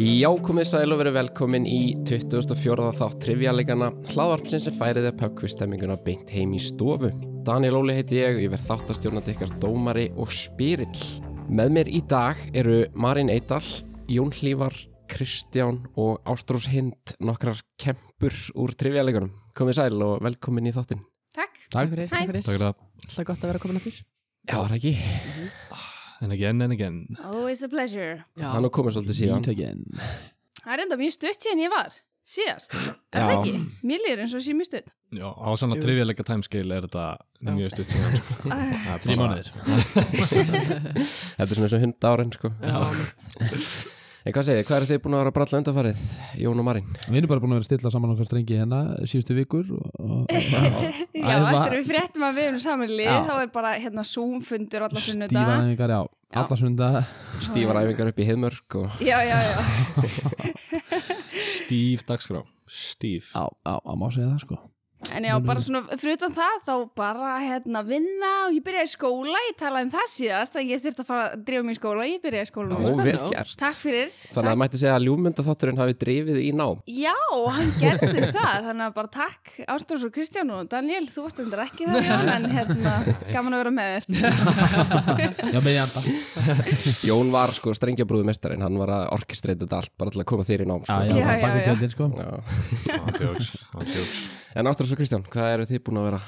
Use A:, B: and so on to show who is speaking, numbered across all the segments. A: Já, komið sæl og verið velkomin í 2004. þátt trivjalegana hlaðvarpsin sem færið er pubquistemminguna beint heim í stofu. Daniel Óli heiti ég, ég verð þáttastjórnandi ykkar dómari og spyrill. Með mér í dag eru Marín Eidal, Jón Hlífar, Kristján og Ástrós Hind nokkrar kempur úr trivjalegunum. Komið sæl og velkomin í þáttin.
B: Takk.
C: Takk,
D: fyrir,
B: Hæ.
D: takk fyrir.
C: takk fyrir það.
D: Alltaf gott að vera komin aftur.
A: Já, var það ekki?
C: En again, en again.
B: Always a pleasure.
D: Já,
A: Hann er komið svolítið síðan.
C: again.
B: Það er enda mjög stutt síðan ég var. Síðast. Er það
A: Já.
B: ekki? Mér líður eins og sé mjög stutt.
C: Já, á svona trivjalega timescale er þetta mjög stutt síðan. sko. Það er
E: Þrý
C: bara-
E: mánuðir
A: Þetta er svona eins og hunda árin, sko.
D: já, mitt.
A: En hvað segið, þið, hvað eru þið búin að vera að bralla undarfarið, Jón og Marín?
F: Við erum bara búin að vera að stilla saman okkar strengi hérna síðustu vikur og, og,
B: Já,
F: Æ, það-
B: eftir að við fréttum að við erum samanlið,
F: Já.
B: þá er bara hérna Zoom-fundur alla sunnuda.
F: stífaðingar, já, alla sunda
A: Stífar æfingar upp í Heiðmörk og
B: Já, já, já.
C: Stíf dagskrá. Stíf.
F: á, á, á má segja það sko.
B: En já, bara svona, fyrir utan það, þá bara hérna vinna og ég byrjaði í skóla, ég talaði um það síðast, að ég þurfti að fara að drifa mig í skóla, ég byrjaði í skóla.
A: Ó, vel gert.
B: Takk fyrir.
A: Þannig að það mætti segja að ljúmyndaþátturinn hafi drifið í nám.
B: Já, hann gerði það, þannig að bara takk Ástrós og Kristján og Daniel, þú varst endur ekki það, Jón, en hérna, gaman að vera með þér.
F: Já, með ég anda
A: Jón var sko strengjabrúðu mestarinn, hann var að orkestreita þetta allt bara til að koma þér í nám. Sko.
F: Já,
B: Já,
F: já,
B: já,
F: bakið
B: já.
F: stjöldin sko
A: Já.
C: Ándjóks, ándjóks.
A: En Ástrós og Kristján, hvað eru þið búin að vera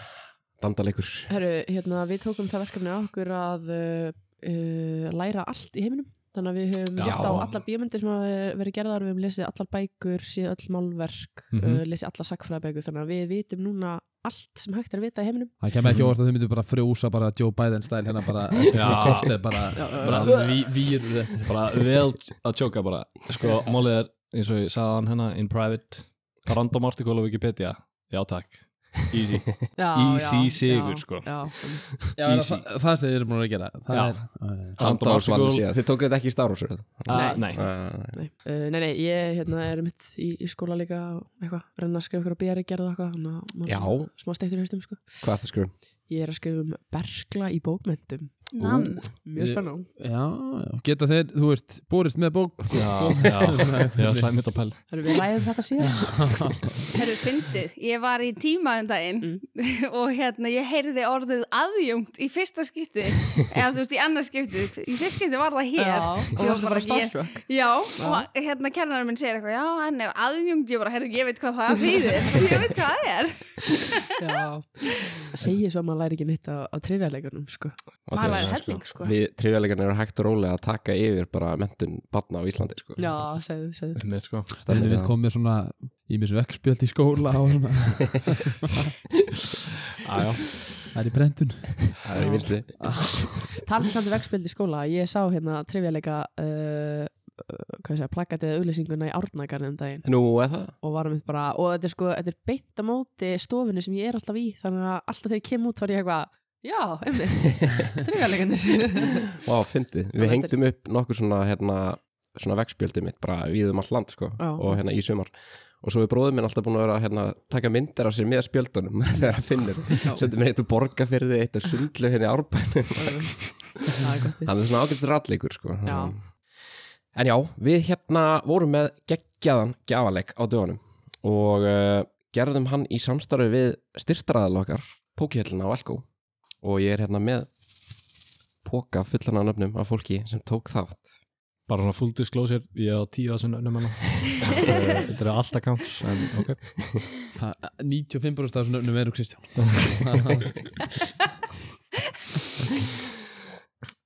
A: dandalegur?
D: Herru, hérna, við tókum það verkefni á okkur að uh, uh, læra allt í heiminum. Þannig að við höfum
C: Já.
D: hjátt á allar bíómyndir sem hafa verið gerðar, við höfum lesið allar bækur, séð öll málverk,
C: Mhm.
D: uh, lesið allar sakfræðabækur, þannig að við vitum núna allt sem hægt er að vita í heiminum.
F: Það kemur ekki óvart að þau myndu bara frjósa bara Joe Biden stæl hérna bara eftir svona
C: Já.
F: kortir bara
C: Bara ví- vír, bara vel að tjóka bara. Sko, málið er, eins og ég sagði hann hérna, in private, random article á Wikipedia. Já, takk. Easy.
D: Já,
C: Easy
D: já,
C: sigur,
D: já,
C: sko.
D: Já,
F: Já,
C: er
F: það, það segir þeir búin að gera Það
C: Já.
F: er, já,
C: Random
A: Andásvalið
C: article.
A: síðan. Þið tókuð þetta ekki í Star Wars, er það?
C: Ah, Nei.
A: Uh,
D: nei. Uh, nei, nei, ég hérna, er mitt í, í skóla líka og eitthvað, reyna að skrifa okkur á BR gerð og eitthvað, þannig að maður
A: Já.
D: svona smá steiktur í haustum, sko.
A: hvað er það skrifum?
D: Ég er að skrifa um bergla í bókmyndum.
B: Nam.
D: Mjög
F: Ég-
D: spennan.
F: já, geta þeir, þú veist, borist með bók
C: Já, já. Já, það er mitt á pæl.
D: Erum við ræðum þetta síðan?
B: Herru, fyndið, ég var í tíma um daginn og hérna, ég heyrði orðið aðjungt í fyrsta skipti, eða þú veist, í annars skipti, í fyrsta skipti var það hér. Ég
D: og varstu bara
B: ég-
D: starstruck.
B: Já, og hérna, kennarinn minn segir eitthvað, já, hann er aðjungt, ég bara, herru, ég veit hvað það þýðir, ég veit hvað það er.
D: Segir svo að maður læri ekki nýtt á, á trivjarleikunum, sko.
B: Maður lærir helling, sko.
A: Við trivjalegan eru hægt og rólega að taka yfir bara mentun barna á Íslandi, sko.
D: Já, segðu, segðu.
C: Mitt, sko.
F: Þannig
A: Stefnir
F: við
A: það.
F: komið svona í mér vekkspjöld í skóla og svona,
C: Á, Ah, já.
F: það er í brentun
A: Það er í vinstli.
D: Talum samt um vegspildi í skóla, ég sá hérna trivjarleika, uh, uh, hvað ég segja, plakatið auðlýsinguna í árnagarnið um daginn
A: Nú, er það?
D: og varum við bara, og þetta er sko, þetta er beint á móti stofunni sem ég er alltaf í, þannig að alltaf þegar ég kem út þá er ég eitthvað, já, einmitt, trivjarleikanir.
A: Vá, fyndið. Við
D: þetta er-
A: hengdum upp nokkur svona, hérna, svona vegspjöldið mitt bara við um allt land, sko,
D: Já.
A: og hérna í sumar. Og svo er bróðið minn alltaf búin að vera að hérna, taka myndir af sér með spjöldunum þegar hann finnur. Sendur mér eitt úr borgarfyrði, eitt úr sundlu hérna í árbænum.
D: Það er gott við.
A: Hann er svona ágætt ratleikur, sko.
D: Já.
A: En já, við hérna vorum með geggjaðan gjafaleik á dögunum og uh, gerðum hann í samstarfi við styrtaraðalokkar, Pókihöllina á Alko. Og ég er hérna með póka fullan af nöfnum af fólki sem tók þátt.
C: bara svona full disclosure, ég á tíu að þessum önnum hana þetta er allt accounts en ok,
F: 95% af þessum nöfnum eru Kristján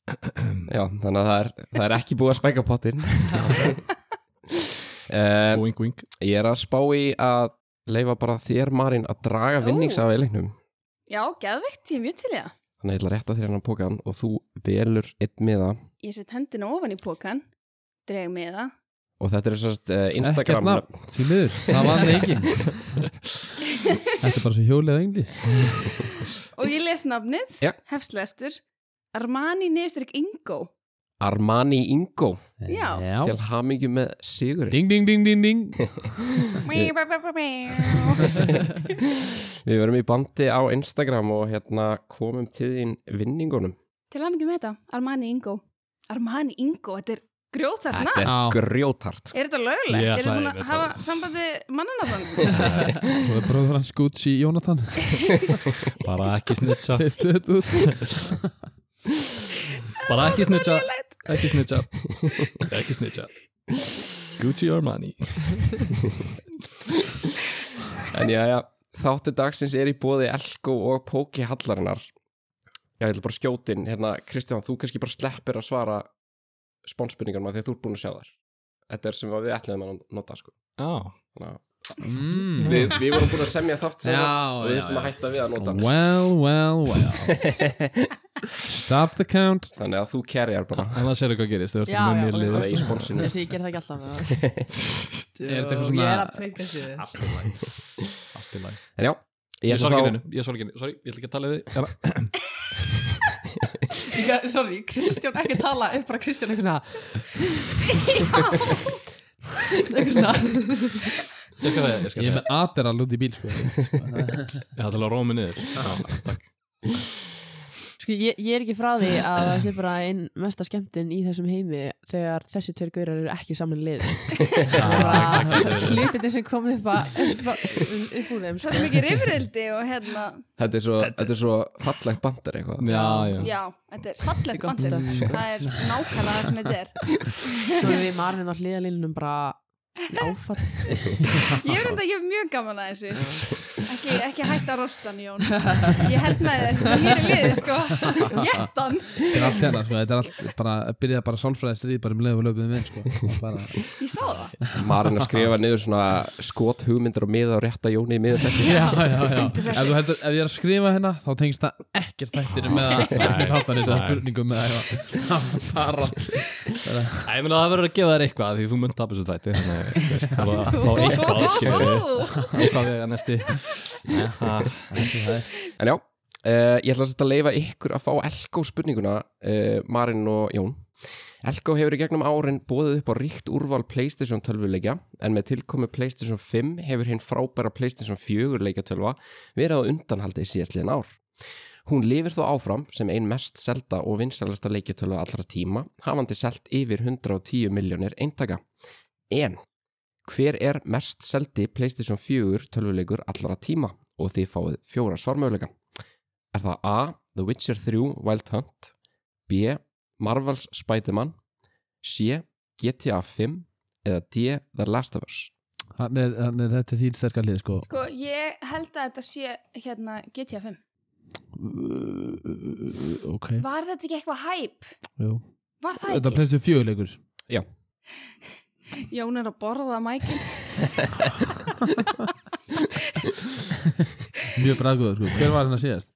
F: Mm.
A: Já, þannig að það er, það er ekki búið að spæka pottin uh,
C: wink wink
A: Ég er að spá í að leifa bara þér Marín að draga vinnings af eilegnum
B: Já, geðveikt, ég er mjög til í það.
A: Þannig að ég ætla að rétta þér hennan pókan og þú velur einn miða
B: Ég set hendina ofan í pókan, dreg með það.
A: og þetta er sérst uh,
F: Ekkert
A: Instagram
F: nafn, því miður, það var engin Þetta er bara svo hjólið engli
B: Og ég les nafnið,
A: Já.
B: hefslestur, Armani Neustrik Ingo.
A: Armani Ingo
B: Já.
A: til hamingju með Sigurinn
F: Ding, ding, ding, ding, ding
A: Við verum í bandi á Instagram og hérna komum til þín vinningunum
B: Til að mikið með þetta, Armani Ingo. Armani Ingo, þetta er grjótart
A: Þetta
B: nafn.
A: er
F: Á.
A: grjótart
B: Er þetta löglegt?
C: Ég
B: er
C: ætlaði
B: þetta búin
C: einmitt
B: að hafa
C: að-
B: samband við mannanafnum?
F: Og bróður hans Gucci Jónatan
C: bara ekki snitsa
F: Þeirstu þetta út
C: bara ekki snitsa ekki snitsa ekki snitsa Gucci Armani
A: En já, já, þáttu dagsins er í bóði Elko og Póki Hallarinnar Já, ég ætla bara að skjóta inn hérna, Kristján, þú kannski bara sleppir að svara spónspurningarna þegar þú ert búin að sjá þær Þetta er sem við ætlaðum að nota sko.
C: já
A: Þannig að
F: mm.
A: við, við vorum búin að semja þátt sem
F: Já,
A: þátt og við
F: já,
A: þurftum að
F: já.
A: hætta við að nota hann
F: Well, well, well Stop the count
A: Þannig að þú kerjar bara
C: annars er hvað gerist þau ertu
D: Já,
C: með
D: já,
C: mér
A: Það
C: liður
A: er í spónsinu
D: Þessi, ég ger það ekki alltaf
F: Er þetta eitthvað svona-
D: Ég er að peika sér
C: allt í lagi allt í lagi
A: En já, ég
C: ég
A: ætla
C: sorgir
A: þá-
C: hennu ég sorgir hennu sorry ég ætla ekki að tala við þig Hérna.
D: Líka, sorry, Kristján ekki tala er bara Kristján eitthvað eitthvað svona
C: ég skal það ég
F: Ég
C: skal
F: er
C: það
F: með aðeira út í bíl sko.
C: ég ætla að rómi niður Já, takk
D: Sko, ég, ég er ekki frá því að það sé bara einn mesta skemmtun í þessum heimi þegar þessi tveir gaurar eru ekki saman lið hlutinni sem kom upp að upp að- upp úr þeim
B: Svo sem ekki rifrildi og hérna,
A: Þetta er svo, þetta er svo fallegt bandar eitthvað
C: já já
B: já, þetta er fallegt
D: gott
B: bandir.
D: stöf,
B: Það er nákvæmlega það sem þetta er.
D: svo erum við marinn á hliðalínunum bara áfatt
B: Ég er enda, ég hef mjög gaman að þessu. Ekki, ekki hætta rostan, Jón. Ég held með þér, það hér er liðið, sko. Jettan.
F: Þetta er allt hérna sko. Þetta er allt bara Byrjaði bara sálfræði stríð bara um leið og löpum við sko. Það er bara...
B: Ég sá það.
A: Marinn að skrifa niður svona skot hugmyndir og miða og rétta jóni í miða þetta
F: Já, já, já
B: þessu.
F: ef, þú heldur, ef ég er að skrifa hérna þá tengst það ekkert þættir með að þáttanins eða
C: Nei.
F: spurningum með að fara
C: Æ, ég meina það verður að gefa þér eitthvað því þú mun tapast úr þætti þannig að þú veist, það var þá eitthvað skilur eitthvað vega næsti
A: En já, uh, ég ætla sem sagt að leifa ykkur að fá Elko spurninguna, uh, Marinn og Jón. Elko hefur í gegnum árin bóðið upp á ríkt úrval Playstation 12-leikja en með tilkomi Playstation 5 hefur hinn frábæra Playstation 4-leikja 12 verið á undanhaldi í síðastliðin ár. Hún lifir þó áfram sem ein mest selda og vinsælasta leikjutölu allra tíma, hafandi selt yfir 110 miljónir eintaka. En, hver er mest seldi PlayStation 4 tölvuleikur allra tíma og þið fáið fjóra svarmöðuleika? Er það A. The Witcher 3 Wild Hunt B. Marvel's Spider-Man C. GTA 5 eða D. The Last of Us
F: hann er, hann er þetta er þín sterka lið sko.
B: Sko, ég held að þetta sé, hérna, GTA 5.
F: ok
B: Var þetta ekki eitthvað hæp?
F: Jú.
B: Var það
F: þetta
B: ekki?
F: plestir fjöguleikur
B: Jón er að borða mækinn.
F: mjög braðgóður sko. hver var hann að síðast?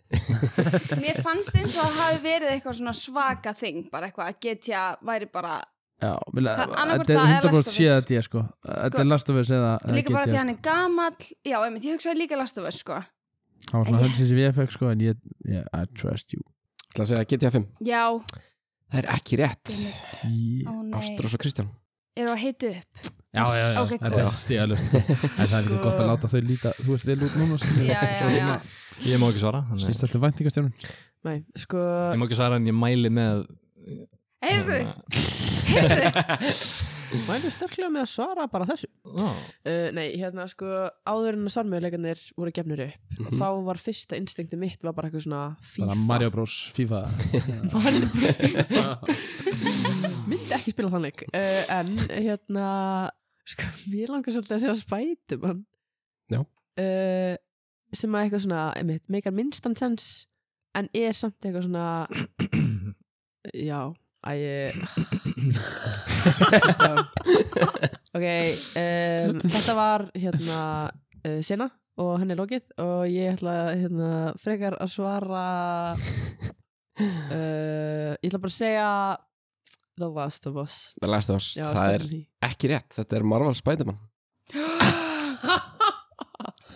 B: Mér fannst eins og það hafi verið eitthvað svona svaka þing, bara eitthvað að GTA væri bara,
F: Já, mér le-
B: Það- annaðhvort
F: þetta er
B: það er Last of
F: 100%
B: Us.
F: síða þetta sko. þetta er last of us eða eða
B: líka bara því
F: GTA.
B: hann er gamall, já, einmitt, ég hugsaði líka Last of Us, sko.
F: hann var svona hönsins í VFX sko, en ég, yeah, I trust you
A: Það að segja GTA 5
B: Já,
A: Það er ekki rétt
B: einmitt, ó
F: já,
B: nei,
A: Ástrós og Kristján
B: eru að hitu upp.
F: já, já,
B: Ok,
F: þetta er stíðalust sko. en það er ekki gott að láta þau líta þú veist vel út núna sko.
B: Já, já,
F: Svo
B: já.
F: svona-
C: ég má ekki svara þannig að-
F: Sýnst þetta væntingastjónun?
D: Nei, sko,
C: ég má ekki svara en ég mæli með
B: Heyrðu,
D: mælu stökkulega með að svara bara þessu
C: Ó,
D: Uh, nei, hérna sko, áður en að svarmöðuleikarnir voru gefnir upp, þá var fyrsta instinkti mitt var bara eitthvað svona FIFA.
F: Mhm. Bara Mario Bros, FIFA
D: Mario Bros. Myndi ekki spila þannig. Uh, en hérna, sko, mér langar svolítið að segja Spiderman.
A: Já.
D: Uh, sem að eitthvað svona, einmitt, meikar minnstan sens, en er samt eitthvað svona, já, að ég... ok, um, þetta var hérna uh, sena og henni er lokið og ég ætla hérna, frekar að svara uh, ég ætla bara að segja The Last of Us
A: The Last of Us
D: Já,
A: Það er
D: stefnir því.
A: ekki rétt Þetta er Marvel's Spider-Man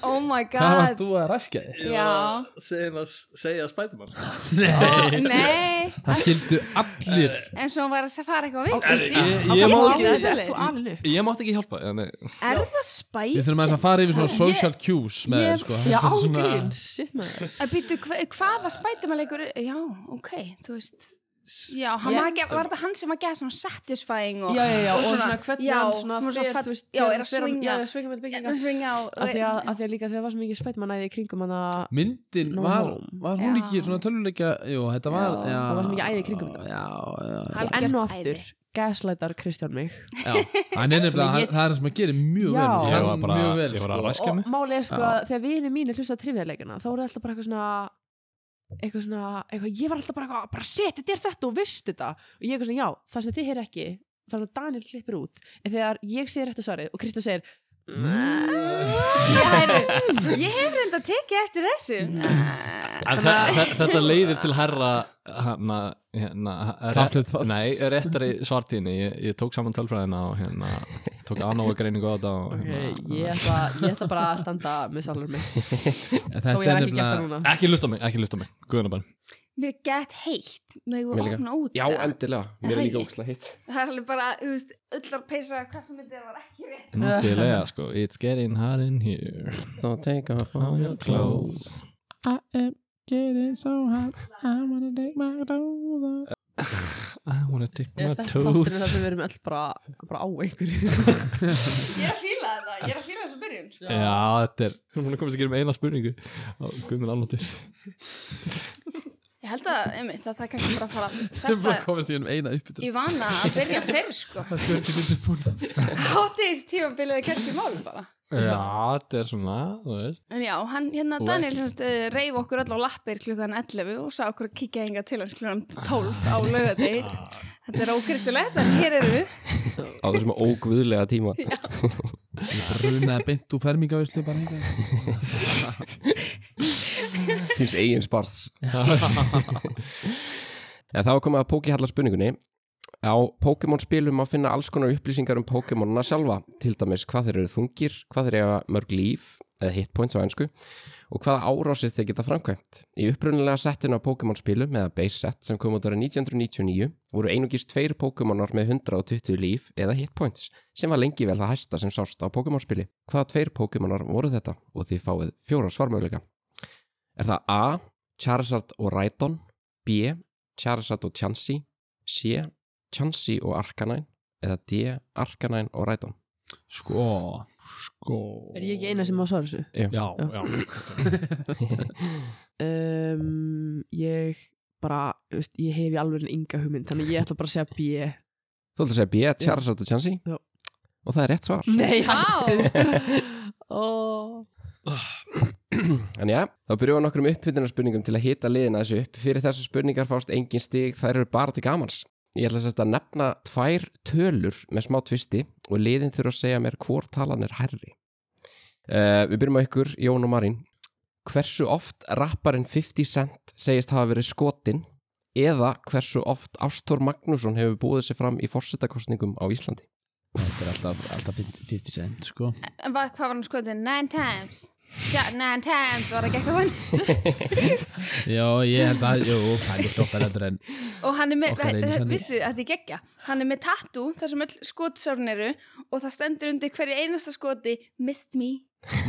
B: oh my
F: Það
B: god,
F: varst þú að raskja þig
B: já,
C: segja, segja Spiderman
B: ó, nei,
F: Það skildu allir
B: eins og hún var að fara eitthvað vilt.
C: ég- ég
B: ég
C: má
B: skil það
C: ekki-
D: Þetta ert
B: svoleiðis.
D: þú alinn upp
C: ég mátti ekki hjálpa já, nei.
B: Er það
F: Við
B: spæt?
F: þurfum aðeins að fara yfir svona social cues með þér
B: Ég-
F: sko
D: Já,
F: Þetta er svona-
D: ágrín, shit maður
B: Að býtu, hvaða spætum að leikur Já, ok, þú veist Já, hann
D: Ég-
B: var, ekki, var þetta hann sem að gera svona satisfying og
D: já, já, já, og svona, hvernig
B: já,
D: hann svona
B: hún var
D: fer,
B: fall-
D: þú veist,
B: já,
D: þegar
B: er að
D: fer-
B: svinga
D: já, já, svinga með bygginga
B: að svinga á
D: af því að, að því að líka þegar var svo mikið spætmannæði í kringum hann að
F: Myndin
D: No
F: var,
D: Home.
F: var hún
B: Já.
F: ekki svona tölvuleikja Jú, þetta var
D: Já, það var svo mikið æði í kringum þetta.
F: Já, já,
B: Algjört
D: enn og
B: æði.
D: aftur gaslætar Kristján mig
F: já Hann er nefnilega,
D: Ég-
F: hann- það er það sem að gera mjög
D: Já.
F: vel
D: Ég
C: Ég
F: Hann
C: var bara,
F: mjög vel,
C: ég var
F: sko.
C: að ræskja mig
D: og málið er sko að þegar vinið mínir hlusta á trivjaleikina þá voru það alltaf bara eitthvað svona eitthvað svona, eitthvað, ég var alltaf bara eitthvað bara shit, þetta er þetta og vist þetta og ég eitthvað svona, já, það sem þið heyr ekki þannig að Daniel klippir út en þegar ég segir þetta svarið og Kristján segir
F: Mm.
B: Ég, heyrðu, ég hef reynda tekið eftir þessu
C: En þe- þe- þetta leiðir til herra hana, hérna
F: Taflið
C: rétt-
F: tafls.
C: Nei, réttari svartíðinni ég, ég tók saman tölfræðina og hérna tók anóa greiningu á þetta og,
D: okay,
C: hérna,
D: ég, ætla, ég ætla bara að standa með sjálfur mig
F: Þetta
D: þó ég
F: er
D: hef ekki gert það
F: nefnilega
D: núna
C: Ekki lusta mig, ekki lusta mig, guðunabann
B: Mér er gett heitt Mér
A: Mér
B: er
A: líka.
B: opna út
A: Já,
B: eða?
A: endilega, mér er
B: Nei.
A: líka ókslega hitt
B: Það er alveg bara, þú veist, öllar peysa hvað sem þetta var ekki rétt
C: Endilega, sko, it's getting hot in here
A: So take off
C: all your clothes.
F: I am getting so hot I wanna take my clothes off
C: I wanna take my
D: Ég ætla þetta þátturinn þar
C: toes
D: sem við erum öll bara, bara á einhverju
B: Ég er að fíla þetta, ég er að fíla þessu byrjun sko.
C: Já, þetta er, hún er komið sér um eina spurningu Guðminn alveg
B: Ég held að, einmitt, að það er kannski bara að fara að
F: Við erum bara
B: festa
F: komin til um eina uppbytun
B: í vana að byrja fyrr, sko Hátiðis tímabilið er kannski mál bara
C: Já, þetta er svona, þú veist
B: En já, hann, hérna
C: Og
B: Daniel semst, uh, reif okkur öll á lappir klukkan 11 og sá okkur að kíkja hinga til hans klukkan 12 á laugardegi Þetta er ókristilegt, en hér eru við
A: Á þessum óguðlega tíma
F: Brunaði beint úr fermingavislu bara eitthvað
A: Þins eigin spars En þá er komið að Pókihalla spurningunni Á Pokémon spilum má finna alls konar upplýsingar um Pokémonuna sjálfa til dæmis hvað þeir eru þungir, hvað þeir eiga mörg líf eða hitpoints á ennsku og hvaða árásir þeir geta framkvæmt. Í upprunalega settinu á Pokémon spilum eða base set sem kom út ára 1999 voru einungis tveir Pokémonar með 120 líf eða hitpoints sem var lengi vel það hæsta sem sást á Pokémon spili. Hvaða tveir Pokémonar voru þetta og þið fáið fjóra svarmöguleika? Er það A. Charizard og Rhydon B. Charizard og Chansey C. Chansey og Arcanine eða D. Arcanine og Rhydon
F: Sko Sko
D: Er ég ekki eina sem á svara þessu?
C: Já, já
D: Um, ég bara, þú veist, ég hef í alveg en ynga hugmynd þannig ég ætla bara að segja B
A: Þú ætlar að segja B. Charizard og Chansey
D: Já. Mhm.
A: og það er rétt svar
D: Nei,
A: En já, þá byrjum við á nokkrum upphittunarspurningum til að hita liðina þessu upp fyrir þessu spurningar fást engin stig, þær eru bara til gamans Ég ætla sérst að nefna tvær tölur með smá tvisti og liðin þurfa að segja mér hvor talan er herri uh, Við byrjum á ykkur, Jón og Marín Hversu oft rapparinn 50 Cent segist hafa verið skotin eða hversu oft Ástór Magnússon hefur búið sér fram í forsetakostningum á Íslandi
F: Þetta er alltaf, alltaf 50 cent sko
B: En hvað, hvað var hann skoðið? Nine times ja, Nine times, var það ekki eitthvað hann
F: Já, ég held að, jú, hann er flottar heldur en
B: Og hann er með,
F: Okkar einu sanni.
B: vissið þið að þið geggja Hann er með tattoo, þar sem öll skotsárn eru og það stendur undir hverju einasta skoti Missed me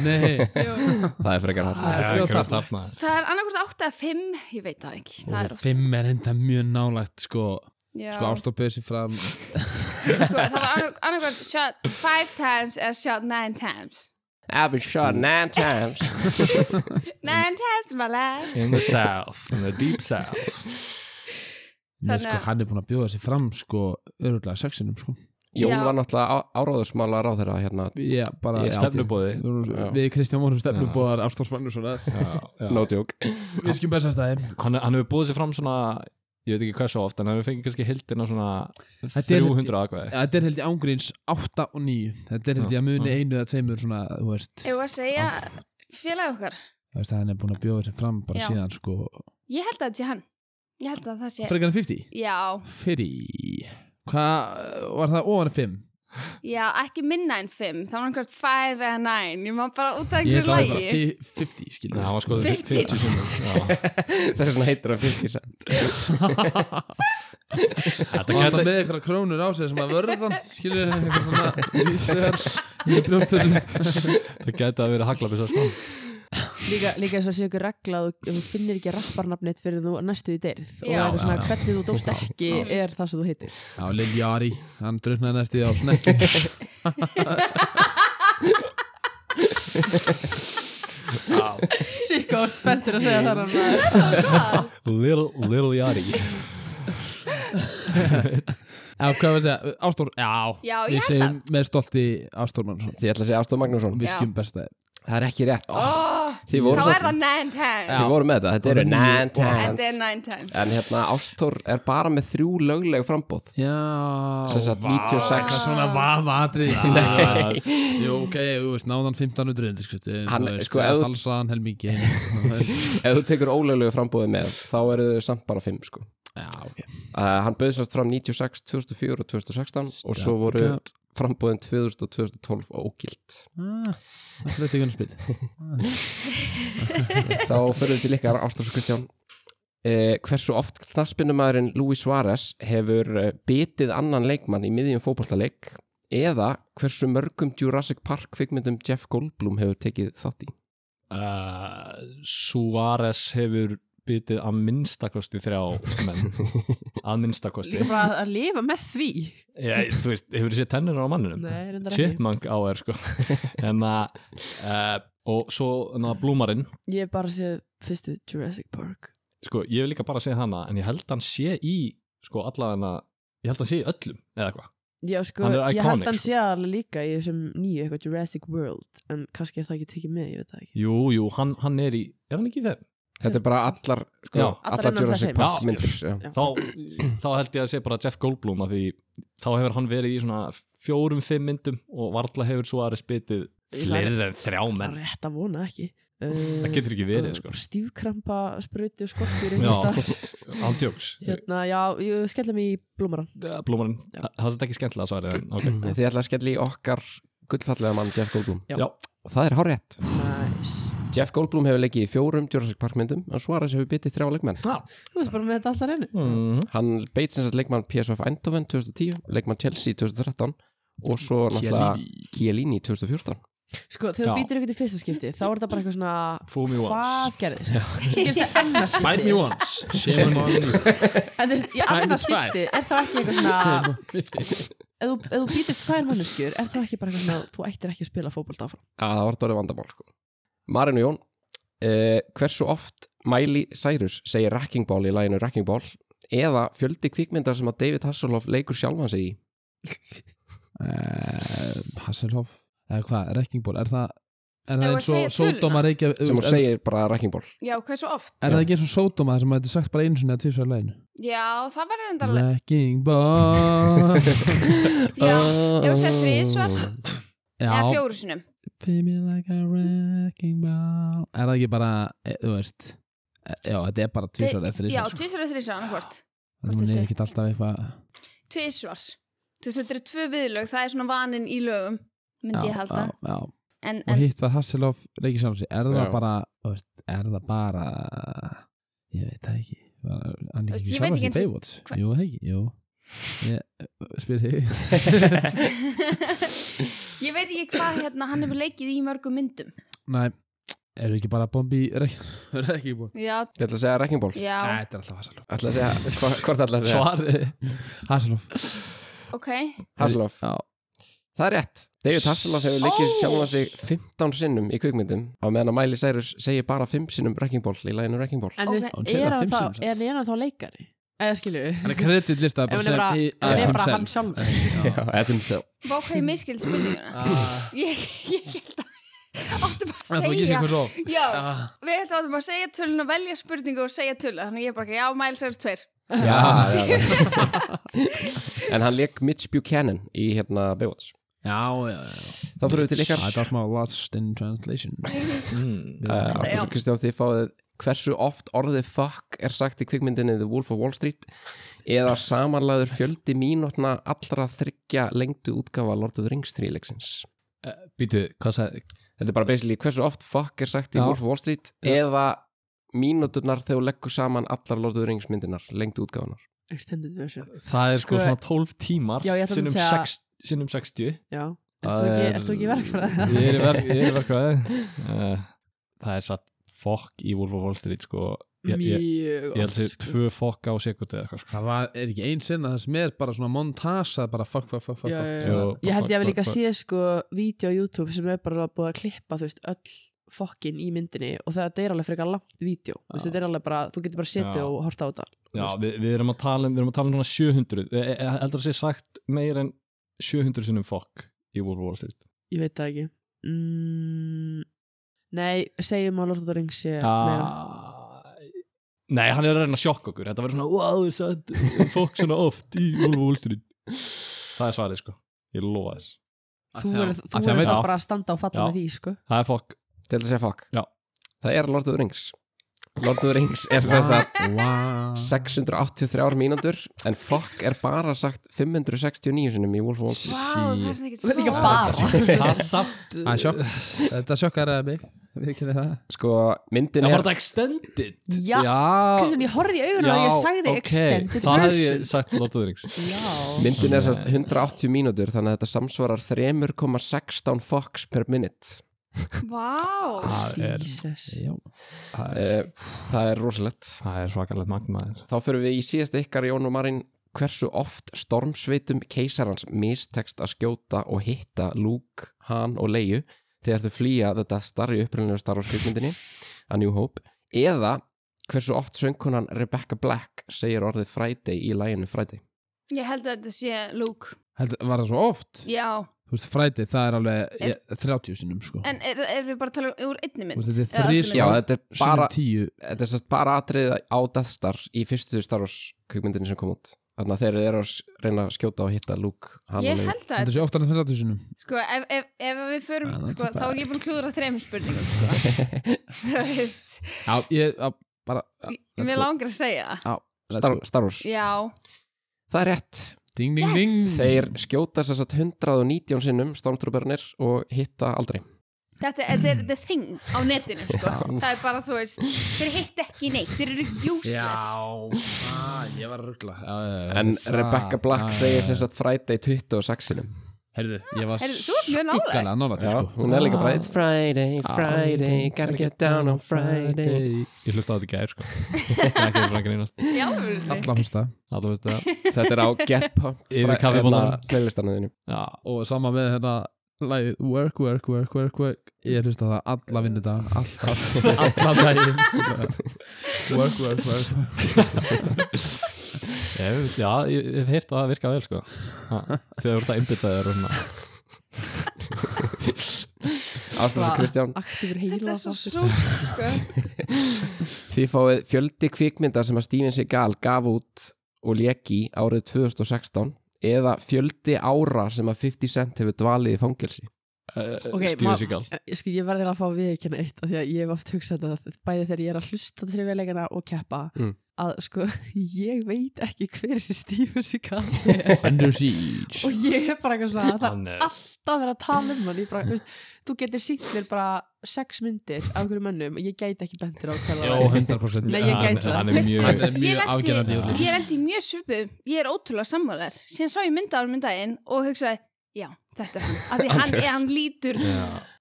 F: Nei,
A: Það er frekar hart
C: Það er ekki hægt afnað
B: Það er annarkvort 8 að 5, ég veit það ekki Það er
F: og
B: oft
F: fimm er enda mjög nálægt sko
B: Já.
F: Sko ástoppuð sér fram
B: sko, það var annarkvæmt shot five times eða shot nine times
A: I've been shot nine times
B: nine times my life
C: In the south, in the deep south
F: Nei,
B: Þannig
F: sko,
B: að-
F: hann er búin að bjóða sér fram sko öruglega sexinum sko
A: Jón
B: Já.
A: var náttúrulega á- áráðusmála ráðherra hérna
F: Já, bara
C: Ég stefnubóði
F: Við vorum-
A: Já.
F: Við Kristján vorum stefnubóðar Árstórs Magnússonar
A: No joke
F: Við skjum bestastæði
C: hann, hann hefur búið sér fram svona ég veit ekki hvað svo oft, en hann hefur fengið kannski hildina svona
F: er-
C: 300 aðkvæði
F: Þetta er held ég ángríns 8 og 9 Þetta er held ég að muni einu eða tveimur svona, þú veist,
B: Ég var að segja félagi okkar
F: þú veist að hann er búin að bjóða sér fram bara
B: Já.
F: síðan sko
B: Ég held að þetta sé hann Ég held að það sé
F: Frekar en 50?
B: Já,
F: Fyrir Hvað, var það ofan en 5?
B: já, ekki minna en fimm Það var einhvert five eða nine Ég má bara út af
F: Ég
B: einhverju
F: held að það
B: lagi
C: Já, hann
F: var bara 50, 50 skilur við.
C: var skoðið
B: 50.
C: 50 sinnum Já.
A: Það er svona heitur af 50 cent
F: Þetta var alltaf með eitthvað krónur á sig sem að vörðan skilur við, eitthvað svona lífslegar í brjóstöðum
C: Það gæti að vera haglabisa sko
D: líka, líka eins og sé ykkur regla að þú, þú finnir ekki rapparnafnið fyrir þú næstu í deyrð og
B: Já.
D: það er svona
F: Já.
D: hvernig þú dóst ekki er það sem þú heitir
F: Já, Lil Jari, hann druknaði næstu því á snekki
D: Sikko og spenntur að segja það hann
C: Little, little Yari
F: Já, hvað var að segja, Ástór, já
B: Já, ég
F: Við
B: held
F: segjum með stolti Ástór Mannsson
A: Þið ætla að segja Ástóð Magnússon
F: Virkjum besta
A: Það er ekki rétt
B: oh,
A: Þið
B: Þá
A: voru,
B: er
A: svo,
B: það nine times
A: þið voru með þetta, þetta eru
F: Það var
A: nine
F: níu.
B: Þetta er
A: times
B: nine times
A: En hérna Ástór er bara með þrjú lögleg frambóð
F: Já
A: Sem sagt 96
F: Svona vafatrið Nei Jú, ok, þú veist, náðan 1500 undirskriftir, þú
A: Hann-
F: veist,
A: sko,
F: eða
A: ef-
F: Falsaðan helmingi sko. Já,
A: Ef þú tekur óleglegu frambóði með þá eru þau samt bara 5 sko
F: ok
A: Uh, hann bauðið sérst fram 96, 2004 og 2016 og svo voru
F: God.
A: frambúðin 2000 og 2012 ógilt
F: Ah, Það er þetta spil
A: þá fyrir til ykkar Ástrós og Kristján uh, hversu oft knaspinumæðurinn Luis Suárez hefur uh, bitið annan leikmann í miðjum fótballtaleik eða hversu mörgum Jurassic Park kvikmyndum Jeff Goldblum hefur tekið þátt í
C: uh, Suárez hefur bitið að minnstakosti þrjá menn að minnstakosti
D: Líka bara að lifa með því
C: ég, þú veist, hefur þið séð tennir á manninum
D: Nei, reyndar ekki.
C: chipmunk á þér sko en að uh, og svo na, blúmarinn
D: Ég hef bara séð fyrstu Jurassic Park
C: sko, ég hef líka bara séð hana en ég held hann sé í sko allavega ég held hann sé í öllum eða eitthvað
D: Já, sko,
C: Hann er
D: ég
C: iconic,
D: held hann
C: sko.
D: sé alveg líka í þessum nýju eitthvað Jurassic World en kannski er það ekki tekið með, ég veit það ekki
C: jú, jú, hann, hann er í, er hann ekki í þeim?
A: þetta er bara allar, sko,
C: Já,
D: allar
A: allar
D: innan þess
A: Jurassic
D: heims.
A: Park
C: Já.
A: myndir já.
D: Já.
C: þá, þá held ég að sé bara Jeff Goldblum af því þá hefur hann verið í svona fjórum, fimm myndum og varla hefur svo aðri spitið fleiri en þrjá
D: Það
C: menn
D: er rétt að vona ekki Eh,
C: það getur ekki verið sko
D: Stífkrampa, sprauti og skortur
C: Já.
D: einhvers staðar.
C: ándjóks,
D: Hérna, já, ég skella mig í blómaran
C: blúmarinn það það er ekki skemmtilega svarið en ok
D: Mm.
A: þið ætla að skella í okkar gullfallega mann Jeff Goldblum
D: Já.
C: Já.
A: og það er hárétt
D: Nice
A: Jeff Goldblum hefur leikið í fjórum Jurassic Park myndum en Suárez hefur bitið þrjá leikmenn
D: Þú veist bara með þetta alltaf reyni
C: Mm.
A: Hann beit sem sagt leikmann PSV Eindhoven 2010, leikmann Chelsea 2013 og svo
F: Hérna.
A: náttúrulega Chiellini 2014
D: Sko, þegar þú
C: Já.
D: býtur ekkert í fyrsta skipti þá er þetta bara eitthvað svona
C: Fool me
D: Hvað
C: once.
D: gerðist? Gerðist það annars
C: Bite me
D: skipti?
C: once, shame on you
D: En þú veist, í
F: Bite me
D: annars skipti
F: twice.
D: er það ekki eitthvað svona Ef þú- ef þú býtur tvær manneskjur er það ekki bara eitthvað svona þú ættir ekki að spila fótbolt áfram
A: að það var þetta orðið vandamál sko. Marinu Jón eh, hversu oft Miley Cyrus segir Wrecking Ball í læginu Wrecking Ball eða fjöldi kvikmyndar sem að David Hasselhoff leikur sjálfan sig í
F: Eh, Hasselhoff eða hvað, rekkingbor, er það er
B: Eigum við
F: það
B: að
F: eins
B: segja
F: og sódóma
B: töluna?
F: reykja er,
A: sem hún
F: er
A: segir bara Wrecking Ball
B: Já, hversu oft?
F: það ekki eins og sódóma sem að þetta er sagt bara einu sinni að tvisar legin
B: Já, það verður enda alveg
F: rekkingbor
B: Já, ég var að segja þrísvar eða
F: já,
B: fjóru sinum
F: feel me like a wrecking ball er það ekki bara, e, þú veist e, já, þetta er bara tvisar eða
B: Já,
F: þrisar
B: tvisvar eða þrísvar annarkvort
F: þannig sko.
D: hvort
F: hún
D: er
F: er
D: þið?
F: ekkert alltaf eitthvað
B: Tvisvar Þú veist, þetta eru tvö viðlög, það er svona vaninn í lögum myndi
F: Já,
B: ég halda
F: já, já.
B: En,
F: og
B: en
F: hitt var Hasselhoff reykja sjálf sig er
A: Já.
F: það bara, þú veist, er það bara ég veit það ekki Var- hann
B: Þú
F: er
B: veist,
F: ekki
B: ég veit ekki
F: sjálf sig
B: eins og-
F: Baywatch
B: hva-
F: jú, það ekki, jú ég, eh, spyr þig
B: ég veit ekki hvað hérna, hann hefur leikið í mörgum myndum
F: Nei, eru ekki bara bombi rekkibúr?
B: Já,
A: Ég ætla að segja Wrecking Ball
B: já,
F: Þetta er alltaf Hasselhoff
A: ætla að segja, hva- hvort ætla að segja
F: Svarið Hasselhoff
B: ok
A: Hasselhoff
F: Já,
A: Það er rétt. David Hasselhoff hefur leikið sjálfan sig 15 sinnum í kvikmyndum á meðan að Miley Cyrus segir bara 5 sinnum Wrecking Ball í læginu Wrecking Ball.
B: Ok.
D: En þú
F: Hún
D: veist,
F: telur
D: er hann
F: fimm
D: þá-
C: sko.
F: sinnum,
D: er hann þá leikari? Eða skilju
F: hann er kreditlista
D: Ef hann er bara- hann er bara hann sjálfur.
A: Já, þetta er mjög
B: Vá hvað ég miskild spurninguna
A: Ah.
B: Ég, ég held að Áttu bara
F: Það
B: að
F: er ekki
B: segja
F: eitthvað svo
B: Já,
F: Ah.
B: við ætlum áttum bara að segja tölun og velja spurningu og segja tölun Þannig ég er bara ekki, já, Miles Harris 2
A: Já, já, já. En hann leik Mitch Buchanan í hérna Baywatch
F: Já, já, já
A: Þá fyrir við til ykkar
F: Þetta var smá lost in translation
A: uh, Aftur
B: Já.
A: svo Kristján þið fáið Hversu oft orðið fuck er sagt í kvikmyndinni The Wolf of Wall Street eða samanlæður fjöldi mínútna allra þryggja lengdu útgafa Lord of the Rings 3 leiksins
C: býtu, hvað sagði
A: Þetta er bara basically hversu oft fuck er sagt í
F: Já.
A: Wolf of Wall Street eða mínúturnar þegar þú leggur saman allar Lord of the Rings myndinar, lengdu útgáfanar
D: Extended version
C: það er sko,
D: Sko-
C: svona 12 tímar
D: Já, ég ætla að
C: sinnum,
D: segja-
C: sex, sinnum 60
D: Já Ert þú ekki- ert þú ekki verkfræð?
C: ég er í verkfræði uh, Eh, það er satt fokk í Wolf of Wall Street sko. ég, ég,
D: mjög
C: ég held
D: oft
C: sér
D: sko.
C: tvö fokk á sekundi eða eitthvað sko.
F: Það var, er ekki einn sinna það sem er bara svona montasa bara fuck, fuck, fuck, fuck,
D: Já, já,
F: fuck.
D: já.
C: Jú,
D: ég held ég hafi líka
C: bara-
D: séð sko vídeo á YouTube sem er bara búið að klippa þú veist öll fokkin í myndinni og þetta er alveg frekar langt vídeo þú veist, þetta er alveg bara, þú getur bara setið
C: Já.
D: og horta á þetta
C: Já, við, við erum að tala um, við erum að tala um núna 700 Eh, eh, heldur að sé sagt meir en 700 sinnum fokk í Wolf of Wall Street
D: ég veit það ekki mm, nei, segjum að Lord of the Rings sé meira
C: Æ, Ah, Nei, hann er að reyna að sjokka okkur Þetta verður svona, wow, satt, fólk svona oft í Wolf of Wall Street Það er svarið, sko, ég lofa þess
D: þú
F: Að
D: verður
F: þjá-
D: þú
F: að þjá
D: verður
F: veit-
D: það bara að standa og
C: Já.
D: falla með því sko
C: Það er fokk
A: Til þess að segja fuck
C: Já.
A: Það er Lord of the Rings Lord of the Rings er sem sagt
F: Wow.
A: 683 mínútur en fuck er bara sagt 569 sinum í Wolf of Wall Street
B: Vá, það er svona ekkert
D: Þú verður
B: smá.
D: líka bara
C: Það er samt
F: Það er sjokk Þetta sjokkaraði mig Við kynni það
A: sko myndin
C: Það var
A: er
C: þetta extended
D: Já,
C: já,
D: Kristján, ég horfði í augunum og ég sagði
C: ok.
D: extended
C: Það hefði
D: version.
C: ég sagt Lord of the Rings
D: Já,
A: myndin er sem sagt 180 mínútur þannig að þetta samsvarar 3,16 fucks per minute
B: Vá,
D: Jesus
F: Já
C: Það er,
A: Eh, það er rosalegt
C: það er svakalegt magnaður
A: þá fyrir við í síðast ykkar Jón og Marín hversu oft stormsveitum keisarans mistekst að skjóta og hitta Luke, Han og Leiju þegar þau flýja þetta starri upprænlega starf á skrifmyndinni A New Hope eða hversu oft söngkonan Rebecca Black segir orðið Friday í læginu Friday
B: ég held að þetta sé Luke
F: Held, Var það svo oft?
B: Já,
F: Þú veist, fræti, það er alveg ég, 30 sinnum sko
B: en er, er við bara að tala um úr einni
F: Þú
B: mynd?
F: veist, þetta
B: Eða
F: er
B: öllu
F: þrís-
B: mynd?
A: Já, þetta er bara,
F: Sinnum 10
A: þetta er sest, bara atriðið á Death Star í fyrstu Star Wars kvikmyndinni sem kom út þannig að þeir eru að s- reyna að skjóta og hitta Luke, Han og
B: Ég
A: Leiju
B: held að
F: Þetta er svo oftar en 30 sinnum
B: Sko, ef, ef, ef við förum,
F: Ah, that's
B: sko,
F: a
B: þá er ég búin að klúðra þreim spurningum, sko. Þú veist,
F: Já, ég á, bara já, let's
B: mér
F: go.
B: langar að segja það.
F: Já, let's
A: Star,
F: go.
A: Star Wars
B: Já,
A: Það er rétt
F: Ding, ding,
B: Yes!
F: ding
A: Þeir skjóta sér satt 119 sinnum stormtrooperunir og hitta aldrei.
B: þetta, þetta er the thing á netinu, sko. það er bara, þú veist, þeir hitt ekki neitt, þeir eru useless.
F: ah, ég var að ruggla
A: En Rebecca Black segir sér satt Friday 26 sinnum.
F: Herðu, Ah, ég var
B: Heyrðu, þú ert mjög nálægt.
F: skuggalega nálægt,
A: Já,
F: sko.
A: hún er líka bara It's Friday, Friday, gotta get down on Friday.
C: Ég hlusta á þetta í gær sko Það er ekki svona að grínast
B: Já, alveg.
F: Alla fyrsta
C: Það veist það
A: Þetta er á Get Pumped hérna,
C: Yfir kaffibollanum.
A: playlistanum þínu.
C: Já,
F: Og sama með hérna lagið Work, work, work, work, work Ég hlusta á það alla vinnu dag Alltaf
C: allan daginn
F: Work, work, work, work
C: Ég- Já, ég ég hef heyrt að það virka vel sko Ha, Þegar þú ert að einbytta þér og svona
A: Ástæður Kristján,
D: Aktífur
B: Þetta
D: heila
B: er svo súkt, sko.
A: þið fáið fjöldi kvikmynda sem að Steven Seagal gaf út og leki árið 2016 eða fjöldi ára sem að 50 Cent hefur dvalið í fangelsi.
D: Ok,
C: okay,
D: ma-
C: Stíðu sig all
D: Eh, Sko, ég verði að fá að viðkjanna eitt af því að ég hef oft hugsað þetta bæði þegar ég er að hlusta trivjaleikana og keppa
A: Mm.
D: að sko, ég veit ekki hver þessi Steven Seagal er
F: Under siege
D: og ég er bara eitthvað svona það
C: Hann
D: er
C: er-
D: alltaf verið að tala um hann ég bara, þú veist, þú getur sýnt mér bara sex myndir af hverju mönnum og ég gæti ekki bentir á hvað það
F: Jó,
D: er
F: 100%
D: Nei, ég
C: Hann-
D: gæti það.
C: Hann er
B: Veistu,
C: mjög
F: Þetta er mjög
B: ég lenti-
F: afgerandi í öllu.
B: Ég er endið mjög svipum, ég er ótrúlega sammálar. Síðan sá ég mynda á hann myndaginn og hugsaði, já, þetta er hann. Af því hann, hann lítur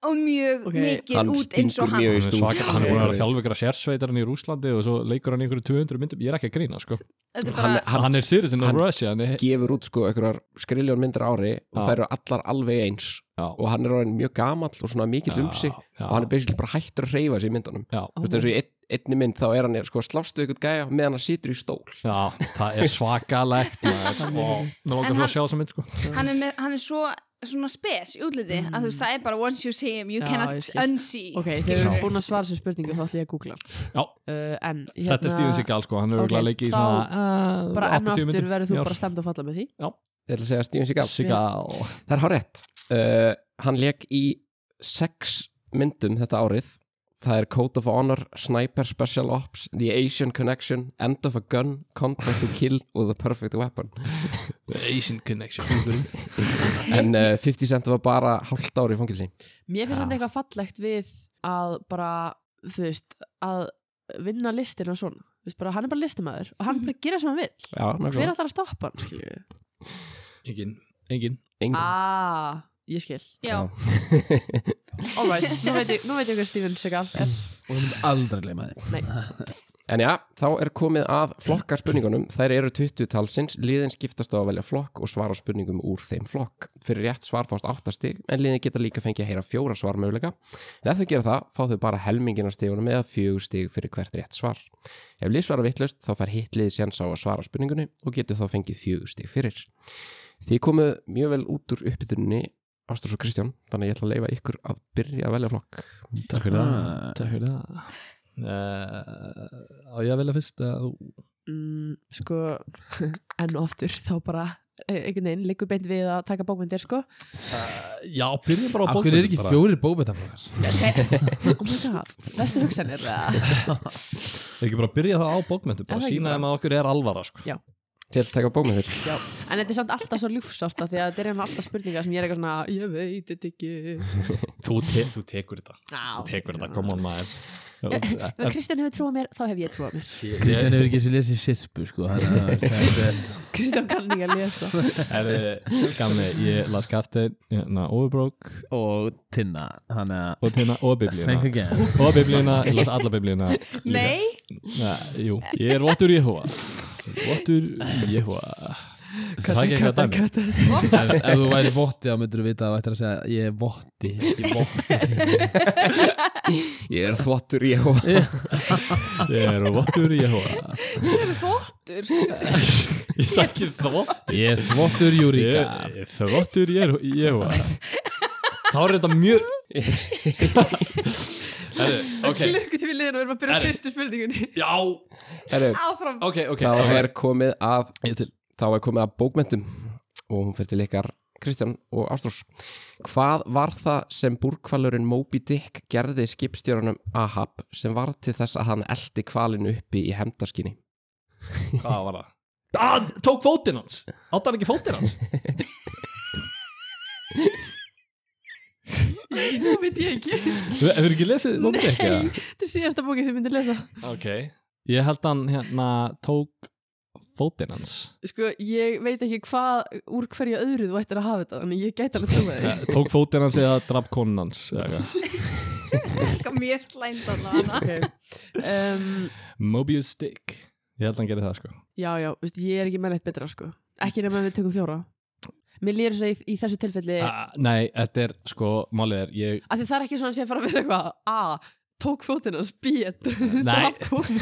B: og mjög
D: Ok,
B: mikið
A: hann
B: út eins
A: stingur
B: og hann.
A: mjög
C: Hann
A: í
C: er
A: stúf.
C: svaka- hann er búin að vera þjálfveikara sérsveitarinn í Rúslandi og svo leikur hann í einhverju 200 myndum Ég er ekki að grína sko
B: Þetta er
A: Hann,
B: bara,
A: hann
C: Hann er citizen of
A: Hann-
C: Russia hann er-
A: gefur út sko einhverjar skriljón myndir á ári og
C: Já.
A: þær eru allar alveg eins
C: Já.
A: og hann er orðin mjög gamall og svona mikill um sig
C: Já,
A: og hann er basically bara hættur að reyfa sig í myndunum
C: já.
A: Þú veist eins og í ein, einni mynd þá er hann sko að slást við ykkur gæja meðan hann situr í stól
C: Já, það er svakalegt maður. Ó, Nú langar
B: En
C: svo
B: hann-
C: að sjá þessa mynd sko
D: Hérna-
B: hann, er með, hann er svo svona spes í útliti að þú veist, það er bara once you see him, you
D: Já, ég
B: cannot
D: skil.
B: unsee.
D: ok, þegar við erum búin að svara þessu spurningu þá ætlum ég að googla hann.
C: Já,
D: uh, en
C: þetta er Steven Seagal sko, hann er
D: Ok,
C: okay, leikið í
D: þá-
C: svona uh,
D: bara enn og aftur verður þú
C: Já.
D: bara stemd að falla með því
A: Ég ætla að segja Steven Seagal
C: Seagal
A: Það er hárétt uh, Hann leik í sex myndum þetta árið Það er Code of Honor, Sniper Special Ops, The Asian Connection, End of a Gun, Contract to Kill og The Perfect Weapon
C: Asian Connection
A: En uh, 50 Cent var bara hálft ári í fangilsi
D: Mér finnst
C: Ja.
D: þetta eitthvað fallegt við að bara, þú veist, að vinna listina svona. Þú veist, bara, hann er bara listamæður og hann bara gera sem hann vil.
A: Já,
D: Hver
A: nákvæmlega
D: ætlar að stoppa hann, skilju?
C: Engin, engin
A: Engin.
D: Ah, ég skil.
B: Já,
D: All right, nú veit ég, nú veit ég hvað Steven Seagal er.
F: og þú mynd aldrei leima þið
A: En já, þá er komið að flokkarspurningunum. Þær eru 20 talsins, liðin skiptast á að velja flokk og svara spurningum úr þeim flokk. Fyrir rétt svar fást áttastig, en liðin geta líka fengið að heyra fjóra svar möguleika. En ef þau gera það, fá þau bara helmingin af stigunum eða fjögur stig fyrir hvert rétt svar. Ef lið svara vittlust, þá fær hitt liðið séns á að svara spurningunni og getur þá fengið fjögur stig fyrir. Þið komuð mjög vel út úr uppbytunni Ástrós og Kristján, þannig að ég ætla að leifa ykkur að byrja að velja flokk.
C: Takk fyrir það Takk fyrir það uh, Á ég að velja fyrst að þú
D: mm, sko, enn og aftur þá bara eh, einhvern veginn liggur beint við að taka bókmyndir sko
C: Já, byrjum bara á
F: Af hverju er ekki
C: bara.
F: fjórir bókbætaflokkar?
D: oh my god, vestu hugsanir eða?
C: Ekki bara byrja það á bókmyndu
D: Er
C: Bara
D: það ekki
C: sína
D: bara?
C: þeim að okkur er alvara sko.
A: Þið ætla að taka bómið þér.
D: Já. en þetta er samt alltaf svo ljúfsárt af því að þetta er með alltaf spurningar sem ég er eitthvað svona ég veit þetta ekki
C: þú, te þú tekur þetta
D: Á.
C: Þú tekur þetta, come on maður
D: ef Kristján hefur trúið mér, þá hef ég trúið mér
F: Kristján hefur ekki þessi lesið sirpu sko þannig að það er-
D: Kristján kann ekki að lesa
C: Gamli, ég las kaftin hérna, Overbroke
F: og Tinna þannig að
C: og hérna og
F: Think
C: biblíuna
F: again
C: og biblíuna, ég las alla biblíuna líka.
B: Nei,
C: Nei, jú, ég er vottur Jehova Vottur Jehova Er Það ekki eitthvað dæmi
F: Ef ef þú væri votti þá myndur þú vita að þú ættir að segja ég er votti ég er votti
A: Ég er þvottur, ég og...
C: Ég er vottur Jehova
B: þú eru þóttur.
C: Ég sagði þvott
F: Ég er þvottur
C: Ég
F: Júrika
C: er þvottur Jeho- Jehova Þá er þetta mjög Herðu, ok
D: til liðin og erum að byrja
C: Herri.
D: fyrstu spurningunni
C: Já,
A: Herru,
B: Áfram.
C: ok, ok
A: þá er komið að
C: Ég til
A: þá er komið að bókmyndum og hún fyrir til ykkar Kristján og Ástrós hvað var það sem búrkvalurinn Moby Dick gerði skipstjórunum Ahab sem var til þess að hann eldi kvalin uppi í hemdaskinni
C: Hvað var það? Ah, tók fótinn hans Átti hann ekki fótinn hans?
D: Nú veit ég ekki,
C: Hefur ekki lesið Moby Dick? eða?
D: þetta er síðasta bókin sem ég myndi að lesa
C: Ok Ég held hann hérna tók fótinn hans
D: Sko, ég veit ekki hvað, úr hverju öðru þú ættir að hafa þetta Þannig ég gæti alveg trúið
C: Eh, Tók fótinn hans eða draf konun hans eða eitthvað.
B: Eitthvað mjög slæmt að hana.
D: þig um,
C: Mobius Dick Ég held hann gerði það sko
D: Já, já, veist, ég er ekki með neitt betra, sko Ekki nema við tökum fjóra Mér lýður svo í, í þessu tilfelli ah.
C: ah, Nei, þetta er sko, málið er ég,
D: Því það er ekki svona sem fara að vera eitthvað A, tók fótinn hans, B,
C: Nei.
D: draf konu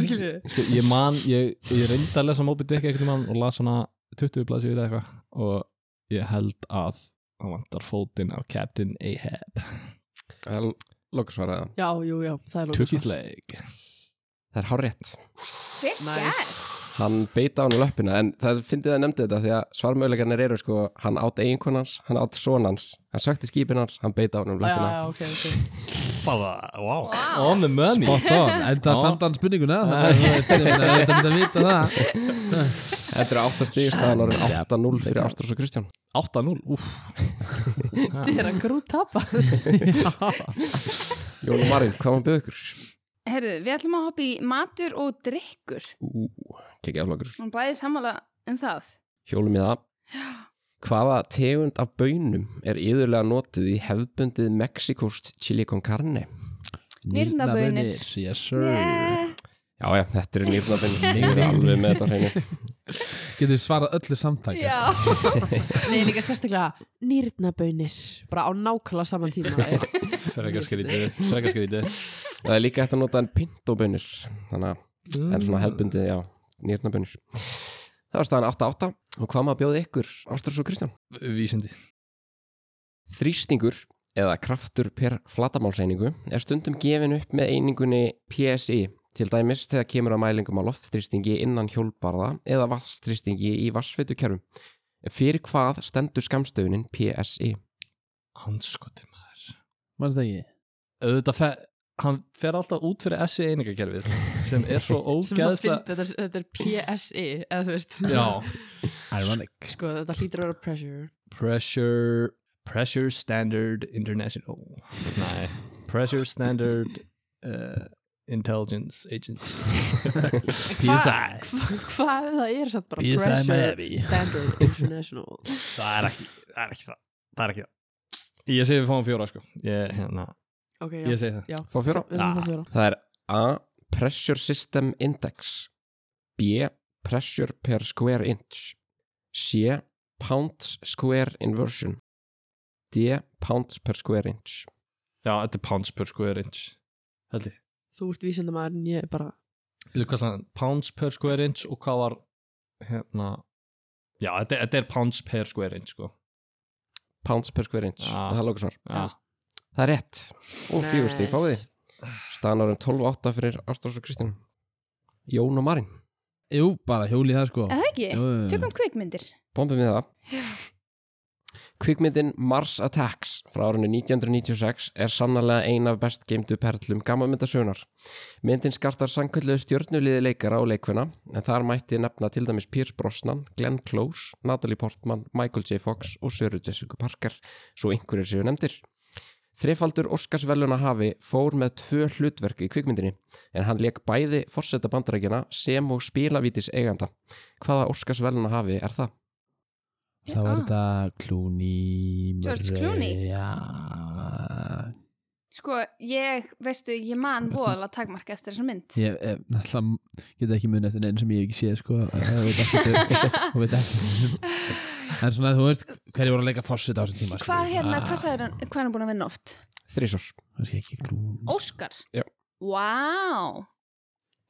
D: Skilju
C: sko, ég man ég, ég reyndi að lesa Moby Dick einhvern mann og las svona 20 blaðsjur eða eitthvað og ég held að hann vantar fótinn á Captain Ahab
A: það loka svaraða
D: Já, jú, já, það er
C: Took his
D: lókisvar.
C: leg
A: það er hárétt
B: Hver
D: Nice.
B: gæst?
A: hann beita hann löppina en það fyndið að nefndi þetta því að svarmöðleikarnir eru sko hann átt eiginkonans, hann átt sonans hann sökti skipin hans, hann beita hann um
D: Já,
A: löppina
D: já, ok, ok
C: Fáða, wow.
B: Vá.
C: On the money
F: Spot on, enda
C: Já.
F: samt hann spurninguna þannig að það er þetta að vita það
A: þetta eru áttastíðist það hann orðin 8-0 fyrir Ástrós og Kristján
C: 8-0, úff
D: Þið er að grút tapa
A: Jón og Marín, hvað maður byggði ykkur?
B: Herru, við ætlum að hoppa í matur og drikkur.
A: Ú, kekja aflokur
B: Hún bæði sammála um það.
A: hjólum í það Hvaða tegund af bönum er yðurlega notuð í hefðbundið Mexikost chili con carne?
B: Nýrnabönir.
F: Nýrnabönir, Yes sir
B: Yeah.
A: Já, já, þetta er nýrnabönn Ég er alveg með þetta á hreinu
F: Getur svarað öllu samtækja
B: Já.
D: Nei, líka sérstaklega nýrnabönir Bara á nákvæmlega saman tíma
C: Frekarskríti, frekarskríti
A: Það er líka hægt að nota en pintobönir Þannig að það er svona hefðbundið, já, nýrnabönir Það var staðan 8-8 og hvað maður bjóði ykkur, Ástrós og Kristján?
C: Vísindi
A: Þrýstingur eða kraftur per flatamálseiningu er stundum gefin upp með einingunni PSI til dæmis þegar kemur að mælingum á loftþrýstingi innan hjólbarða eða vatnsthrýstingi í vassfitukerfum. Fyrir hvað stendur skamstöfunin PSI?
C: Hanskoti maður
F: Manstu það ekki?
C: Auðvitað fer, hann fer alltaf út fyrir SI einingakerfið sem er svo
D: sem það
C: ógeðsla
D: finnst, þetta, er- þetta er PSI eða þú veist
C: Já
F: Ironic
D: sko þetta hlýtur að vera pressure
C: Pressure Pressure Standard International Nei Pressure Standard uh, Intelligence Agency
F: PSI
D: Hva- hvað ef það er samt bara
F: PSI
D: pressure
F: Miami.
D: standard international
C: Það er ekki Það er ekki það Það er ekki það Ég segi við fáum fjóra sko Ég, hérna
D: ok, já,
C: Ég segi það.
D: já.
A: Fá fjóra
D: Við erum
C: Ah.
D: það fjóra.
A: Það er A. Pressure System Index B. Pressure per square inch C. Pounds square inversion D. Pounds per square inch
C: Já, þetta er pounds per square inch. Held ég.
D: Þú ert vísindamæðurinn, ég er bara
C: Býtu hvað sann, pounds per square inch og hvað var, hérna, já, þetta, þetta er pounds per square inch, sko.
A: Pounds per square inch
C: Ah.
A: og það er lókasvar
C: Já.
A: Það er rétt og fjögur stík fáið
D: Nice.
A: þið Stanar en 12-8 fyrir Ástrós og Kristín Jón og Marín
F: Jú, bara hjóli það sko
B: Er það ekki?
F: Jú, jú, jú.
B: Tökum kvikmyndir.
A: Bombum við það Kvikmyndin Mars Attacks frá árinu 1996 er sannarlega ein af best geimdu perlum gammamyndasögunar. Myndin skartar sankölluðu stjörnuliði leikara á leikvuna en þar mætti nefna til dæmis Pierce Brosnan, Glenn Close, Natalie Portman, Michael J. Fox og Söru Jessica Parker, svo einhverjir séu nefndir. Þrefaldur Óskars veluna hafi fór með tvö hlutverk í kvikmyndinni en hann leik bæði forseta bandarækjana sem og spilavítis eiganda. Hvaða Óskars veluna hafi er það?
F: Þá er
B: Ah.
F: þetta Clooney
B: George
F: Murray,
B: Clooney?
F: Já
B: Sko, ég, veistu, ég man voðalega takmarka eftir þessa mynd.
F: Ég eh, náttúrulega geta ekki munið eftir neinn sem ég hef ekki séð sko og veit ekki og veit ekki En svona þú veist hverju voru að leika fórsett á þessum tíma skilur
B: Hvað
F: við.
B: hérna,
F: Ah,
B: hvað sagður hann, hvað er hann búin að vinna oft?
A: Þrísor.
F: kannski ekki Clooney
B: Óskar?
A: Já.
B: Vá!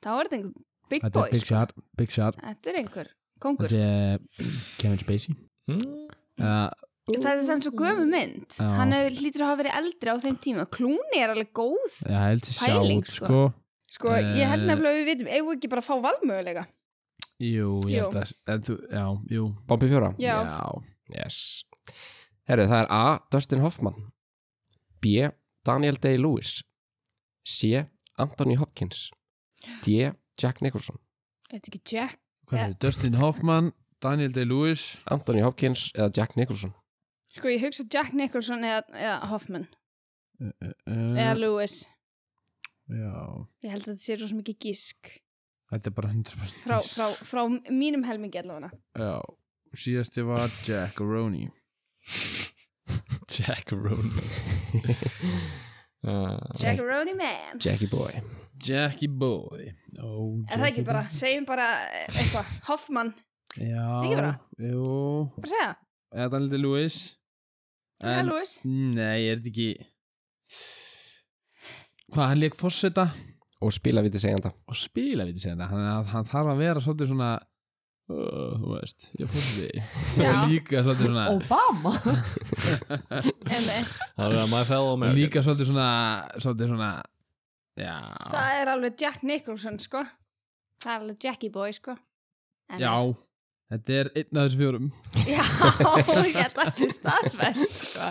B: Þá er þetta einhver big
F: Þetta
B: boy.
F: er Big
B: sko.
F: Shot Big Shot
B: Þetta er einhver kongur.
F: Þetta er Kevin Spacey
C: Mm.
B: Hmm.
F: uh,
B: Það er sann svo gömu mynd.
F: Já.
B: Hann hefur hlýtur að hafa verið eldri á þeim tíma. Klúni er alveg góð.
F: Já, ég held til
B: Pæling,
F: sjátt
B: sko.
F: sko
B: Sko, ég
F: Eh.
B: held nefnilega að við vitum, eigum við ekki bara að fá valmögulega?
F: Jú, ég held að en þú- Já, jú
A: Bombi fjóra?
B: Já.
A: Yes. Herru, það er A. Dustin Hoffman B. Daniel Day-Lewis C. Anthony Hopkins D. Jack Nicholson
B: Þetta ekki Jack?
F: Hvað er Dustin Hoffman Daniel Day-Lewis
A: Anthony Hopkins eða Jack Nicholson
B: Sko, ég hugsa Jack Nicholson eða, eða Hoffman eða
F: uh,
B: Lewis.
F: Já
B: Ég held að þetta sé rosa mikið gísk
F: Þetta er bara 100%
B: frá, frá, frá mínum helmingi allavega.
F: Já, síðasti var Jack Roney
C: Jack Rooney. uh,
B: Jack Roney Man.
A: Jackie boy
F: Jackie Boy oh,
B: Er það ekki bara, segjum bara eh, eitthvað, Hoffman,
F: Já,
B: Ekki bara?
F: jú
B: bara segja,
F: Eða Daniel Day-Lewis
B: eða
F: En-
B: Lewis.
F: Nei, er þetta ekki Hvað, hann leik fórseta
A: og spila við til segjanda
F: og spila við þetta segja þetta hann, hann þarf að vera svolítið svona uh, Þú veist, ég fórseti
B: Já.
F: Og líka svolítið svona
D: Obama
B: Emme,
C: það er my fellow
F: Og
C: Americans.
F: líka svolítið svona Svolítið svona Já,
B: það er alveg Jack Nicholson, sko. Það er alveg Jackie Boy, sko. En-
F: já Þetta er einn af þessu fjórum
B: Já, ég held að það sé staðfest, sko.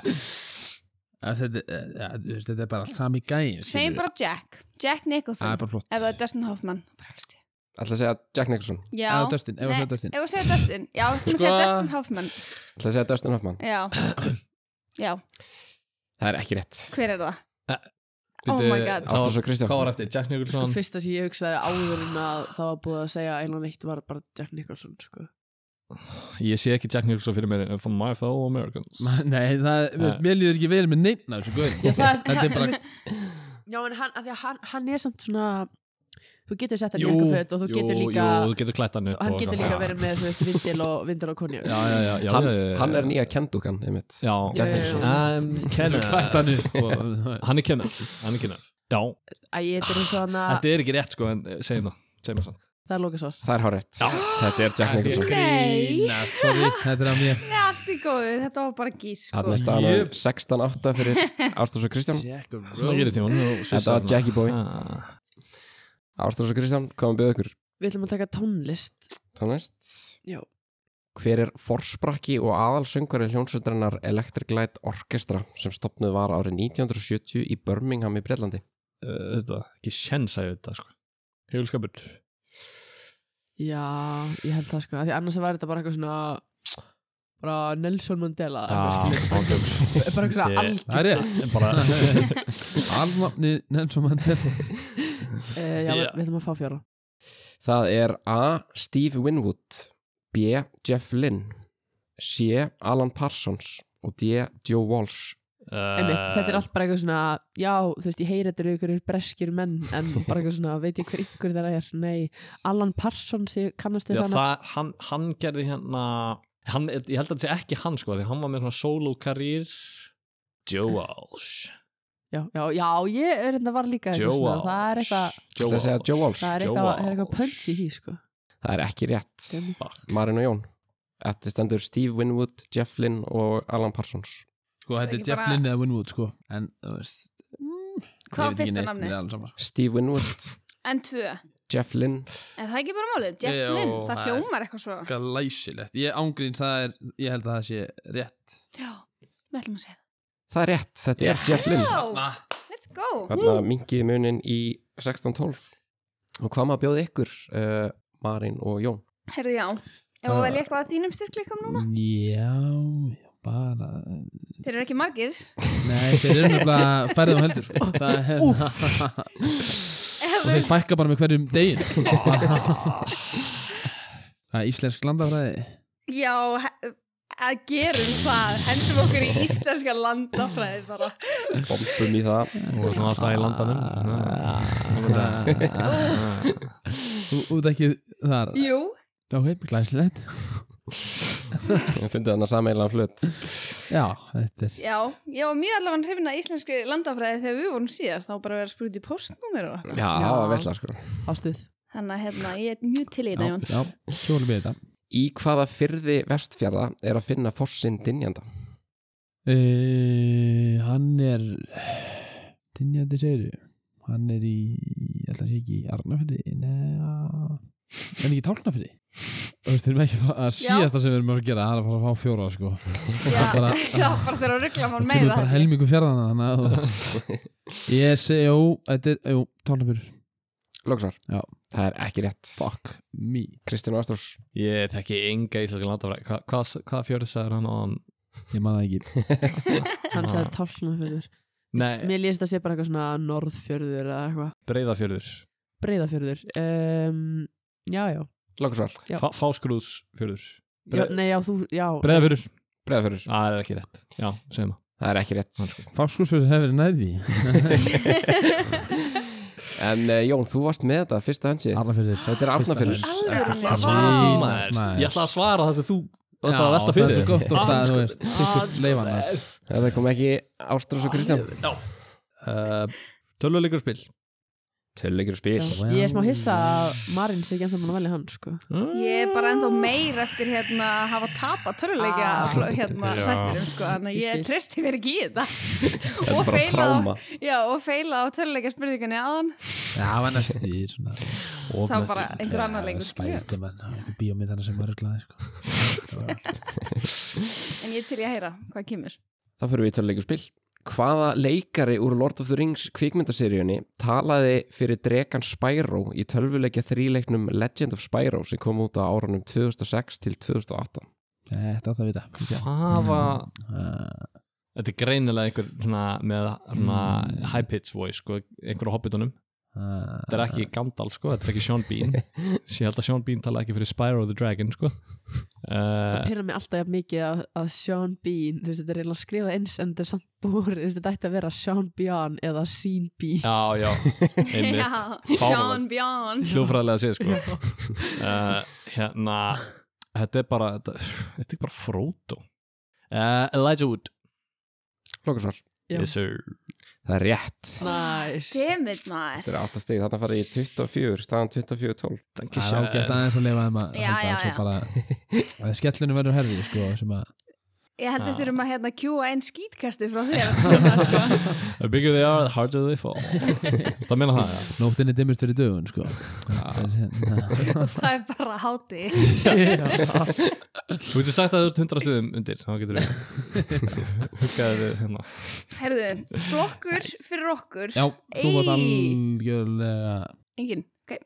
F: Að Þetta, eh, ja, þú veist, þetta er bara allt sami gæin
B: Segjum bara Jack, Jack
F: Það
B: Nicholson,
F: er bara flott
B: eða Dustin Hoffman. Bara helst ég.
A: ætla að segja Jack Nicholson
B: Já,
F: Eða Dustin, eða
B: Nei,
F: það er Dustin
B: ef að segja Dustin, já, þú
F: Sko-
B: segja Dustin Hoffman,
A: ætla að segja Dustin Hoffman
B: já. Já,
A: það er ekki rétt
B: hver er það? Oh
C: Bíddu,
B: my god.
C: það var-
A: Ástrós og Kristján.
C: Hvað var eftir? Jack
D: Sko
C: Nicholson?
D: fyrsta sem ég hugsaði áður en að það var búið að segja einan eitt var bara Jack Nicholson sko.
C: Ég sé ekki Jack Nicholson fyrir mér en for my fellow Americans.
F: Ma- Nei, það, veist, mér líður ekki vel með neitt af þessu
D: Já,
F: gauðin
D: það er-
F: Þetta er bara,
D: Já en hann, af því að hann, hann er samt svona þú getur sett hann í
C: Jú,
D: eitthvað föt og þú
C: jú,
D: getur líka
C: Jú, þú getur klætt hann upp
D: hann
C: og
D: getur
C: eitthvað.
D: líka verið með þú veist vindil og vindil og konjak
C: Já, já, já, já,
A: hann,
C: já, já, já.
A: hann er nýja kendúkan einmitt
C: Já,
D: Já, já, já.
C: Um, Kenneth.
F: klættan upp sko.
C: Hann er Kenneth Hann er Kenneth Já,
D: Æ, þetta er svona
C: þetta er ekki rétt sko en eh, segjum það Segjum það samt
D: það er lóka svar
A: það er hárétt þetta er Jack Nicholson
B: Nei.
F: Grínast, sorry, þetta er að mér
B: Nei, allt í góðu, þetta var bara gís,
A: hann
B: sko.
A: er staðan
C: Jöp.
A: orðin 16-8 fyrir Ástrós og Kristján
C: Svona gerist ég hún
A: þetta var Jackie boy
C: Ah.
A: Ástrós og Kristján komum við ykkur
D: Við ætlum að taka tónlist
A: tónlist
D: Já.
A: Hver er forsprakki og aðalsöngari hljónsöldarinnar Electric Light Orchestra sem stopnuð var árið 1970 í Birmingham í Breitlandi?
C: Eh, Þetta var ekki sjens að þetta sko Hjulskapur
D: Já, ég held það sko af Því annars var þetta bara eitthvað svona bara Nelson Mandela
C: Ah,
D: eitthvað, skilur.
C: Það
D: bara eitthvað svona
C: Ég-
D: algjör
F: Það er rétt,
C: bara
F: alnafni Nelson Mandela
D: Eh, Já, við
C: Já.
D: við ætlum að fá fjóra
A: Það er A. Steve Winwood B. Jeff Lynne C. Alan Parsons og D. Joe Walsh
C: Eh,
D: Einmitt, þetta er allt bara eitthvað svona já, þú veist, ég heyri þetta eru ykkur breskir menn en bara eitthvað svona, veit ég hver ykkur þeirra er nei, Alan Parsons ég kannast
C: Já,
D: þess að
C: það, hann, hann gerði hérna hann, ég held að þetta sé ekki hann sko því hann var með svona solo karýr Joe Walsh
D: já, já, já, ég er þetta var líka
C: Joe
D: eitthvað svona, það er eitthvað
A: Þú að segja Joe Walsh?
D: það er
C: Joe
D: eitthvað, það
C: Walsh.
D: er eitthvað punch í því sko.
A: Það er ekki rétt
C: Fuck.
A: Marin og Jón Þetta stendur Steve Winwood, Jeff Lynn og Alan Parsons
F: Sko, þetta er
B: Ekki
F: Jeff
B: bara-
F: Lynn eða Winwood, sko En, þú veist mm,
B: Hvað
F: ég
B: var
F: veit ekki
B: fyrsta
F: neitt,
B: nafnið?
F: mér er alveg sama.
A: Steve Winwood,
B: En tvö,
A: Jeff Lynn
B: en það er ekki bara málið Jeff
F: Jú,
B: Lynn, það
F: það er-
B: hljómar eitthvað svo
F: Glæsilegt, ég ángríns það er Ég held að það sé rétt
B: Já, við ætlum að segja
A: Það er rétt, þetta er Jeff Lynn
B: það
F: Na,
B: Já, let's go
A: Þarna mingiði munin í 1612 Og hvað maður bjóði ykkur uh, Marin og Jón
B: Herðu já, ef að velja eitthvað að þínum styrkleikum núna
F: Já, já, bara
B: Þeir eru ekki margir
F: Nei, þeir eru nefnilega færið á heldur sko. Það er hérna
B: Ef
F: Og þeir fækka bara með hverjum degin Það er íslensk landafræði
B: Já, he- að gerum það Hendum okkur í íslenska landafræði bara
A: Bombum í það
C: og svona alltaf í landanum
D: Ah.
F: Þú út ekki þar
B: Jú,
F: Ok, glæsilegt
A: Ég fundið þarna sameiginlega flutt
F: Já, þetta er
B: já, ég var mjög allavega hrifin að íslenskri landafræði þegar við vorum síðast þá bara að vera spurt í postnúmer og
A: Já, það var vesla sko
D: ástuð
B: Þannig að hérna, ég er mjög til í þetta,
F: Já,
B: Jón.
F: já, sjólum við þetta
A: Í hvaða fyrði vestfjörða er að finna fossin dinjanda?
F: Uh, hann er Dinjandi segir Hann er í, ég ætla að sé ekki í Arnafyrði, neða En ekki í Tálknafyrði Þú veist, við erum ekki að fara að
B: Já.
F: síðasta sem við erum að gera Það er að fara að fá fjóra, sko
B: Já,
F: Það bara-
B: já, bara þegar að ruggla mann
F: Það
B: meira.
F: kemur bara helmingu fjörðana Þannig að E þú- Ég segi, jú, þetta er, jú, Tálknafyrður
A: Lóksvar?
F: Já.
A: Það er ekki rétt
F: Fuck me
A: Kristján Ástrós
C: ég þekki enga íslenska landafræði Hva- hvað hva, hva fjörð sagður hann á hann
F: Ég man það ekki
D: hann sagði tálknafjörður
C: nei,
D: mér lýst að sé bara eitthvað svona norðfjörður eða eitthvað,
C: breyðafjörður
D: breyðafjörður um, já, já,
A: Lóksvar?
D: Já.
C: Fá, fáskrúðsfjörður
D: já nei, já, þú, já
C: breyðafjörður,
A: Breiðafjörður?
C: Ah, það er ekki rétt já, segjum það
A: Það er ekki rétt
F: Fáskúsfjörður hefur verið nærði
A: En uh, Jón, þú varst með þetta fyrsta hansi
F: Arnafyrður
A: Þetta er Arnarfjörður
B: Alvöru,
C: Hvað
B: vá.
C: sagði þú,
F: Jesus, maður.
C: maður? ég ætla að svara það sem þú
F: Já,
C: varst að velta fyrir
F: það er
C: þér.
F: svo gott ofta
C: Ah,
F: að þú
C: sko.
F: veist Ykkur leifan þar
A: Þetta kom ekki Ástrós og Kristján
C: Já uh, Tölvuleikur spil
A: Töluleikir og spil
D: Já, ég er smá hissa að Marin sé ekki ennþá mann að velja hann sko.
B: Ég er bara ennþá meir eftir hérna að hafa tapað töluleika
D: Ah.
B: hérna
C: Já.
B: þættinum sko, þannig að
D: Ég
B: ég
D: skil.
B: tristi mér ekki í þetta
A: Þetta
B: og
A: er bara
B: feila á,
A: tráma
B: já, og feila á töluleika spurningunni aðan
F: Já, það var næstu því svona
B: þá bara einhver annar leikur skilur.
F: Spætumann, einhver bíómið þannig sem var glæði sko.
B: en ég er til ég að heyra hvað kemur
A: Þá fyrir við í töluleikir og spil Hvaða leikari úr Lord of the Rings kvikmyndaseríunni talaði fyrir dregan Spyro í tölvuleikja þríleiknum Legend of Spyro sem kom út á árunum 2006 til 2008
F: Þetta átt að vita kom sjá.
C: Hafa
F: Uh,
C: Eh, Þetta er greinilega einhver svona, með svona, high pitch voice sko, einhver á hobbitunum
F: uh,
C: Þetta er ekki Gandalf, sko, þetta er ekki Sean Bean Ég held að Sean Bean tala ekki fyrir Spyro the Dragon sko. uh,
D: pyrra mig alltaf jafn mikið að, að Sean Bean þú veist, þetta er eiginlega skrifað eins en þetta er samt búr þú veist, þetta ætti að vera Sean Bean eða Sean Bean
C: Já, já, einmitt
B: já, Sean Björn
C: Hljófræðilega séð sko. uh, Hérna Þetta er bara Þetta, þetta er bara Frodo uh, Elijah Wood
A: Lókusvar
D: Já.
C: yes, sir.
A: Það er rétt
D: Næs
B: Demit maður
A: Þetta er 8 stig, þarna farið í 24, staðan 24-12
F: Það er ágætt aðeins að leifa þeim að
B: Já,
F: halda,
B: já,
F: svo
B: já.
F: bara, að Skellinu verður herði sko, sem að
B: Ég held
C: Já.
B: að þurfum að hérna kjúa einn skítkasti frá þér svona, sko.
C: The bigger they are, the harder they fall Það meina það, já
F: nóttinni dimmist fyrir dögun sko. Þetta
B: og það er bara háti
F: er-
C: Þú getur sagt að þú ert 100 stöðum undir þá getur við huggaði við hérna
B: Herðu, flokkur fyrir okkur
F: Já, þú var
B: Ey.
F: algjörlega
B: Engin, ok,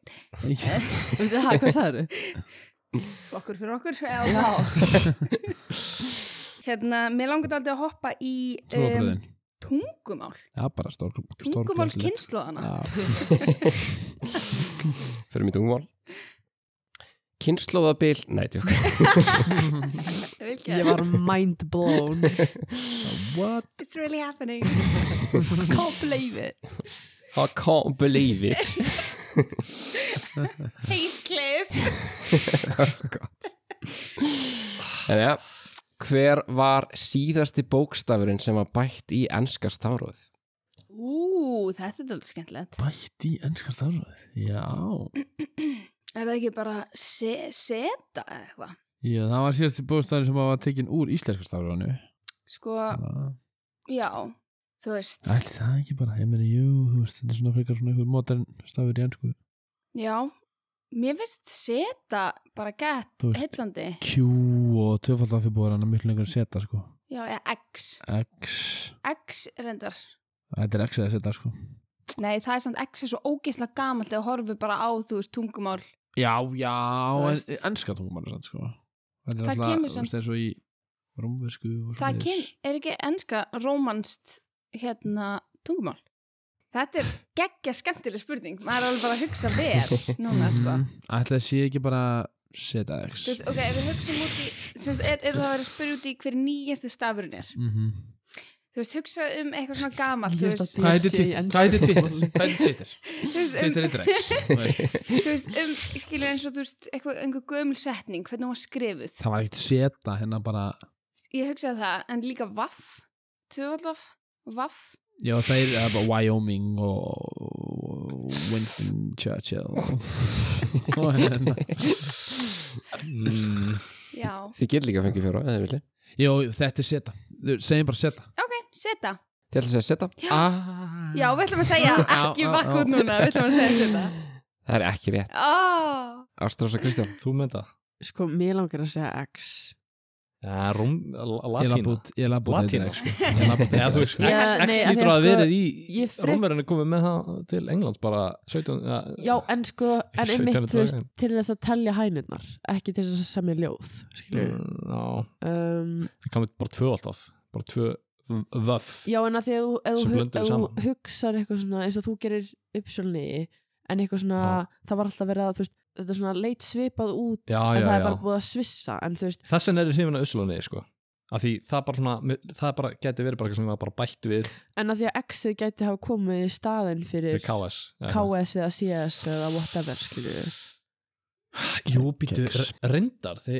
D: Ha, Hvað sagður þau?
B: flokkur fyrir okkur Já Hérna, mér langar aldrei að hoppa í um,
F: Trúabröðin
B: tungumál
F: Já, bara stór
B: Tungumál
F: stórbrottilegt.
B: kynnslóðana
F: Já.
A: Fyrir mér tungumál Kynnslóðabil, nei, tjók
B: Ég vil ekki það.
D: Ég var mind blown
C: What?
B: It's really happening Can't believe it
A: I can't believe it
B: Heathcliff
A: Það er svo gott En já, hver var síðasti bókstafurinn sem var bætt í ennska stafróð?
B: Ú, þetta er dálítið skemmtilegt
F: Bætt í ennskar starfröð Já
B: Er það ekki bara se seta eða eitthvað?
F: Já, það var síðast í bóðstæðin sem var tekin úr íslenskar starfröðinu
B: Sko,
F: Ætli
B: já, þú veist
F: það ekki bara, ég meni, jú, þú veist Þetta er svona frekar svona einhver modern stafur í ennsku
B: Já, mér finnst seta bara gett
F: Þú veist-
B: heillandi
F: Q og tvöfald af fyrir bóðan miklu lengur að setja, sko
B: Já, eða X
F: X
B: X reyndar
F: Þetta er X eða setja, sko
B: Nei, það er samt X er svo ógeðslega gamalt þegar horfið bara á, þú veist, tungumál
F: Já, já,
B: Þú
F: en-
B: veist.
F: ennska tungumál er sann, sko Þetta er
B: Það
F: náttúrulega,
B: kemur
F: þú veist,
B: samt-
F: eins og í rómversku og
B: Það
F: svoleiðis.
B: kem, er ekki enska rómanst hérna tungumál Þetta er geggja skemmtileg spurning maður er alveg bara að hugsa vel núna sko
F: Mhm. Ætli það sé ekki bara setja X
B: Þú veist, ok, ef við hugsaum út í sem sagt, er, er það að vera að spyrja út í hver nýjasti stafurinn er
F: Mhm.
B: þú veist, hugsa um eitthvað svona gamalt þú
D: Nýjasta
B: veist,
D: Ég
F: Hvað heitir
D: sé í
F: Twitter?
D: ensku.
F: Hvað heitir Twitter? Hvað heitir Twitter?
B: þú veist, um,
F: Twitter heitir X þú veist.
B: þú veist, um skilur eins og þú veist, eitthvað, einhver gömul setning hvernig hún var skrifuð
F: Það var ekkert seta hérna bara
B: ég hugsaði það, en líka vaff tvöfaldvaff, vaff
F: Já, það er eh, bara Wyoming og Winston Churchill og hérna
C: Mm.
B: já,
A: Þið getur líka að fengja fjóra, eða þið vilji
F: Jó, þetta er seta Þú- Segjum bara seta
B: ok, seta
A: Þið ætlum að segja seta?
F: Ah.
B: já, við ætlum að segja,
F: Já,
B: ekki
F: já,
B: vakk
F: já.
B: út núna við ætlum að segja seta
A: Það er ekki rétt
B: oh,
A: Ástrása Kristján
C: Þú með það?
D: Sko, mér langar að segja X
C: Já, rúm,
F: Ég lab
C: latína.
F: út, ég lab út
C: Latína.
F: heitir X, sko. Ég lab út
C: Já, þú
F: heitir X,
C: veist,
F: sko.
D: Já,
C: X, X
D: nei, af því
C: lítur
D: að
C: að
D: sko,
C: verið í,
D: ég frek-
C: rómverðinu komið með það til Englands bara 17, ja,
D: Já, en sko, en
C: Sautján
D: einmitt, þú veist,
C: dagar.
D: til þess að telja hænurnar Ekki til þess að semja ljóð, skilur
C: mm, já,
D: um,
C: það komið bara tvö alltaf, bara tvö v- vöf.
D: Já, en að því að þú, ef
C: Sem
D: þú, hu-
C: blönduðu
D: ef
C: saman.
D: þú hugsar eitthvað svona eins og þú gerir uppsölni en eitthvað svona, það var alltaf verið að þú veist, þetta er svona leit svipað út
C: Já,
D: en
C: já,
D: það
C: já.
D: er bara búið að svissa en þú veist,
C: Þess vegna er hrifin að Usulunni, sko. Af því það bara svona, það bara geti verið bara eitthvað sem var bara bætt við
D: en að því að X-ið gæti hafa komið í staðinn fyrir
C: KS. eða eitthvað.
D: KS eða CS eða whatever skilju
C: Jú, býtu,
F: Kex.
C: re- reyndar, þið,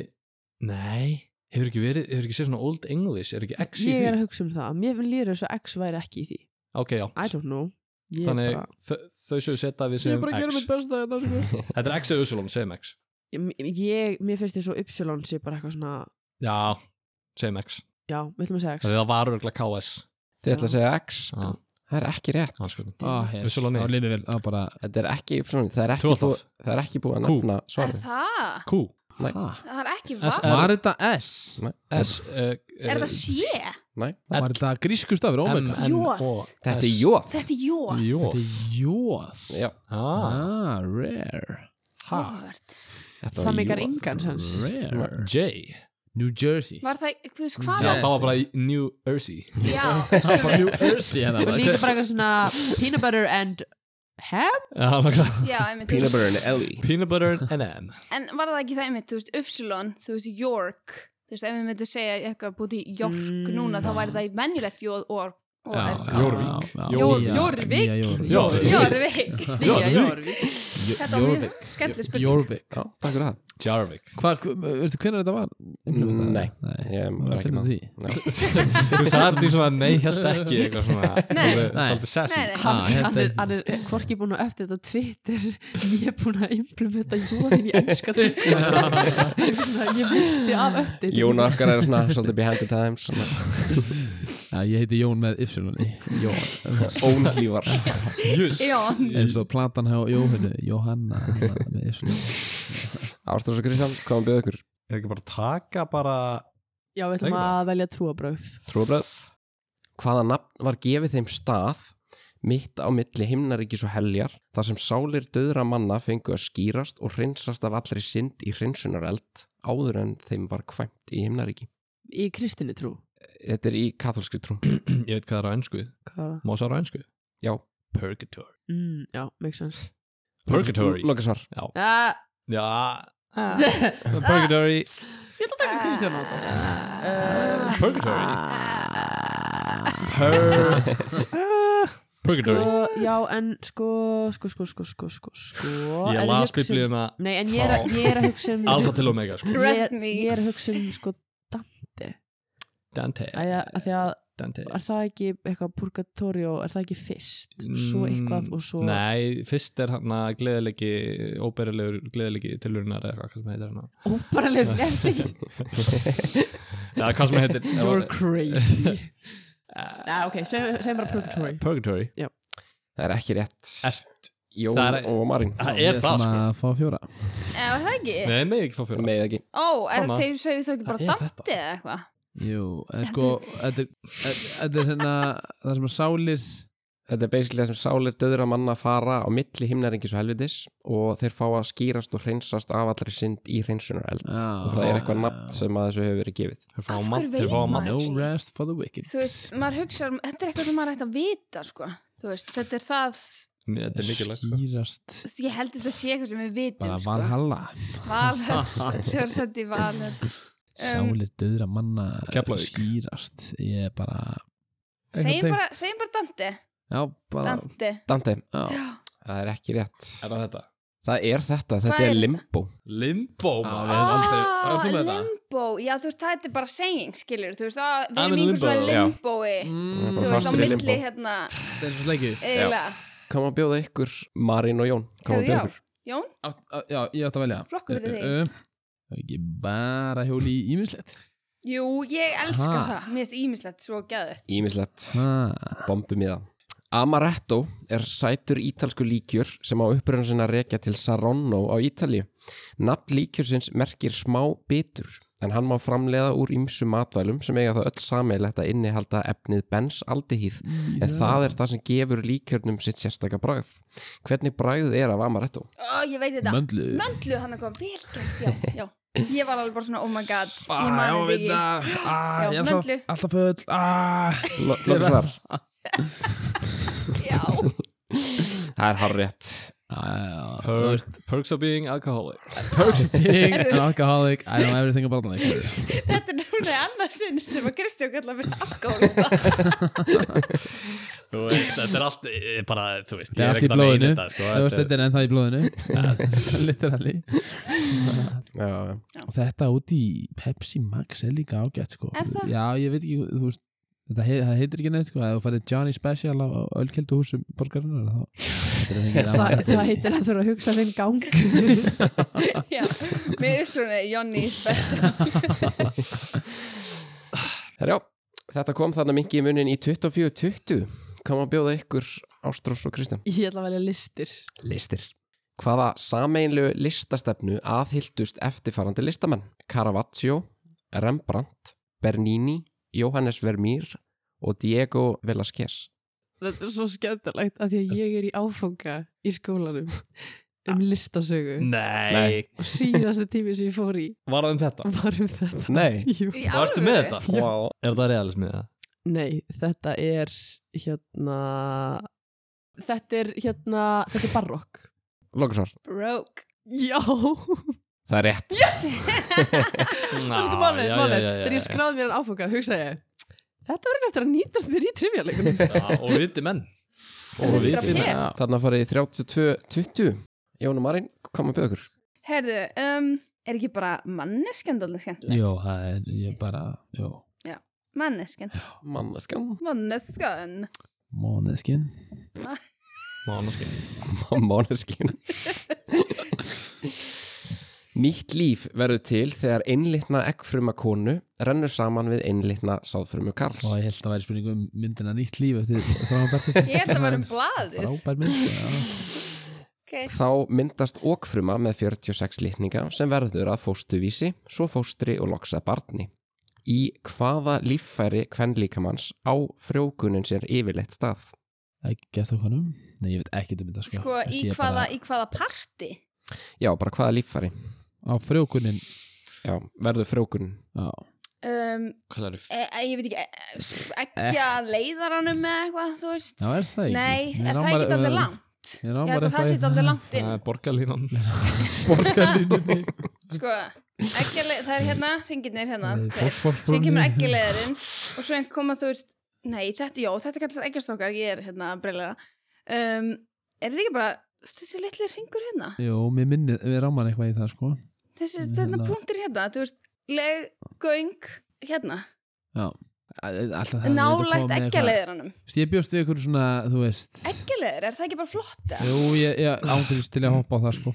C: nei, hefur ekki verið, hefur ekki séð svona Old English, er ekki X í
D: ég
C: því?
D: er að hugsa um það, mér finn líður þess að X væri ekki í því,
C: Ok, já.
D: I don't know ég er
C: Þannig
D: bara,
C: þau- þau séu setta við segjum X.
D: besta þetta sko
C: Þetta er X eða Usulun, segjum X.
D: ég, ég- mér finnst þess að uppsölun sé bara eitthvað svona
C: Já, segjum X.
D: já, við ætlum að segja
C: Það
D: X
C: það var örgulega KS.
A: Þið ætlum að segja X
C: Já.
A: Það er sko- ekki rétt
C: Hanskjöfum.
F: Ah, hér.
C: Usulunni.
F: Á lifið vel, á bara
A: Þetta er ekki uppsvonum Það er ekki,
C: Tvöfaldað.
A: búið- það er ekki búið að
C: Kú.
A: nefna
B: er
A: svarið
B: það?
C: Q.
A: Nei.
B: það er ekki
C: S-
B: vaff
C: R.
F: Var þetta S?
A: Nei.
C: S. eh,
B: er það
C: eh,
B: sé?
A: Nei
F: Var þetta grísku
C: M,
F: stafur, ómega?
C: N,
B: Jóð.
C: O,
A: Þetta er
C: S.
A: jóð
B: þetta er jóð
F: Þetta
C: Jóð.
F: er Jóð
A: Já,
C: Ah.
F: Ah, rare
B: Óvert.
A: þetta var
D: það meikar
A: jóð.
D: engan sens
F: Rare
C: J.
F: New Jersey
B: var það, þú veist
C: Já,
B: hvað
C: það
F: Yes.
C: var bara í New Jersey.
B: já,
F: Það var New Jersey hérna
D: og líka bara eitthvað svona peanut butter and ham
C: Já, það var klart.
B: já, einmitt, þú
A: Peanut
B: veist-
A: butter and Ellie
C: Peanut butter and M.
B: En var það ekki það einmitt, þú veist, Upsilon, þú veist, York, þú veist, ef við myndum segja eitthvað búið í York
D: Mm.
B: núna, þá væri það í menjulegt Jóð og, og
C: já.
B: Erg.
C: Jórvík.
B: Jórvík. Jórvík.
C: Jórvík.
B: Jórvik.
D: nýja
B: Þetta var mjög skemmtileg spurning.
F: Jórvík
A: Já, takk fyrir það
C: Jarvik.
F: Hvað, veistu hvernig þetta var? implementað?
A: Nei.
F: Nei,
A: Ég
F: maður
A: er ekki
F: finnur
A: með
F: því
C: Þú veist, það er því svona, nei, held ekki, eitthvað svona.
B: Nei.
F: Nei.
C: Aldrei sessi.
B: Nei, nei,
F: Ha.
D: Hann,
F: Ah, þetta
D: hann,
F: er-
D: er, hann er hvorki búin að öfti þetta á Twitter ég er búin að implementa jóðin í ennska Twitter ég, er svona, ég misti af öfti
A: Jón Arkar er svona svolítið behind the times
F: Já, ég heiti Jón með Ypsilon Jón
A: Ónlívar
C: Jus.
B: Jón.
F: eins og platan hjá Jóhannu Jóhanna hérna, með Ypsilon
A: Ástrós og Kristján, hvað um byrðu ykkur?
C: Er ekki bara að taka bara...
D: já, við ætlum að velja trúabröð
A: Trúabröð Hvaða nafn var gefið þeim stað mitt á milli himnaríkis og heljar þar sem sálir döðra manna fengu að skýrast og hreinsast af allri synd í hreinsunareld áður en þeim var kvæmt í himnaríki
D: í kristinni trú
A: Þetta er í katholskri trú
C: Ég veit hvað það er á ennsku.
D: Hvað var það?
C: Má það á ennsku?
A: Já.
C: Purgatory.
D: mm, já, make sense
C: Purgatory.
A: Lokasvar
C: Já.
D: uh,
F: Ah.
C: Já. Purgatory.
F: Ah.
D: ég ætla að taka Kristján á þetta Ah.
C: Purgatory.
D: uh,
C: Purgatory
D: Sko, já, en sko, sko, sko, sko, sko, sko, sko
C: Ég
D: er að
C: las
D: hugsa um-
C: biblíuna
D: Nei, en ég er, að- ég er að hugsa um
C: alfa til omega sko.
D: Ég er-
B: Trust me.
D: Ég er að hugsa um, sko, Dante
C: Dante,
D: Æ, að Því að,
C: Dante.
D: er það ekki eitthvað purgatorio, er það ekki fyrst Svo eitthvað og svo
C: Mm, Nei, fyrst er hann að gleðilegi óberilegur gleðilegi tilurinar eða eitthvað hvað sem heitir hann
D: Óbaraleg lefning
C: Já, hvað sem heitir
D: You're crazy Nei, Ah, ok, segjum segjum bara purgatory
C: Purgatory
A: Það er ekki rétt
C: Ert,
A: Jón
C: Það er-
A: og Marín
C: það
F: Við
C: er það
F: ætlum
C: sko
F: að fá fjóra
D: um-
B: Eða Eh, var það ekki?
C: Nei, með ekki fá fyrir
A: með ekki
B: Ó, er
C: Þarna.
B: það þegar segir þau ekki bara
C: Það er þetta.
B: dandi eða eitthvað?
F: Jú, en sko Þetta er- þetta er svona það sem að sálir
A: Þetta er basically það sem sálir döðra manna fara á milli himnaringis og helvitis og þeir fá að skýrast og hreinsast af allri synd í hreinsunar eld
F: Já.
C: Ah.
A: og það er eitthvað nafn sem að þessu hefur verið gefið
C: Þeir fá
B: Af
C: að
B: hverju
C: mat-
B: veit
C: þeir fá að
B: maður?
C: mat-
F: No rest for the wicked
B: Þú veist, maður hugsa, þetta er eitthvað sem maður ætti að vita, sko. Þú veist, þetta er það,
C: Þetta er mikilvægt sko.
F: Skýrast
B: þú veist, ég held þetta sé eitthvað sem við vitum,
F: Bara
B: sko.
F: vanhalla
B: Valhöll, þegar sett í valhöll. Um,
F: Sálir döðra manna
C: Keflavík.
F: Skýrast Ég er bara
B: segjum
F: Einhvern
B: bara, segjum bara dandi,
F: Já, bara
B: dandi.
A: Dante,
F: já.
A: það er ekki rétt
C: Er það þetta?
A: Það er þetta, þetta
B: Hvað
A: er
B: er
A: limbo
C: Limbo
F: Já,
C: maður
F: við hefum aldrei-
B: Ah,
C: Varst þú með þetta?
B: limbo, já þú veist, það er bara saying, skilur, þú veist, að við
C: I'm
B: erum í
C: in
B: einhver svona
C: limbo, já.
B: limboi,
F: Mm,
A: Bara
B: þú veist, á
A: fastur í
B: milli,
A: limbo.
B: hérna,
F: Steins og sleikið
B: eiginlega.
A: Kom að bjóða ykkur, Marín og Jón Kom að
B: Herðu, já.
A: bjóða ykkur
B: Jón,
F: Átt- á- Já, ég átti að velja Eh,
B: Flokkur fyrir þig.
F: þig Ekki bara hjóli í ímislegt
B: jú, ég elska
F: Ha.
B: það, mér finnst ímislegt svo gæðu.
A: Ímislegt,
F: Það
A: bombum í það Amaretto er sætur ítalsku líkjur sem á uppröðun sinna rekja til Saronno á Ítalíu. Nafn líkjursins merkir smá bitur, en hann má framleiða úr ymsu matvælum sem eiga það öll sameilegt að innihalda efnið bensaldehýð, en það er það sem gefur líkjörnum sitt sérstaka bragð. Hvernig bragð er af amaretto?
B: Ó, ég veit þetta.
F: Möndlu
B: Möndlu hann að koma, vel gert, já, já. Ég var alveg bara svona, oh my god,
F: Ah,
B: ég
F: já,
B: mani
F: veit
B: þetta ekki.
F: það. Ah,
B: Já,
F: Ég er alltaf,
B: möndlu.
F: alltaf full ah.
A: Lókið svar,
B: Já,
A: það er hár rétt.
F: Ah, já,
C: Perks, perks of being alcoholic
F: Being an alcoholic I know everything about life
B: þetta er náttúrulega annarsinn sem að Kristján kallar mig alkoholista.
C: Þú veist, þetta er allt eh, bara, þú veist, ég
F: Það er
C: er
F: allt í
C: ekkert að meina
F: blóðinu
C: þetta sko,
F: Þú veist,
C: þetta
F: Þetta er ennþá í blóðinu Literally
A: Já, já.
F: Og þetta úti í Pepsi Max er líka ágætt sko.
B: Er það?
F: Já, ég veit ekki þú veist, Þetta hei, það heitir ekki neitt sko, að þú farið Johnny Special á ölkelduhúsum borgarinnar þá heitir það ekki
D: Þa,
F: rafmagn.
D: Það heitir að þurfa að hugsa þinn gang
B: Já, mér er svona Jónni Spessa.
A: Herjá, þetta kom þarna mingi í munin í 24.20. Kom að bjóða ykkur Ástrós og Kristján.
D: Ég ætla að velja listir
A: listir. Hvaða sameinlegu listastefnu aðhyldust eftirfarandi listamenn? Caravaggio, Rembrandt, Bernini, Jóhannes Vermeer og Diego Velasquez.
D: Þetta er svo skemmtilegt að því að ég er í áfanga í skólanum um listasögu
C: Nei,
D: og síðasta tími sem ég fór í
C: var það um þetta?
D: var um þetta.
A: Nei.
D: Jú.
C: Hvað ertu með þetta? Wow. Er það realismið það?
D: Nei, þetta er hérna þetta er hérna þetta er barokk.
A: Lókusvar.
B: Broke.
D: Já, og
A: Það er rétt.
D: sko málið, málið, þegar ég skráði mér en áfanga hugsaði ég, þetta verður eftir að nýtast mér í trivjalegunum.
C: Og viti menn
A: Og
B: við-
A: við
B: Ég.
A: þarna farið í 32-20. Jón og Marín, kom að bjóða ykkur.
B: Herðu, um, er ekki bara manneskjönd alveg skemmtileg?
F: Jó, það er ég bara Jó,
B: Manneskjönd.
A: Manneskjan.
B: Manneskjönd.
F: móneskin
C: Mánaskinn
A: Máneskin Nýtt líf verður til þegar einlitna eggfruma konu rennur saman við einlitna sáðfrumu karls.
F: Og ég held að væri spurning um myndina nýtt líf eftir þráðanberti
B: Ég held að vera um blaðið.
F: Frábær mynd já.
B: Okay.
A: Þá myndast okfruma með 46 litninga sem verður að fóstuvísi, svo fóstri og loksa barni. Í hvaða líffæri kvenlíkamanns á frjókunin sér yfirleitt stað?
F: Ekki eftir konum Nei, ég veit ekki þetta mynda sko,
B: Sko,
F: Veist,
B: í
F: ég
B: hvaða,
F: bara,
B: í hvaða parti?
A: Já, bara hvaða líffæri?
F: Á frjókunin
A: Já, verður frjókunin.
F: Já,
B: Um,
C: Hvað er það?
B: e, e, ég veit ekki, e, ekki að leiðaranum eða eitthvað, þú veist.
F: Eh. Já, er það ekki?
B: Nei,
F: Ég
B: er
F: rám
B: það
F: bara-
B: ekki alltaf langt?
F: Ég
B: Ég
F: námar
B: held að það sitt alltaf langt inn.
C: Það er borgarlínan
F: borgarlínunni
B: Sko, ekkjale, það er hérna, ringinir hérna
F: Nei,
B: þú veist.
F: fótsporsbrúnni.
B: Svo kemur ekkjaleðurinn og svo koma þú veist Nei, þetta, já, þetta er kallast ekkjastokkar, ég er hérna breyla. Um, er þetta ekki bara þessi litli ringur hérna?
F: Jó, mér minni, við ráman eitthvað í það sko
B: Þessi,
F: Hérna.
B: þetta punktur hérna, þú veist, leið, göng, hérna,
F: Já Alltaf það
B: nálægt eggjaleiðuranum.
F: Vist, Ég bjóst við ykkur svona, þú veist
B: Eggjaleiður, er það ekki bara flott? eða?
F: Jú, ég, ég ángurist til að hoppa á það sko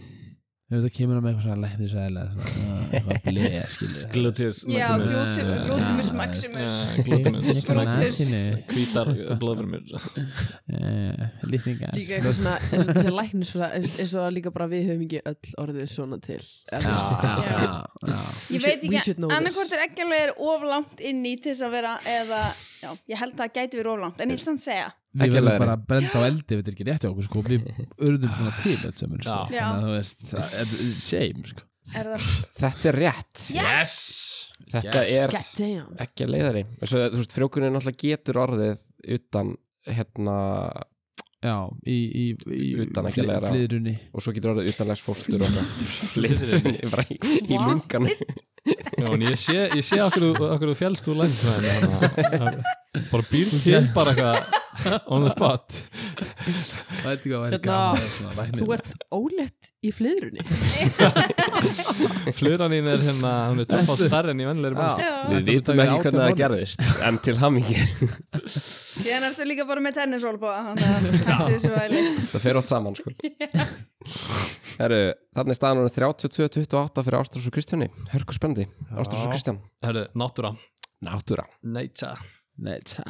F: Ef þetta kemur hann með eitthvað svona læknis eða eitthvað bleið, skilur
C: Gluteus
B: Já,
C: maximus.
B: glútum- glútumus maximus.
C: Já, Glutimus
F: Eitthvað
C: maximus.
F: nakinu.
C: Hvítar blöðrumir
F: Eh, Lýtingar
B: Líka
D: eitthvað svona, eins og þessi læknis svona, eins eins og líka bara við höfum ekki öll orðið svona til Eða, þú veist,
F: Já, já,
B: Ég
F: já
D: We
B: veit
D: should- we
B: ekki,
D: should know
B: annarkvort er eggjaleiður of langt inn í til þess að vera, eða, já, ég held að það gæti verið of langt, en ég vil sann segja.
F: Við verðum
A: Eggjalæri.
F: bara að brenda á eldi ef þetta er ekki rétt hjá okkur sko Við urðum svona til öll saman
C: Já.
F: sko Þannig að þú veist, það er shame sko
B: Er það,
A: Þetta er rétt
B: yes!
A: Þetta er
D: God damn
A: ekki að leiðari Svo, þú veist, frjókunin náttúrulega getur orðið utan hérna
F: Já, í, í, í
A: Utan ekki að læra.
F: flyðrunni
A: og svo getur orðið utanlegs fóstur og flyðurinn bara í, í
B: What?
A: mungan
C: Já, en ég sé, ég sé okkur, okkur þú fjálst úr læknisfræðinni þarna. Bara býr til bara eitthvað on the spot
F: Það veit ekki hvað væri
D: Hérna,
F: gaman að vera svona læknir.
D: Þú ert ólétt í flyðrunni
C: Flöðranín er hérna, hún er tjófál starri en í vennilegri mannskap
B: Já.
F: Þetta myndi taka átján mánuði.
A: gerðist En til hamingi
B: Síðan ertu líka bara með tennisólbóða, hann að hættu þessu væli.
A: Það fer átt saman sko Heru, Þannig er staðan hún 32-28 fyrir Ástrós og Kristjáni Hörku spennandi, Ástrós og
C: Já.
A: Kristján
C: Herru, náttúra
A: Náttúra
C: Neitsa
F: Nei, tja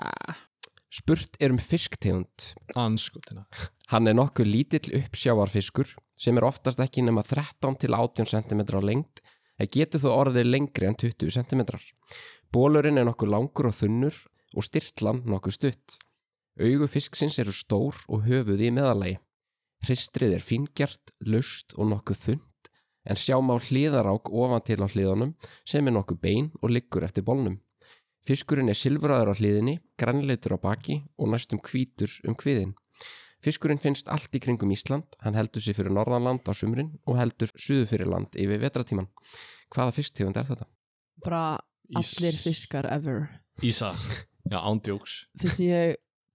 A: Spurt er um fisktegund
C: Anskotina
A: Hann er nokkuð lítill uppsjávarfiskur sem er oftast ekki nema 13 til 18 cm á lengt en getur þó orðið lengri en 20 cm. Bólurinn er nokkuð langur og þunnur og styrtlan nokkuð stutt. Augu fisksins eru stór og höfuð í meðalagi. Hristrið er fingjart, lust og nokkuð þunnt en sjáum á hliðarák ofan til á hliðunum sem er nokkuð bein og liggur eftir bólnum. Fiskurinn er silfraður á hliðinni, grænleitur á baki og næstum hvítur um hviðin. Fiskurinn finnst allt í kringum Ísland, hann heldur sér fyrir norðanland á sumrin og heldur suðu fyrir land yfir vetratíman. Hvaða fisktegund er þetta?
D: Bara allir fiskar ever
C: Ísa Já, ándjóks
D: Fyrst ég,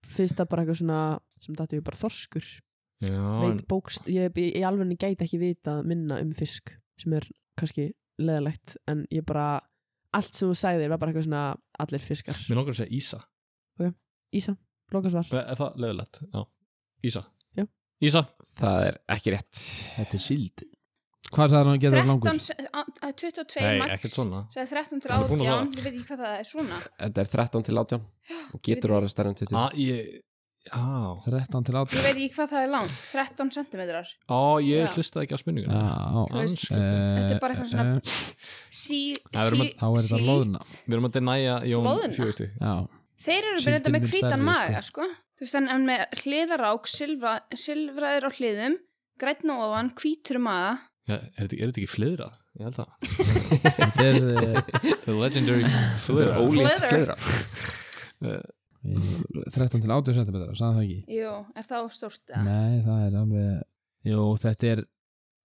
D: fyrst það bara eitthvað svona sem þetta er bara þorskur
C: Já,
D: Veit bókst, ég, ég, ég alveg gæti ekki vita minna um fisk sem er kannski leðalegt en ég bara, allt sem þú sagðir var bara eitthvað svona allir fiskar
C: mér langar að segja Ísa
D: Ísa, lokasvar
C: Er það leðilegt? Já Ísa
D: Já.
C: Ísa
A: Það er ekki rétt.
F: Þetta er síld Hvað sagði hann að
B: 13,
F: geta það langur?
B: á- á- 22
C: Nei,
B: max
C: ekkert svona.
B: Segði 13 til
C: Hann er búinn að
B: 18, ég veit ekki hvað það er svona
A: Þetta er 13 til 18. Getur orðið stærn en 20.
F: Ah.
C: Á, Ah, ég Á,
F: 13 til
B: Ég
F: 18
B: veit ekki hvað það er langt, 13 cm
C: á ég
B: Já.
C: hlustaði ekki á
F: Já,
C: spurninguna
F: já.
B: veist,
F: Eh,
B: þetta er bara eitthvað svona-
F: eh,
B: sí,
C: Það verður
B: sí,
F: Þá er þetta
B: síld.
F: loðna
C: Við erum að denæja Jón
B: Loðna.
C: fjóðusti
F: Já,
B: Þeir eru
F: Síldin
B: bara þetta með
F: mun
B: hvítan
F: stærri,
B: maga sko. Þú veist þannig en með hliðarák silfra, silfraður á hliðum grænn á ofan, hvítur um maga
C: Er þetta er þetta ekki flyðra? Ég held það
F: þetta er eh,
C: The legendary flyðra
A: Ólétt
B: Fleðra.
A: fleira.
F: 13 til 18 cm, sagði hann það ekki?
B: Jú, er það of stórt eða?
F: Nei, það er alveg Jú, þetta er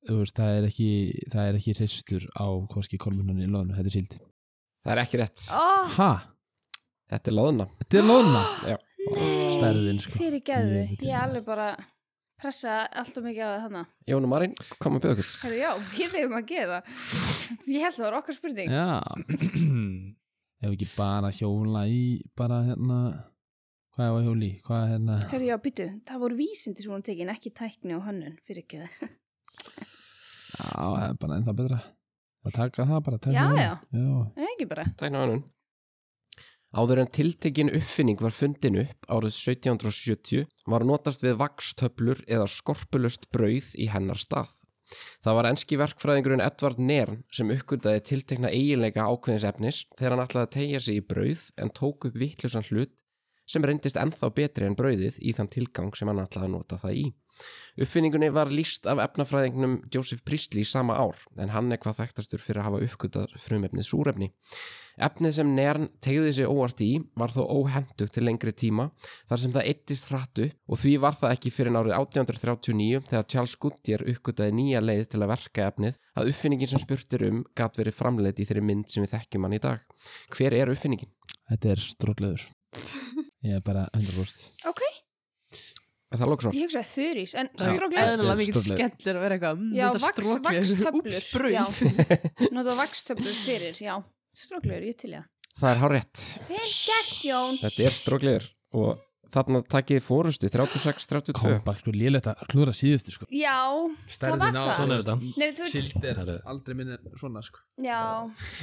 F: þú veist, það er ekki það er ekki hristur á hvorki kolmununni í loðinu, þetta er síld
A: Það er ekki rétt.
B: Ó,
F: Ha?
A: Þetta er loðna.
F: Þetta er loðna?
A: Já.
B: nei,
F: Stærðin, sko.
B: Fyrir geðu,
F: Ég veit
B: ég er alveg bara pressa alltaf mikið á það hana
A: Jón og Marín, kom að byggja okkur.
B: Herru, já, við hefum að gera Ég held það var okkar spurning
F: Já, ef ekki bara hjóla í bara hérna hvað var hjóli, hvað hérna
B: Herru, já, býtu, það voru vísindi sem hún tekin, ekki tækni og hönnun, fyrir ekki það.
F: Já, það er bara ennþá betra að taka það bara, taka
B: Já,
F: það
B: já.
F: já.
B: Nei, ekki bara.
A: Tækna hannun. Áður en tiltekin uppfinning var fundin upp árið 1770 var notast við vakstöflur eða skorpulust brauð í hennar stað. Það var enski verkfræðingurinn Edvard Nern sem uppgöndaði tiltekna eiginleika ákveðins efnis þegar hann ætlaði að tegja sig í brauð en tók upp vittlusan hlut sem reyndist ennþá betri en brauðið í þann tilgang sem hann ætlaði að nota það í. Uppfinningunni var líst af efnafræðingnum Joseph Priestley sama ár, en hann er hvað þekktastur fyrir að hafa uppgötað frumefnið súrefni. Efnið sem Nern tegði sig óvart í var þó óhendugt til lengri tíma þar sem það eittist hratt upp og því var það ekki fyrir árið 1839 þegar Charles Goodyear uppgötaði nýja leið til að verka efnið að uppfinningin sem spurtir um gat verið framleitt í þeirri mynd sem við þekkjum hann í dag. Hver er uppfinningin?
F: Þetta er strótleður Ég er bara 100%
B: Ok,
A: Er það lóksvar?
B: ég hugsaði þurís, en
D: Það er
B: strókleður
D: eðlilega mikið
F: Stórlega.
D: skellur að vera eitthvað mm,
B: Já,
D: þetta
B: vax-
D: strokleður,
B: vaxtöflur.
D: úps, brauð.
B: Já. Nota vakstöflur fyrir, já. Stróklegur, ég til ég.
A: Það er hár rétt.
B: Vel gert, Jón.
A: Þetta er stróklegur og þarna takið fórustu 36-32.
F: Kom bara sko lélegt að klúra síðustu sko
B: Já, það var það.
C: Svona er þetta
B: Nei, þú veist,
E: Sild er
C: Herðu.
E: aldrei minni svona sko
B: já.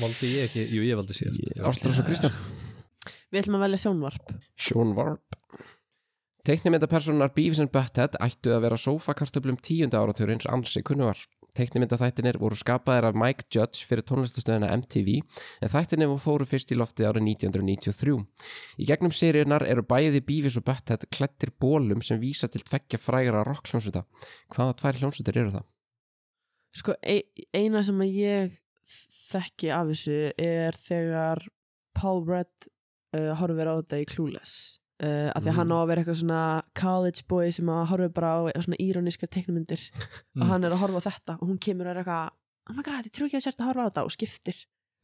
C: Valdi ég ekki, jú ég valdi síðast
A: Ástrós og Kristján.
D: Við ætlum að velja sjónvarp
A: Sjón Varp. Teiknimyndapersonar Beavis and Butthead ættu að vera sófakartöflum tíunda áraturins ansi kunnugar. Teiknimyndaþættinir voru skapaðir af Mike Judge fyrir tónlistastöðina MTV en þættinir fóru fyrst í loftið árið 1993. Í gegnum seriunar eru bæði Beavis og Butthead klettir bólum sem vísa til tveggja frægra rockhljónsuta. Hvaða tvær hljónsutir eru það?
D: Sko, ei- eina sem að ég þekki af þessu er þegar Paul Rudd uh, horfir á þetta í Clueless uh, að því að hann
F: Mm.
D: á að vera eitthvað svona college boy sem að horfir bara á svona írónískar teknumyndir
F: Mm.
D: og hann er að horfa á þetta og hún kemur og er eitthvað oh my god, ég trú ekki að sérta að horfa á þetta og skiptir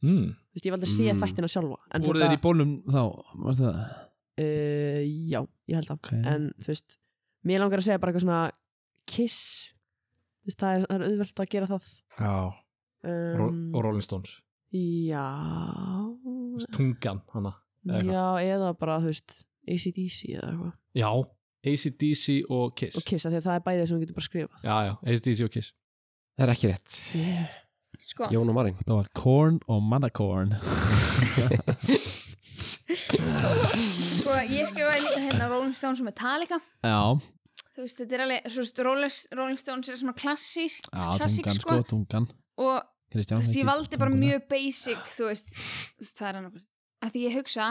C: mm.
D: Þú veist, ég valdi að sé
F: Mm.
D: þættina sjálfa en
F: Voru þeir í bólum þá, varstu það?
D: uh, já, ég held það
F: Ok.
D: en þú veist, mér langar að segja bara eitthvað svona kiss þú veist, það er, það er auðvelt að gera það
C: Já, Ro
D: um,
C: og Rolling Stones
D: Já
C: Tungan hana eða eitthvað.
D: Já, eða bara, þú veist ACDC eða eitthvað
C: Já, ACDC og Kiss
D: Og Kiss, af því að það er bæðið sem þú getur bara skrifað
C: Já, já, ACDC og Kiss
A: Það er ekki rétt.
D: yeah.
B: Sko,
A: Jón og Marín.
F: Það var corn og manacorn
B: sko ég skrifaði líka hérna Rolling Stones og Metallica.
F: Já,
B: Þú veist, þetta er alveg, svo veist, Rolling, Rolling Stones er svona klassís,
F: já
B: klassík,
F: tungan sko,
B: sko.
F: tungan
B: Og þú
F: Kristján
B: veist, ég
F: heitir
B: valdi bara
F: tunguna.
B: mjög basic, þú veist, þú veist það er annað. Að því ég hugsa,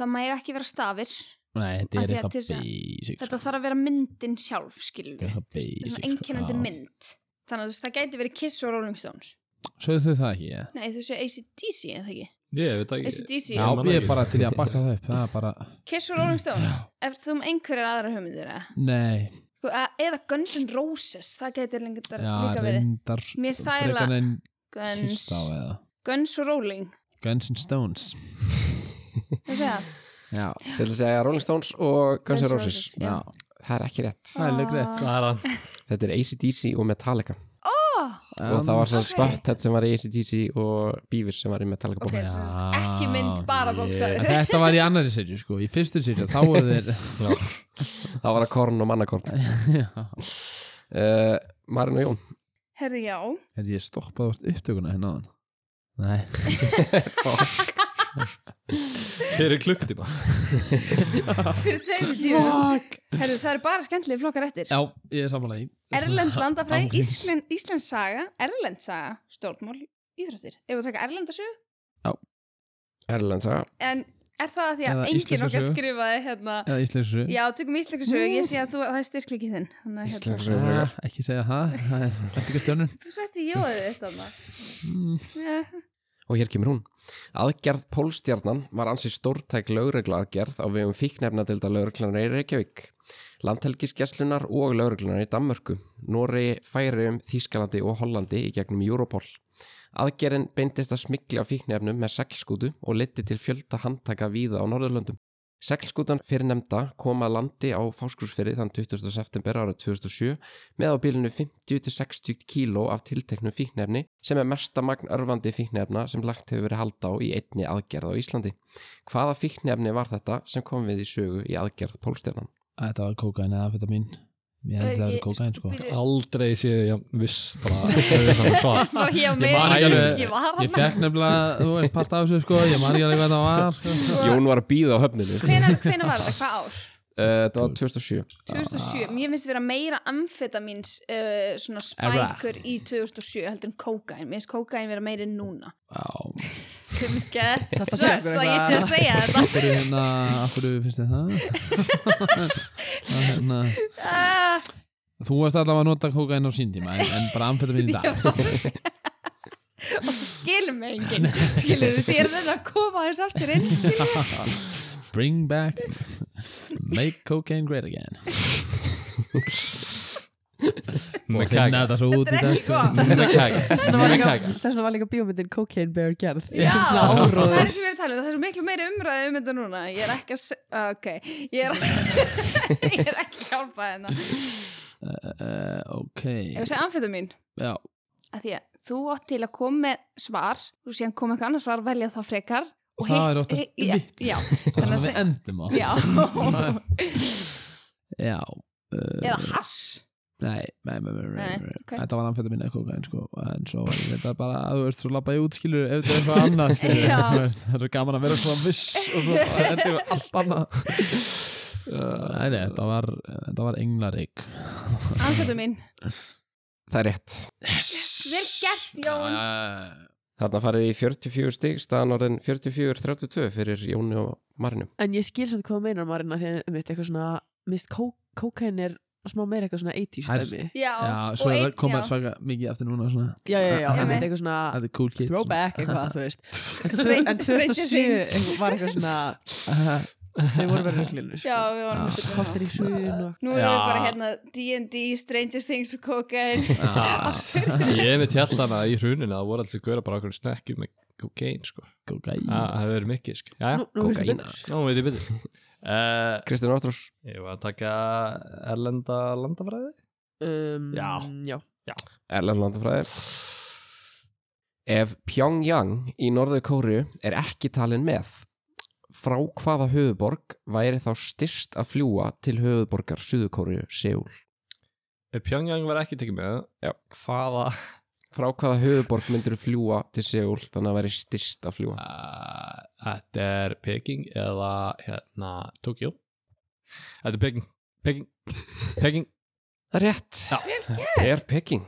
B: það mæg ekki vera stafir.
F: Nei, þetta
B: Af því
F: er
B: að
F: eitthvað
B: til þess að-
F: basic
B: Þetta
F: sko.
B: þarf að vera myndin sjálf, skilur
F: Þetta
B: við.
F: er það
B: Þú veist,
F: basic,
B: svona
F: sko,
B: einkennandi
F: já.
B: mynd. Þannig að þú veist, það gæti verið Kiss og Rolling Stones.
F: Sögðu þau það ekki, ég?
B: Nei, þú séu ACDC, eða ekki?
C: Ég veit ekki
B: ACDC,
F: Já,
C: man
F: ég
C: ekki.
F: er bara til í að bakka það upp Það er bara,
B: Kiss og Rolling Stones. Ef þú um einhverjar aðra hugmyndir, eða?
F: nei
B: Sko, e- eða Guns N' Roses, það gæti lengur
F: Já,
B: líka verið.
F: reyndar
B: Mér stæla-
F: Frekar en
B: Guns,
F: Kiss þá eða
B: Guns og Rolling.
F: Guns and Stones
B: Það segja það.
F: Já,
A: Þetta er að segja Rolling Stones og Guns N' Roses.
B: já. Ah.
F: já
A: Það er ekki rétt.
F: Það er lögrið
C: Það er hann
A: Þetta er ACDC og Metallica og
F: Um,
A: það var svo
B: ok.
A: Butthead sem var í ACDC og Beavis sem var í Metallica
B: Ok,
A: okay.
B: sem sagt, ekki mynd bara bókstafið.
F: Ah, Þetta var í annari serju sko, í fyrstu serju þá voru þeir
A: það var að Korn og Mannakorn
F: Já.
A: uh, Marin og Jón
B: Herði, já.
F: En ég stoppaði ást upptökuna hérna áðan Nei,
C: Fyrir klukkutíma
B: Fyrir tveimur tíu. Herði, það eru bara skemmtilega flokkar eftir.
F: já, ég er samanlega í
B: Erlend landafræði,
F: Ángríns.
B: Íslen, Íslensk saga, Erlend saga, stjórnmál, íþróttir. Ef við taka Erlendasögu,
A: Erlend saga
B: en er það að því að
F: Eða
B: enginn
F: íslenska
B: okkar
F: sögu?
B: skrifaði hérna...
F: Eða íslensu
B: Já, tökum íslenska sögu, ég sé að þú, það er styrklíki þinn. Þannig að
A: Íslensk
B: hérna,
A: sögu
F: Ah,
A: frekar.
F: ekki segja það, það er ekki gert önnur
B: þú setti jóðið þetta maður. Mm.
A: og hér kemur hún Aðgerð Pólstjarnan var ansi stórtæk lögreglaaðgerð á vegum fíknefnadelda lögreglunar í Reykjavík landhelgiskeslunar og lögreglunar í Danmörku Noregi, Færium, Þískalandi og Hollandi í gegnum Europol Aðgerðin beindist að smikli á fíknefnum með seglskútu og liti til fjölda handtaka víða á Norðurlöndum Seglskútan fyrir nefnda kom að landi á Fáskursfyrði þann 20. september árið 2007 með á bílinu 50-60 kíló af tilteknu fíknefni sem er mesta magn örfandi fíknefna sem lagt hefur verið halda á í einni aðgerð á Íslandi. Hvaða fíknefni var þetta sem kom við í sögu í aðgerð pólstjarnan?
F: Þetta var kókain eða þetta mín Ég held að það
B: Ég-
F: var kókain sko
B: Býtu,
C: Aldrei séð ég viss bara auðvitað svar
B: bara hér á
F: Ég man
B: mig,
F: ekki alveg-
B: ég var
F: Ég
B: hann.
F: fekk nefnilega, þú veist, part af þessu sko Ég man ekki alveg hvað það var sko.
A: Jón var að býða á höfninu.
B: Hvenær, hvenær var það? Hvað ár?
A: Það Eh, var 2007.
B: 2007. Mér finnst vera meira amfetamins uh, svona spækur í 2007 heldur en kókain. Mér finnst kókain vera meiri en núna.
F: Já,
B: Sem gett
D: Þetta
B: svo,
D: tekur
B: svo ég
D: eitthvað-
B: sé að segja þetta.
F: af hverju hérna, af hverju finnst þið það? Það hérna
B: Ah.
F: Þú varst allavega að nota kókain á sín tíma En, en bara amfetamín í dag
B: skilur mig enginn skilur þú, ég er þetta að koma þess aftur inn skilur
F: Bring back Make cocaine great again og
C: Með
F: finna
C: kæk
F: þetta svo út í
B: Þetta er
F: dag
B: ekki gott.
C: Með kæk
E: Þess vegna var
C: Með
E: líka-
C: kæk
E: þess vegna var líka bíómyndin Cocaine Bear gerð
B: Já,
E: sem svona
B: það er
E: áróður
B: sem við erum talið, það er svo miklu meiri umræði um þetta núna. Ég er ekki að, se- ah, ok, ég er, ég er ekki að hjálpa þetta.
F: Eh, ok
B: Ef ég segi amfetamín,
F: já,
B: að því að þú átt til að koma með svar, þú sé að koma eitthvað annars svar, velja það frekar. og
F: Það
B: hitt-
F: er oftast
B: hi- já,
F: mitt.
B: Já,
F: þannig
B: þannig að
F: við
B: segja.
F: endum á
B: Já,
F: já Uh,
B: eða hass.
F: Nei, nei, nei, nei, nei, nei.
B: Nei, ok.
F: Þetta var amfetta minna eitthvað en sko, en svo var þetta bara að þú veist, svo labba ég út skilur ef þetta er eitthvað annað skilur
B: Já.
F: það er svo gaman að vera svona viss og svo endur við allt annað Uh, Nei, nei, þetta var þetta var englarík
B: Amfetamín.
A: Það er rétt.
B: Vel gert, Jón.
A: Þarna farið í 44 stig, staðan orðin 44-32 fyrir Jóni og Marinu.
D: En ég skil samt hvað þú meinar Marina því að um mitt eitthvað svona mist kókain er smá meira eitthvað svona 80s
F: Hær-
D: dæmi
B: Já,
F: Já,
B: og
F: svo
B: einn,
F: það
B: já.
F: koma
B: Ah,
F: svaka mikið aftur núna svona,
D: Já, já,
F: Ég
D: já, en
B: veit.
D: þetta eitthvað svona
F: þetta er cool kids
D: throwback eitthvað, þú veist
B: Strange-
D: En
B: Stranger
D: 2007
B: Things.
D: eitthvað var eitthvað svona Þeir voru sko. verið röglinur
B: Já, við
F: Ah.
B: varum með þetta.
D: Kortir í hruðin og
B: Nú erum
C: Já.
B: við bara hérna D&D, Stranger Things og Cocaine.
F: Ah.
C: Ég mitt held hana í hruninu það voru allir góra bara okkur snekki með kokain sko.
F: Kokaín.
C: Það það hefur verið mikið sko. Já,
D: Nú- nú veistu
C: kokaín.
D: betur.
C: Nú veit ég betur uh,
A: Kristján Ástrós,
C: Ég var að taka erlenda landafræði
D: um,
C: Já.
D: já
A: Erlend landafræðir. Ef Pyongyang í norðu Kóru er ekki talin með, frá hvaða höfuborg væri þá styrst að fljúa til höfuborgar Suðu Kóru, Seúl?
C: Ef Eh, Pyongyang var ekki tekið með
A: Já.
C: Hvaða
A: Frá hvaða höfuborg myndir þú fljúa til Seúl þannig að væri styrst að fljúa?
C: Uh, Þetta er Peking eða hérna Tokjó Þetta er Peking Peking Peking
A: Það er rétt.
C: Já.
A: Það er Peking.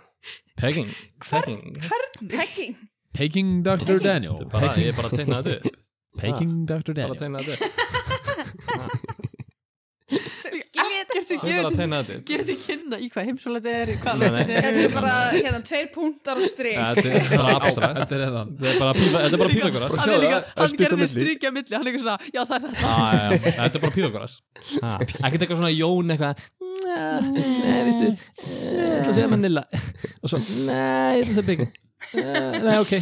C: Peking Peking
B: Peking.
F: Peking Dr. Daniel
C: Þetta er bara, Ég er bara að teikna þetta upp
F: Peking Dr.
C: Bara að
F: Daniel
C: teikna þetta upp
B: Skiljið þetta.
D: Gertu
C: Ég er bara að teikna þetta upp
D: gefið til kynna í hvað heimsóla þetta er, í hvað
C: Nei,
D: lönd
C: nei.
D: þetta
B: Þetta er bara hérna tveir punktar og strik.
C: Þetta er bara abstrakt
F: Þetta er hérna. hennan
C: Þetta er bara píða- þetta er bara píðagoras
D: Hann er líka, hann gerði strykja milli, Ah. hann er eitthvað svona, já það er þetta
C: Þetta er bara píðagoras Ekki teka svona jón eitthvað Nei, viðstu Ég ætla að segja Manila Og svo, nei, ég ætla að segja Peking Eh, Nei, ok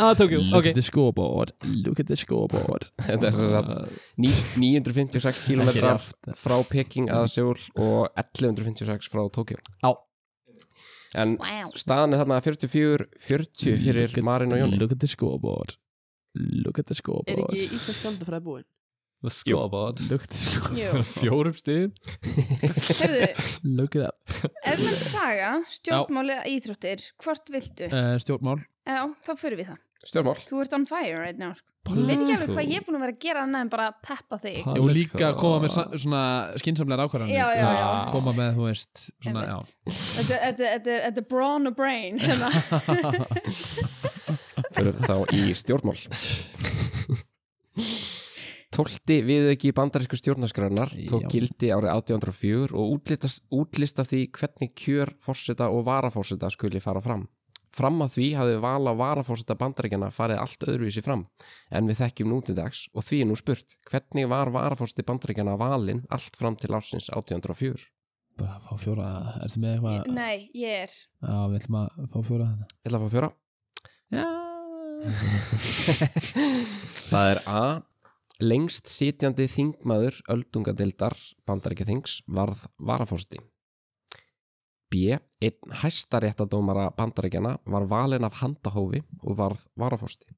C: Ah, Tokjó,
F: Look at the scoreboard Look at the scoreboard
A: Þetta er sem sagt ní- 956
F: Ekki
A: kilometrar
F: rétt. eh.
A: frá Peking að Seúl og 1156 frá Tókjó.
F: Já.
A: En
B: Wow.
A: staðan er þarna 44-40 fyrir Marin og Jóni.
F: Look at the scoreboard Look at the scoreboard
D: Er ekki íslensk landafræði búin?
C: The scoreboard
F: Look at the scoreboard
B: Jú.
C: Fjórum stíðin
B: Herðu,
F: Look it up
B: erlend saga, stjórnmáli eða íþróttir, hvort viltu?
F: uh, Stjórnmál
B: Já, þá fyrir við það.
A: Stjórnmál.
B: Þú ert on fire right now. sko. Ég veit ekki alveg hvað ég er búin að vera að gera annað en bara að peppa þig.
F: Og líka að koma með sa- svona skinsamlegar ákvarðanir
B: Já, já,
F: þú veist,
B: já.
F: Koma með, þú veist svona,
B: Einmitt.
F: já.
B: Þetta þetta- þetta- þetta er brawn og brain. hérna.
A: Fyrir þá í stjórnmál. Tólti viðauki bandarísku stjórnaskrænar tók
F: Já.
A: gildi árið 1804 og útlistast, útlista því hvernig kjör fórseta og varafórseta skuli fara fram. Fram að því hafði val á varafórseta bandaríkjana farið allt öðruvísi fram en við þekkjum nú til dags og því er nú spurt hvernig var varafórseti bandaríkjana valinn allt fram til ársins 1804?
F: Bara fá fjóra, ertu með eitthvað
B: Nei, ég er.
F: Já, við ætlum að fá fjóra þarna
A: Ég ætla að fá fjóra.
F: Já
A: Það er A. Lengst sitjandi þingmaður öldungadeildar bandaríkjaþings varð varafórseti. B. Einn hæstaréttadómara bandaríkjana var valinn af handahófi og varð varafórseti.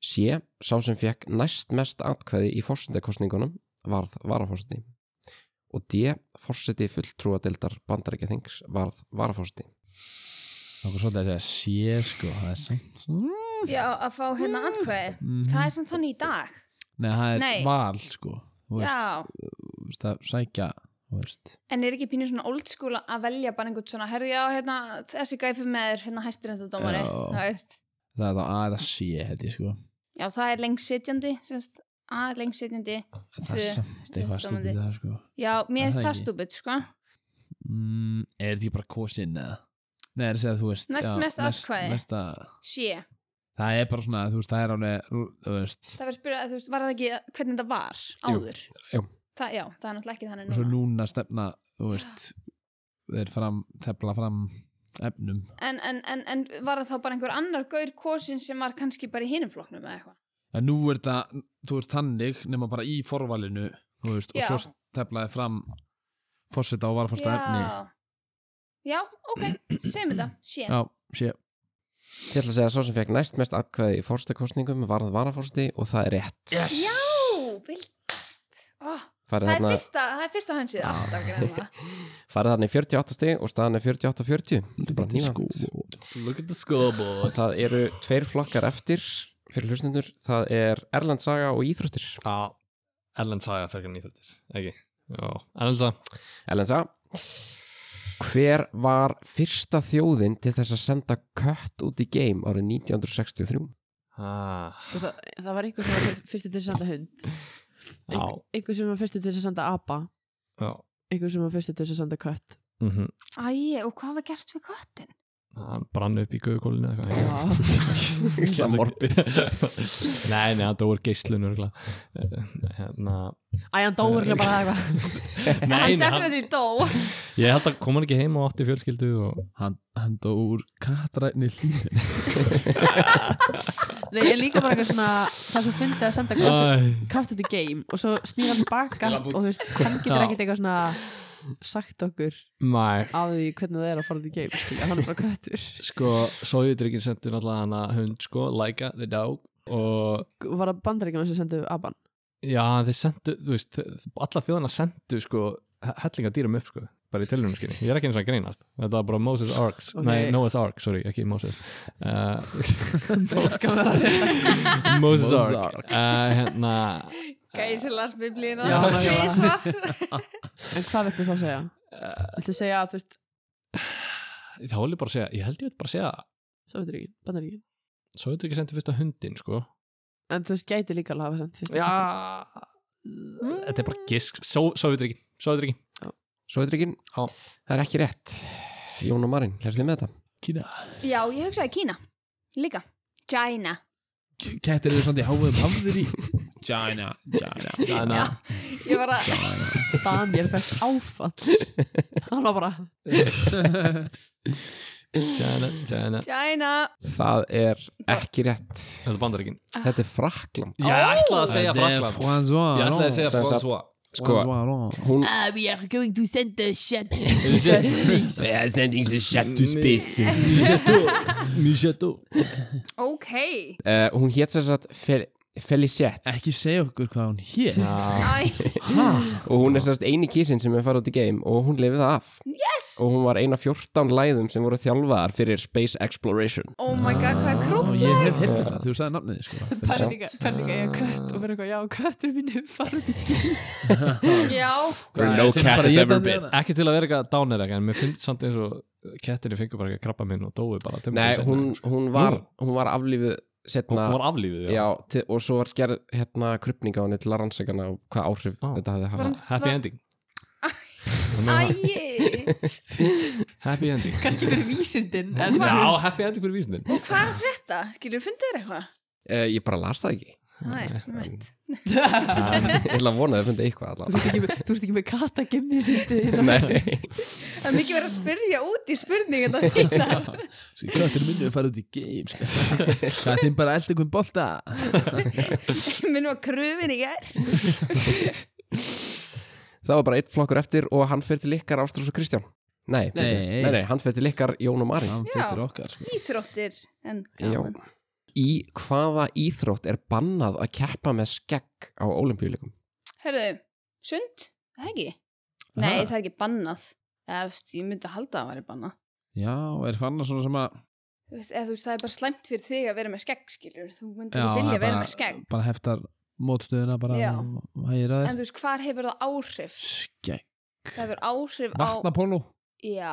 A: C. Sá sem fekk næst mest atkvæði í fórsendakostningunum varð varafórseti. Og D. Fórseti fulltrúadeildar bandaríkjaþings varð varafórseti.
F: Það var svolítið að segja sér sko Það er samt
B: Já, að fá hérna andkvæði.
F: Mhm.
B: Það er samt þannig í dag.
F: Nei, það er
B: Nei.
F: val sko Þú veist,
B: Já,
F: þú veist að sækja Þú veist
B: en er ekki pínu svona old school að velja bara einhvern svona, herðu já, hérna, þessi gæfi með þér, hérna hæsturinn þetta dómari.
F: Já.
B: Það veist.
F: Það er þá A eða C held ég sko
B: Já, það er lengsitjandi, semst, að er lengsitjandi.
F: Það er
B: Tvö.
F: samt eitthvað
B: Stjórnarmyndi.
F: stúpið það sko
B: Já, mér
F: Er
B: finnst
F: það
B: það
F: ekki?
B: stúbid, sko.
F: mm, Er þetta ekki bara kosin eða? Nei, það er að segja þú veist
B: Næst mest
F: næst-
B: atkvæði.
F: næsta,
B: Sjö.
F: Það er bara svona, þú veist, það er alveg Þú veist,
B: Það verður spyrjað, þú veist, var það ekki hvernig þetta var áður?
A: jú.
B: Það, já, það er náttúrulega ekki þannig
F: og svo
B: núna.
F: núna stefna Þú veist þeir fram, tefla fram efnum
B: en, en, en, en var það þá bara einhver annar gaur kosin sem var kannski bara í hinum flokknum eða eitthvað
F: en nú er þetta, þú veist þannig nema bara í forvalinu þú veist,
B: Já.
F: og svo teflaði fram fórseta og varfórsta efni
B: Já, já ok, segjum þetta Shit.
F: já, sé,
A: Ég ætla að segja að sá sem fekk næst mest atkvæði í fórstakostningum varð varafórsti og það er rétt. Yes!
B: Já, vilkast oh,
A: Farið
B: það, er
A: þarna,
B: fyrsta, það er fyrsta hansið alltaf greinlega.
A: farið þarna í 48 stig og staðan er 48-40. Þetta er bara
F: sko
A: nývæmt.
C: Look at the scoreboard
A: Það eru tveir flokkar eftir fyrir hlustundur. Það er Erland Saga og Íþróttir.
C: Já, Erlend Saga fyrir nýþrættir Ekki? Já, Erlend Saga
A: Erland Saga. Hver var fyrsta þjóðin til þess að senda kött út í game árið 1963?
C: ah,
D: Sko, það, það var einhver sem var fyrstu til að senda hund
C: Já,
D: einhver sem var fyrstu til að senda apa
C: já
D: einhver sem var fyrstu til að senda kött
C: mm -hmm.
B: Æ, og hvað var gert við köttin?
C: Hann brann upp í guðkólinu eða eitthvað
D: Já.
A: Íslamorbi.
C: Nei, nei, það dóur geislun örugglega. Eh, Hérna
D: Æ, hann dóurlega bara eitthvað
C: Nei,
B: Hann
C: nei, hann,
B: defnir dó
C: ég held að kom hann ekki heim og átti fjölskyldu og
F: hann, hann dó úr katrætni hlýðin
D: Nei, ég er líka bara eitthvað svona það sem fyndi að senda kött
C: Ah.
D: cut of the game og svo snýr hann baka og þú veist, hann getur
C: Já.
D: ekkert eitthvað svona sagt okkur
C: Mæ
D: á því hvernig það er að fara til game skilja, hann er bara köttur
C: Sko, sóðutryggjinn sendur náttúrulega hana hund sko, Laika, the dog og
D: og var það bandaríkjum sem sendu aban
C: Já, þeir sendu, þú veist, alla þjóðana sendu sko hellinga dýrum upp sko, bara í tölunum skinni. Ég er ekki eins og að greinast. Þetta var bara Moses Arks,
D: Ok.
C: nei, Noah's Ark, sorry, ekki Moses. Uh, sko. Moses
F: Moses
C: Ark.
F: Ark.
C: Uh, hérna,
B: Gæsi las biblíuna
D: Já, já, já.
B: Tvisvar.
D: en hvað viltu þá segja? Viltu segja að þú veist,
C: þá vil ég bara segja, ég held ég veit bara segja,
D: Sovjetríkin, Bandaríkin
C: svo þetta ekki sendu fyrsta hundin sko.
D: en þú veist, gæti líka alveg að hafa sendt fyrst
C: Já, þetta er bara gisk, svo þetta ekki, svo þetta ekki.
A: Sovjetryggjum?
C: Já.
A: Það er ekki rétt. Jón og Marín, lærðu þið með þetta?
F: kína,
B: Já, ég hugsaði Kína Líka China
F: kettir eru samt í háðum hafðir í China, China,
C: Þannig
B: Já, ég var að
D: Daniel fæst áfall hann var bara
C: Tjana, tjana.
B: China
A: Það er ekki rétt.
C: Þetta er bandaríkin.
A: Þetta er Frakland.
C: Já, ég ætlaði að segja Frakland.
F: François
C: Ég ætlaði að segja
A: Sem sagt-
C: François.
A: Sko, hún,
D: uh, we are going to send the shit
A: er sending the shit
C: to space. Misetto Misetto
B: Ok
A: Uh, hún hétt sem sagt Fel Felicette
F: ekki segja okkur hvað hún hér
B: Æ,
A: og hún er sem sagt eini kísin sem er farið út í game og hún lifið það af yes! og hún var eina 14 læðum sem voru þjálfaðar fyrir Space Exploration
B: oh my god, hvað er
F: og
B: krútt
F: ég hef hirt þetta, þú sagði nafnið sko.
D: Pælinga, pælinga ég að kött og vera eitthvað, já, köttur mín hefur farið í
B: Já,
A: Where
F: Nei,
A: no
F: sem
A: cat
F: bara
A: has
F: éta
A: ever
F: hana.
A: been
C: Ekki til að vera eitthvað dánir en mér finnst samt eins og kettinni fengur bara ekki að krabba minn og dói bara tveimur
A: Nei,
C: dögum seinna.
A: hún, hún, var, hún var aflífuð
C: hún
A: setna
C: hún var aflífið
A: já, til, og svo var gerð hérna krupninga á henni til að rannsaka hana og hvað áhrif
C: Ó.
A: þetta hafði haft
C: Happy ending
B: æ
C: Happy ending
D: kannski fyrir vísindin en
C: Já, happy ending fyrir vísindin
B: Og hvað er þetta? Skilur, fundu þér eitthvað?
A: uh, Ég bara las það ekki
B: Nei, meitt
A: Ég ætla að vona að það fundi eitthvað
D: Þú ert ekki með- þú ert ekki með hérna. kata gemni sindi
A: allavega Nei
B: Það er mikið verið að spyrja út í hérna spurningan það þínar
F: Köttir minnum farið út í games Það er þeim bara elda einhvern bolta
B: Minnum að kröfin í gær
A: Það var bara einn flokkur eftir og hann fyrir til ykkar Ástrós og Kristján Nei, nei,
F: Nei.
A: nei, nei hann fyrir til ykkar Jón og Mari
F: Hann fyrir okkar sko.
B: Íþróttir En
A: Já.
B: gaman
A: Í hvaða íþrótt er bannað að keppa með skegg á olimpíuleikum?
B: Hörðu, sund? Það ekki?
F: Aha.
B: Nei, það er ekki bannað Eða, þú veist, ég myndi að halda að það væri bannað
F: Já, er fannar svona sem að
B: Þú veist, eða, þú veist, það er bara slæmt fyrir þig að vera með skegg, skilur Þú myndir
F: Já,
B: ekki
F: það
B: vilja
F: er
B: vera
F: bara-
B: með skegg
F: bara heftar mótstöðuna bara
B: Já.
F: hægir að
B: En
F: þér
B: þú veist, hvar hefur það áhrif?
F: Skegg,
B: Það hefur áhrif á
F: vatnapólu
B: Já,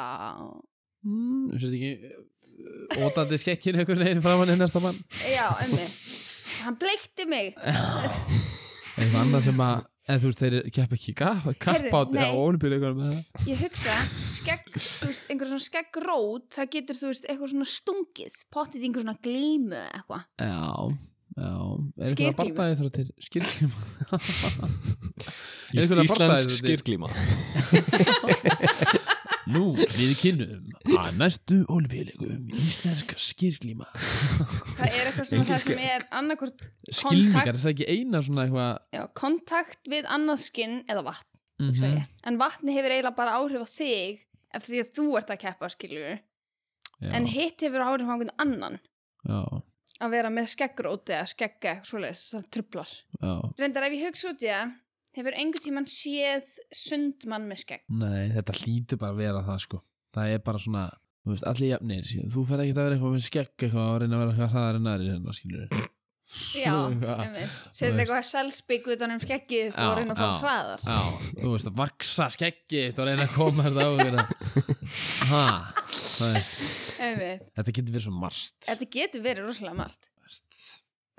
F: mm, Þú finnst ekki ótandi skekkin einhvern veginn framan í næsta mann
B: já, emmi Hann bleikti mig
F: Eitthvað annað sem að En þú veist, þeir kepp ekki gaf, kapp á
B: Heyrðu, nei.
F: olimpíuleikunum með það.
B: Ég hugsa, skegg, þú veist, einhver svona skeggrót Það getur, þú veist, eitthvað svona stungið Pottið í einhver svona glímu eða eitthvað
F: Já, já. Er
B: Skyrglíma.
F: eitthvað bardaðið þrjóð til skýrklíma?
C: Ís-
F: Einhverja bardaði
C: Íslands
F: þetta í-
C: skýrklíma
F: Nú, við kynnum að næstu olífélögum íslenska skýrglíma
B: það er eitthvað svona það sem er annarkvort
F: Skilningar, er það ekki eina svona eitthvað
B: já, kontakt við annað skinn eða vatn
F: mm
B: mm en vatni hefur eiginlega bara áhrif á þig ef því að þú ert að keppa skilur en
F: já,
B: hitt hefur áhrif á einhvern annan
F: já,
B: að vera með skeggróti eða skegga eitthvað svoleiðis, það trublar
F: já,
B: reyndar ef ég hugsa út í það hefur einhvern tímann séð sund mann með skegg
F: nei, þetta hlýtur bara að vera það sko Það er bara svona, þú veist, allir jafnir skilur. Þú fer ekki að vera eitthvað með skegg eitthvað og reyna að vera eitthvað hraðar en aðrir hérna, skilur
B: já,
F: Já,
B: einmitt. setið eitthvað selspík utan um skeggið þitt og
F: Já,
B: reyna að fara
F: já.
B: hraðar
F: Já, þú veist, að vaksa skeggi eitt og reyna að koma þetta á hérna. Ha, það er,
B: Einmitt.
F: þetta getur verið svo margt
B: þetta getur verið rosalega margt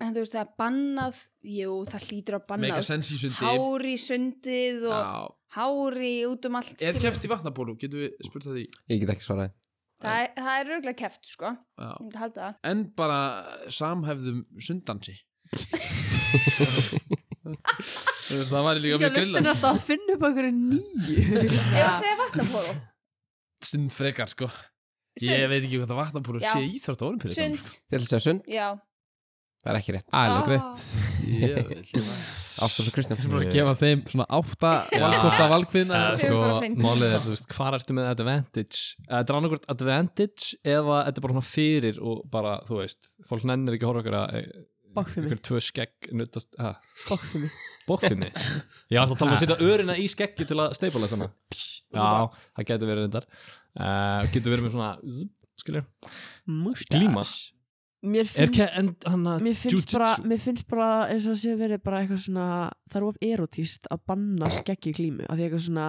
B: en þú veist það er bannað jú, það hlýtur að
F: Mega
B: bannað
F: sens í sundi
B: hár í sundið og
F: Já,
B: hár í út um allt
F: er
B: skilur.
F: keft í vatnabólu, getur við spurt það í
A: Ég get ekki svaraði.
B: það er, það er röglega keft sko, ég
F: Já.
B: myndi halda það
F: en bara samhæfðum sundansi það var líka
E: Ég
F: mjög
E: lustin
F: grilla
E: alltaf að finna upp okkur nýju
B: Ég var að segja vatnapólo
F: sund frekar sko ég
B: Sund,
F: veit ekki hvað það vatnabúru
B: Já.
F: sé í þrótt ólimpíri
B: sund,
A: Til að segja sund,
B: já
A: það er ekki rétt.
B: Ah.
F: alveg greitt ég
A: Ástrós og Kristján.
F: er bara að gefa þeim svona átta valkosta valkvinna
B: Það
A: Sko,
B: sem er bara fyndið.
C: málið er, þú veist, hvað ertu með advantage Eh, þetta er annarkvært advantage eða þetta er bara svona fyrir og bara, þú veist, fólk nennir ekki að horfa okkur að eh,
E: Bokfimi,
C: ykkur tvö skegg nutast, ha,
E: bokfimi
C: bókfinni ég var alltaf að tala um að setja örina í skeggi til að steipula saman já, það getur verið reyndar uh, getur verið með svona zzz, skilur, glíma
D: Mér
C: er
D: finnst,
C: ke- en hann að
D: mér finnst, bara, mér finnst bara eins og sé verið bara eitthvað svona það er of erotíst að banna skeggi í klímu af því eitthvað svona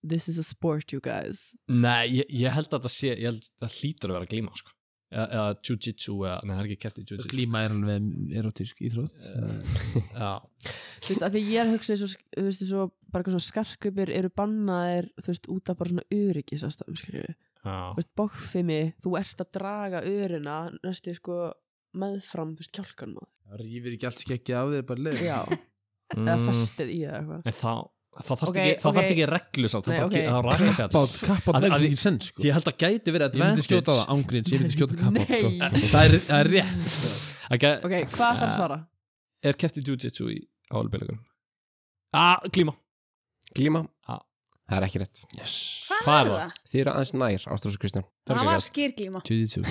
D: this is a sport you guys
C: nei, ég, ég held að það sé ég held að það hlýtur að vera glíma sko. eða, eða jujitsu, eða, nei það er ekki kæft í jujitsu
F: glíma er alveg erotísk íþrótt
C: já,
D: þú veist, af því ég er að hugsa eins og þú veist, eins og bara eitthvað svona skarkripir eru bannaðir þú veist, út af bara svona öryggisastam skilju, þú
C: já,
D: veist, bókfimi þú ert að draga örina næstu sko meðfram, þú veist, kjálkan maður
F: það rýfir ekki allt skeggi af þig bara leið
D: já, eða
F: Mm.
D: fastir í eða eitthvað
C: Mm. en þá þá þarf
D: Ok,
C: okay, ekki,
D: ok.
C: okay. ekki reglu samt, það
D: Nei,
C: bara
D: ok.
C: okay. þá rækja sér
F: kappátt, kappátt
C: Að-
F: vegna
C: að-
F: ekki sens sko
C: ég held að gæti verið
F: ég myndi skjóta það ángríns, ég myndi skjóta kappátt sko
E: Nei.
F: það er, það er rétt
C: það gæ-
D: ok, hvað þarf að svara?
C: er kæft í jujitsu í álbeilegunum að Ah, glíma
A: Glíma,
C: Ah.
A: það er ekki rétt.
B: Hvað
C: Hvað
B: var
C: er
B: það?
A: Þið eru aðeins nær, Ástrós og Kristján.
B: Það var skýrglíma
F: Jiu-Jitsu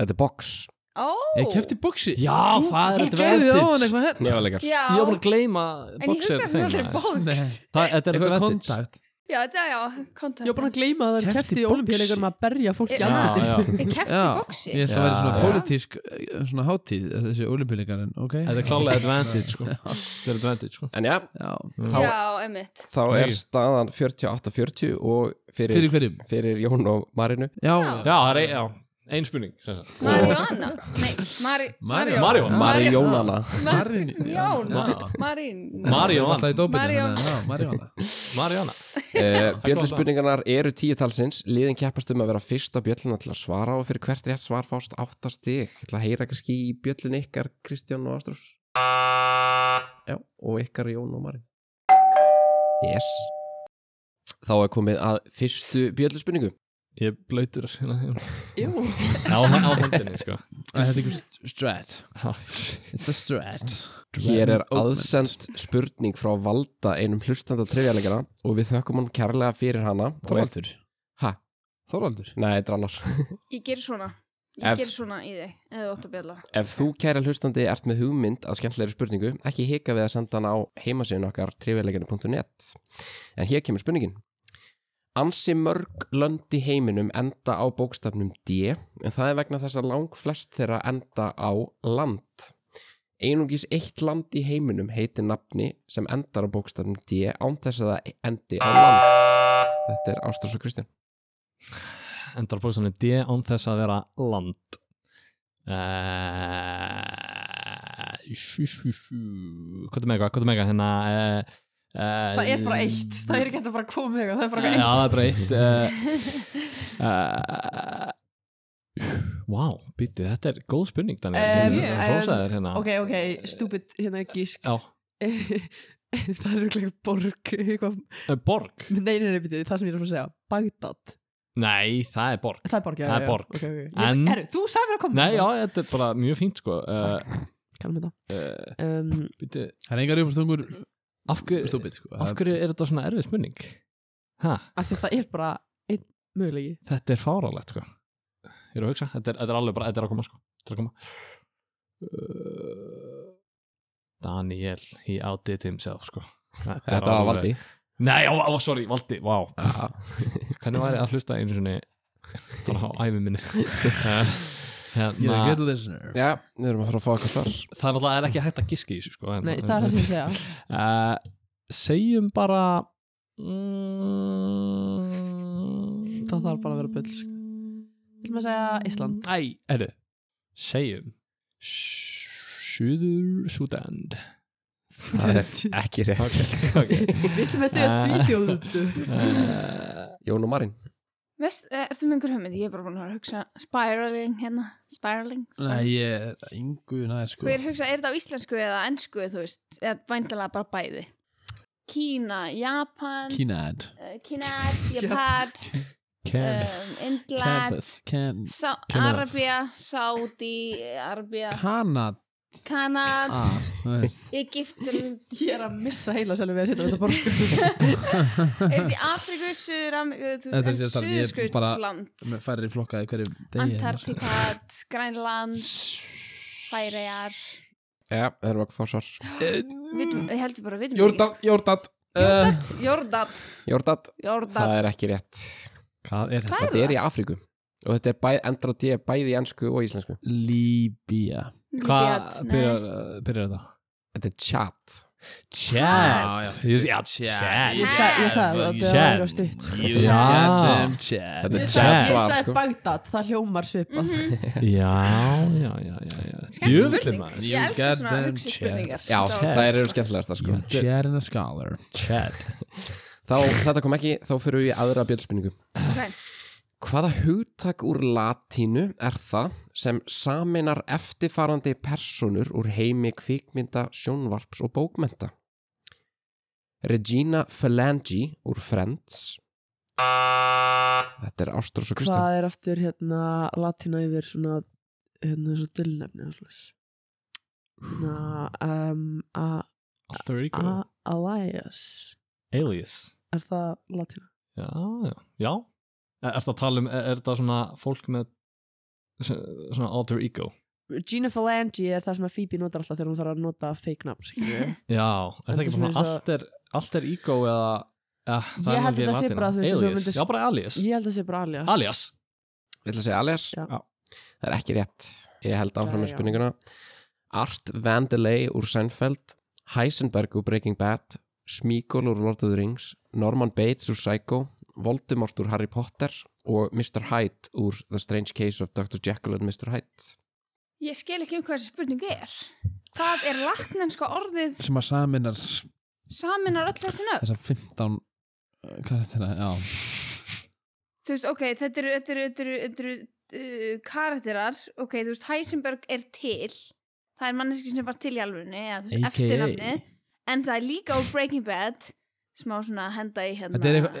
A: Þetta er box.
B: Ó,
F: Er kæft í boxi?
C: Já, það er
F: Ég gerði það á hann
C: advantage
F: eitthvað hérna
A: Nefalegar.
B: já
C: Ég var búin að gleyma
B: En ég hugsaði að það er bóks
F: Nei.
C: Það þetta er
F: Eitthvað
C: advantage
F: kontakt
B: Já, þetta, já, kontakt
E: Ég var búin að gleyma að það er
F: Keppt í
E: kefti í
F: boxi.
E: olimpíuleikunum að berja fólk í
B: Já,
E: andlitið
C: já.
B: Ég kefti
F: Já.
B: bóksi
F: Ég held að það væri svona
C: Já.
F: pólitísk eh, svona hátíð þessi olimpíuleikar en ok
C: Þetta er klálega advantage sko. Þetta er advantage sko.
A: En já,
F: Já.
A: þá,
B: Já, einmitt
A: þá er
C: Nei.
A: staðan 48-40 og fyrir,
F: Fyrir hverjum?
A: fyrir Jón og Marinu.
F: Já,
C: Já, það er ein- já, ein spurning sem sagt.
B: Marjóna Nei, Mari
F: Marjón.
C: Marjón.
A: Marjónana.
F: Marinu
B: Jóna Marín
C: Marjón
F: Alltaf í dópinu
B: Marjón.
F: þannig að- Já, Marjóna
C: Marjóna
A: Eh, Bjöllspurningarnar eru tíu talsins liðin keppast um að vera fyrst á bjölluna til að svara og fyrir hvert rétt svar fást áttastig til að heyra kannski í bjöllun ykkar Kristján og Ástrós Já, og ykkar Jón og Marin Yes Þá er komið að fyrstu bjöllspurningu
C: Ég er hérna. blöytur Á hendinni sko.
F: Þetta er einhver strat
C: Ha.
F: It's a strat
A: Hér er aðsend spurning frá Valda einum hlustanda trefjarleikana og við þökkum hann kærlega fyrir hana Og ef-
F: Þorvaldur
A: Ha?
F: Þorvaldur
A: Nei, þetta er annar
B: Ég ger svona
A: Ef-
B: Ég ger svona í þig Eða þú ótt að bjalla
A: Ef þú kæra hlustandi ert með hugmynd að skemmtilegri spurningu, ekki hika við að senda hana á heimasíðun okkar trivialegani.net. En hér kemur spurningin. Ansi mörg lönd í heiminum enda á bókstafnum D, en það er vegna þess að lang flest þeirra enda á land. Einungis eitt land í heiminum heitir nafni sem endar á bókstafnum D án þess að það endi á land. Þetta er Ástrós og Kristján.
C: Endar bóksanir D án þess að vera land Uh, sjú, sjú, sjú. Hvað er mega, hvað er mega hérna, uh, uh,
E: Það er bara eitt, það er ekki hægt að bara koma með eitthvað, það er bara
C: Já,
E: eitthvað
C: það er bara eitt uh, uh, Wow, býttu, þetta er góð spurning Daniel,
E: Um,
C: Hérna,
E: um,
C: hrósaðir hérna
E: eitt Ok, ok, stúpid, hérna gísk
C: Já,
E: Það er eitthvað borg eitthvað-
C: eh, borg
E: Nei, nei, nei, býttu, það sem ég er að fara að segja Bagdad
C: Nei, það er borg
E: Það er borg, já, já,
C: Það er
E: já.
C: borg.
E: Ok, ok. Ég-
C: En-
E: Herru, þú sagði mér að koma
C: Nei, já, þetta er bara mjög fínt sko uh,
E: Kallum þetta.
C: Eh.
E: Um,
C: byrju,
F: Það er engar uppstungur
C: af, hver,
F: stúpid sko.
C: af hverju er þetta svona erfið spurning? Ha,
E: af því að það er bara einn mögulegi.
C: þetta er fáralegt sko Ég er að hugsa, þetta er, þetta er alveg bara, þetta er að koma sko Þetta er að koma uh, Daniel, he outdid himself sko Þetta, er
A: Þetta var
C: alveg-
A: Valdi
C: Nei, á, á, sorry, Valdi, vá
A: Já.
C: Hvernig væri að hlusta einu svona bara á æfi minni uh,
F: You're
C: hérna,
F: a good listener
A: Já, við erum að fara að fá eitthvað svar
C: Það er alltaf ekki hægt að giska í þessu sko en-
E: Nei, það er það sem ég segja.
C: Eh, segjum bara mm,
E: Það þarf bara að vera bull, sko. Vil maður segja Ísland?
C: Æ, erðu Segjum Suður Súdan
A: Það er ekki rétt
E: Vil maður segja Svíþjóðu?
A: Jón og Marín
B: Veist, eh, ertu með einhver hugmynd? Ég er bara búin að vera að hugsa spiraling hérna, spiraling.
F: Nei, ég er engu næði sko
B: Hver hugsa, er þetta á íslensku eða ennsku, þú veist, eða væntalega bara bæði? Kína, Japan,
F: Kínad
B: eh, Kína, Japan, um,
F: Can
E: Eh,
B: Indland,
F: Kansas Can
B: Sá,
F: Kína.
B: Arabia, Saudi, Arabia,
F: Kanad Ah.
B: Kanad,
F: Það er
B: Egyptaland,
E: Ég er að missa heila sjálfur við að setja þetta bara sko.
B: er þetta í Afriku, Suður-Ameríku, þú
F: Þetta er
B: veist, en
F: sér talað, ég er bara-
B: Suðurskautsland,
F: með færri flokka í hverju degi hérna.
B: Antarktikat, Grænland, Færejar,
A: Já, við erum að fá svar
B: við, ég heldur bara, við
A: Jórdan, Jórdan uh,
B: Jórdat, Jórdat,
A: Jórdan,
B: Jórdat,
A: það er ekki rétt
C: Hvað er þetta?
A: Þetta er í Afríku og þetta er bæ, endur á D bæði í ennsku og íslensku
F: Líbía
C: Hvað
B: Líbíat, nei.
C: byrjar, byrjar þetta?
A: Þetta er chat
C: Chat Ég- Ah, Já, chat
E: Ég sagði ég sagði það, það
C: Chat.
E: var verið stutt. sko.
C: Já.
F: Goddamn Chad
E: Ég
A: Þetta er
E: sagði-
A: chat
E: ég
A: svar
E: sagði
A: sko
E: Bagdad, það hljómar svipað.
C: Já, já, já, já, já.
B: Skemmtileg
C: Djöfullinn,
B: spurning.
C: maður.
B: Ég elska svona
F: goddamn
B: hugsi
F: chat.
B: spurningar
A: Já,
B: Þetta var-
A: það eru skemmtilegasta sko
F: You're a Chad and a scholar
C: Chat
A: Þá, þetta kom ekki, þá fyrir við í aðra bjöldspinningu
B: Ok.
A: Hvaða hugtak úr latínu er það sem saminar eftirfarandi personur úr heimi kvikmynda, sjónvarps og bókmynda? Regina Falangi úr Friends Þetta er Ástrós og Kristján
E: Hvað er aftur hérna latina yfir svona hérna svo dillnefni og slús Na, um, a,
C: Alltaf er
E: a, Elias
C: Alias
E: Er það latina?
C: Já, já, já. Er, er það að tala um, er, er það svona fólk með s- svona alter ego?
E: Regina Falangi er það sem að Phoebe notar alltaf þegar hún þarf að nota fake nafn skilurðu.
C: Já, er það
E: Þetta er
C: ekki svona
E: svona eins og-
C: alter, alter ego eða, eða
E: Ég
C: það er
E: held að það
C: ekki
E: sé
C: latína.
E: bara, þú veist, eins og
C: Alias,
E: myndi-
C: já bara alias
E: Ég held að það sé bara Alias
C: Alias
A: Ég ætla að segja alias
E: Já.
A: Það er ekki rétt Ég held áfram með
E: Já, já.
A: spurninguna Art Van Delay úr Seinfeld Heisenberg úr Breaking Bad Smeagol úr Lord of the Rings Norman Bates úr Psycho Voldemort úr Harry Potter og Mr. Hyde úr The Strange Case of Dr. Jekyll and Mr. Hyde
B: Ég skil ekki um hvað þessi spurning er Hvað er latnenska orðið
F: sem að saminar s-
B: saminar öll þessi nöfn?
F: þessar 15 uh, hvað er þetta? Já,
B: Þú veist, ok, þetta eru, þetta eru, þetta eru, þetta eru uh, karakterar Ok, þú veist, Heisenberg er til Það er manneski sem var til í alvörunni eða þú veist,
F: AKA.
B: eftirnafni En það er líka úr Breaking Bad smá svona henda í hérna
F: þetta er eitthvað eh,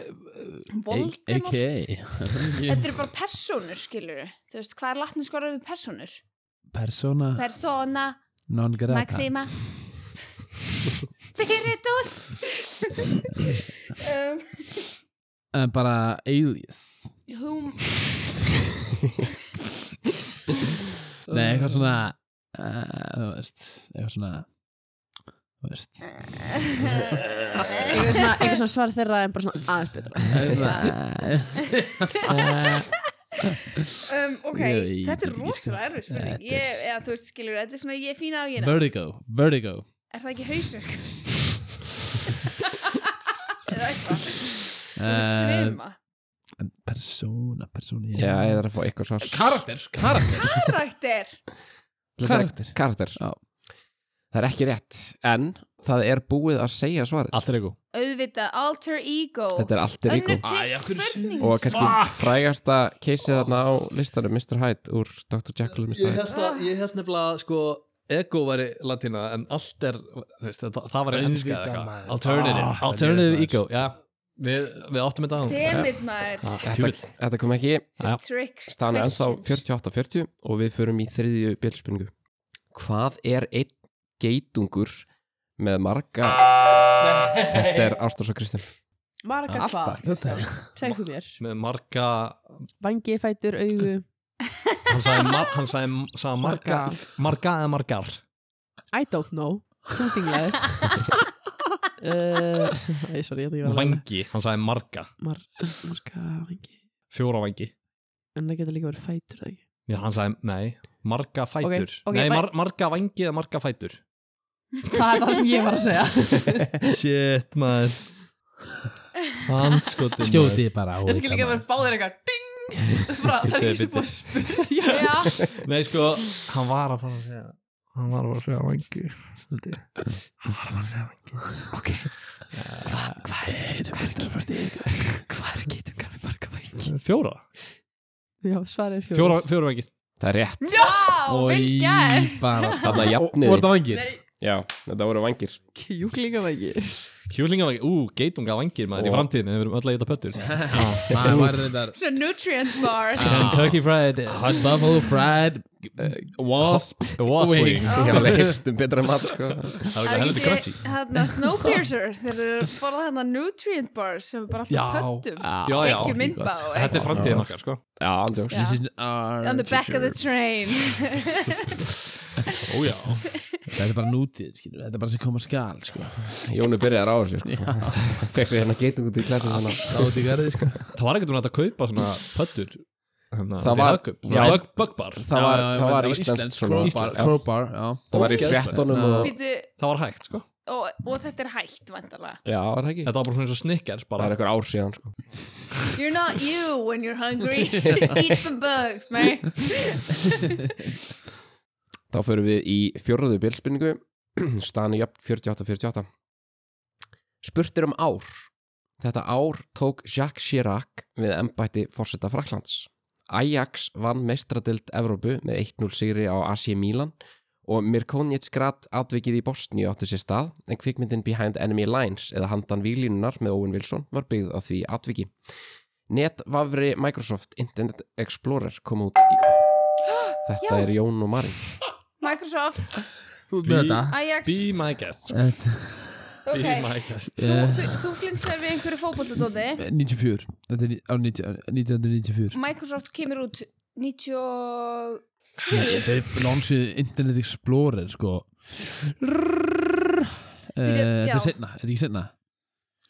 B: Voldemort
F: AKA
B: Þetta eru bara persónur, skilur Þú veist, hvað er latnenska orðið persónur?
F: Persona
B: Persona,
F: non grata
B: Maxima Spiritus um,
F: Eh, bara alias
B: hum,
F: Nei, eitthvað svona uh, þú veist, eitthvað svona þú veist
B: eh,
E: Eitthvað svona, eitthvað svona svar þeirra en bara svona aðeins betra
B: um, Ok,
F: Ég-
B: þetta er
F: ég-
B: rosalega erfið spurning
F: Þetta er-
B: Ég, eða, Þú veist, skilur, þetta er svona Ég er fína á ég Er
F: Eh, Vertigo, vertigo
B: það ekki hausur? Eða eitthvað Þú veit
F: Eh,
B: svima
F: Persona, persona ég-
A: Já, ég þarf að fá eitthvað svar
F: Karakter, karakter
B: Karakter
A: Ég ætla að segja
F: Karakter.
A: Karakter
F: Já.
A: Það er ekki rétt, en það er búið að segja svarið
C: Alter ego
B: Auðvitað, alter ego
A: Þetta er allt er ríku
F: Æ, af
B: Önnur
F: hverju
B: trygg spurning
A: og kannski frægasta keisið þarna á listanum Mr. Hyde úr Dr. Jekyll og Mr. Hyde
C: held,
D: Ah.
C: að, ég held nefnilega sko ego væri latína en alter, veist, það, það var
F: Auðvitað, maður.
C: Alternative,
F: Ah,
C: alternative
F: þetta er
C: ego, já Við, við áttum þetta á
B: Demit maður
A: Ah, Þetta, þetta kom ekki
C: Já.
B: Sem tricks
A: staðan er ennþá
B: questions.
A: 48-40 og við förum í þriðju bjöldspurningu Hvað er einn geitungur með marga Þetta er Ástars og Kristján
D: Marga hvað?
F: Þetta er
D: Segðu mér.
C: Með marga
D: Vangi, fætur, augu.
C: Hann sagði, mar, hann sagði, sagði marga Marga eða margar
D: I don't know. Þungtingleður.
E: Eh,
D: Æ, uh, sorry, ég var að
C: Vangi, hann sagði marga
D: Mar marga vangi.
C: Fjóra vangi
D: En það geta líka verið fætur, eða ekki?
C: Já, hann sagði, nei, marga fætur
D: ok,
C: Nei,
D: bæ-
C: mar, marga vangi eða marga fætur
D: Það er það sem ég var að segja.
C: Shit, maður Hanskotin
F: skjótið bara á
D: Ég skil líka að vera báðir eitthvað ding! Bara, það er ekki sem búið að spyrja.
B: Já,
C: Nei, sko, hann var að fara að segja Hann var að fara að segja vangi held ég. Hann var að fara að segja vangi
D: Hvað er getur kannar marga vangi?
C: Eh, Fjóra?
D: Já, svarið er fjóður.
C: Fjóra, fjóra vangi
A: Það er rétt
B: já, vel gert
F: bara
A: Þarna
F: Og
A: jafniði
F: þetta vangir
A: Já, þetta voru vangir
D: Kjúklinga vangi.
C: Hjúlingavangir, ú, geitunga vangir maður í
A: Ó.
C: framtíðinu, við verum öll að geta pöttur
F: Það var reyndar
B: Svo nutrient bars
C: Kentucky Fried
F: Hot Buffalo Fried Wasp
C: Wasp Wing
F: Wings.
C: Það
A: Ég hef alveg heyrt um betra mat sko
C: er
B: Það
C: eitthvað
B: er
C: helviti
B: ekki
C: crunchy
B: sé hérna Snowpiercer þeir eru að borða hérna nutrient bars sem er bara
C: Já.
B: alltaf pöttum
C: Já, já,
F: oh
B: ekki myndbá
C: þetta er framtíðin okkar sko
A: Já, andjóks
B: Já.
F: This is our
B: on the back of the
F: future.
B: train
C: Ó já
F: Þetta er bara nútið, skilur Þetta er bara sem koma skal, sko
A: Jónu byrjaði að ráða sér sko Fekk sér hérna geitungur til klæðum þannig
F: Gáði í garði, sko
C: Það var ekkert um að kaupa svona pöttur Þannig
A: Það
C: að
A: var-
C: þetta
A: já.
C: er bugbar
A: Það var, það var íslenskt
F: sko.
A: svona
F: Íslands,
A: Já,
F: crowbar, já
A: Það var í
C: Ógeðslegt.
A: fréttunum og
B: Býtu,
C: Það var hægt sko
B: og, og þetta er hægt vandalega
A: Já, var það ekki
C: Þetta var bara svona eins og snikkers
A: Það
C: bara
A: er einhver ár síðan sko
B: You're not you when you're hungry Eat some bugs, man
A: Þá förum við í fjórðu bjöldspurningu Stani jöfn 48-48 Spurt er um ár Þetta ár tók Jacques Chirac við embætti fórseta Fraklands Ajax vann meistradelt Evrópu með 1-0 sigri á AC Milan og Mirkonjits grad atvikið í Bosníu átti sér stað en kvikmyndin Behind Enemy Lines eða Handan Vílínunar með Owen Wilson var byggð á því atviki. Netvafri Microsoft Internet Explorer kom út í... Þetta
B: Já.
A: er Jón og Marín.
B: Microsoft,
F: Þú
C: Bí-
F: með þetta
B: Ajax
C: Be my guest sko.
F: Þetta-
B: Ok,
C: Be my guest
B: þú, þú, þú flintar við einhverju fótbolladóti
F: 94 Þetta er á 90 á 1994
B: Microsoft kemur út 90 og-
F: Nei, Þeir lansið Internet Explorer, sko Rrrr. Eh,
B: Bíddu,
F: Þetta
B: já.
F: er setna, þetta er ekki setna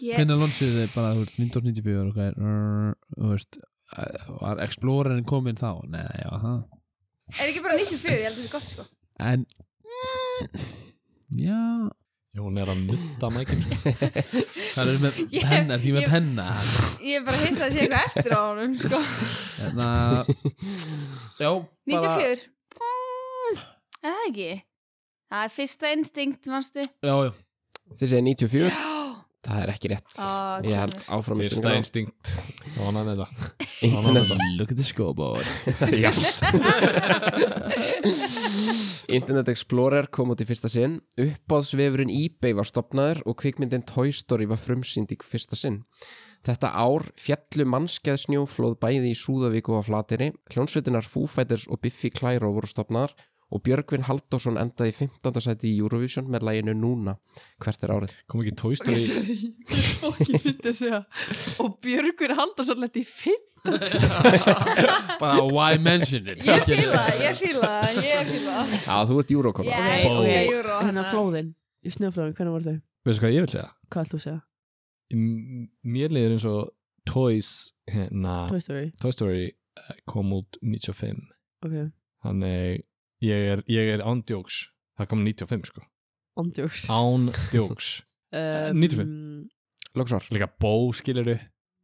B: Ég-
F: Hvernig lansið þið bara, þú veist, Windows 94 og hvað er, rrrr, þú veist, eh, var Explorerin komin þá? Nei, já, það.
B: Er ekki bara 94, ég held þessi gott sko
F: En, já,
C: Jón er að nutta mækinn sko.
F: það er með
B: Ég-
F: penna, er því með
B: ég-
F: penna?
B: Ég er bara að hissa að sé eitthvað eftir á honum sko
F: En að, Hérna- já,
B: 94 mm, Er það ekki? Það er fyrsta instinkt, manstu?
F: Já, já,
A: Þið segir 94,
B: Já
A: það er ekki rétt.
B: Ah,
A: ég
B: komið.
A: held áfram með
C: Fyrsta
A: spurninguna.
C: instinkt Það var næmið það
A: Internet,
F: look at the scoreboard.
A: Internet Explorer kom út í fyrsta sinn, uppáðsvefurinn eBay var stopnaður og kvikmyndin Toy Story var frumsýnd í fyrsta sinn. Þetta ár fjallu mannskeð snjóflóð bæði í Súðavík og á Flateri, hljónsveitinar Foo Fighters og Biffy Clyro voru stopnaðar og Björgvin Halldórsson endaði í 15. sæti í Eurovision með læginu Núna hvert er árið.
C: Kom ekki Toy
D: Ok,
C: Story
D: sorry. Ég er fokkið fyrir að segja. Og Björgur Haldarsson lett í fimm.
F: Bara why mention it?
B: Ég fíla, það, ég fíla, það, ég fíla það.
A: Já, þú ert Eurokona.
B: Ég
D: Nei,
B: elska
D: ok.
B: júró
D: Þannig að flóðin, í snöflóðin, hvernig voru þau?
C: Veistu hvað ég vil segja?
D: Hvað ætlum þú að segja?
C: M- Mér liður eins og Toys hérna,
D: Toy Story,
C: Toy Story eh, kom út 95
D: ok,
C: Þannig ég er, ég er án djóks Það kom 95 sko
D: ondjóks
C: Án djóks 95.
A: Lóksvar.
C: Líka bó skiliru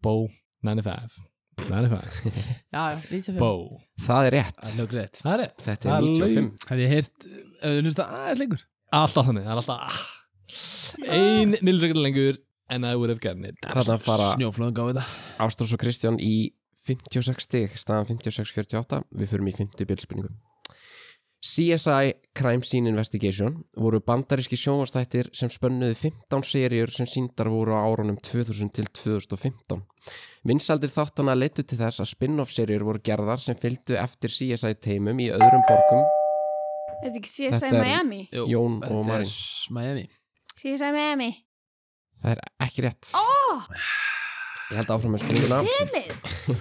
C: Bó 95 95
D: Já, já, 95
C: Bó
A: Það er rétt.
F: Það er greitt.
C: Það er rétt
A: Þetta er
C: Halló.
A: 95.
F: Hef ég heyrt, ef þú nýrst að aðeins lengur?
C: Alltaf þannig Það er alltaf ah, Ein millisekund lengur And I would have gotten it
A: Þarna fara
F: Snjóflóðan gáði þetta.
A: Ástrós og Kristján í 56 stig, staðan 56-48, við förum í 50 bjöldspurningu. CSI Crime Scene Investigation voru bandaríski sjónvastættir sem spönnuðu 15 seríur sem síndar voru á árunum 2000 til 2015. Vinsaldir þáttana leittu til þess að spin-off seríur voru gerðar sem fylgdu eftir CSI teimum í öðrum borgum
B: Þetta er ekki CSI
A: Þetta er-
B: Miami
A: Jón og
F: Þetta er
A: Marín.
F: Miami
B: CSI Miami
A: Það er ekki rétt.
B: Ó,
A: Ég held áfram með spurninguna.
B: Emil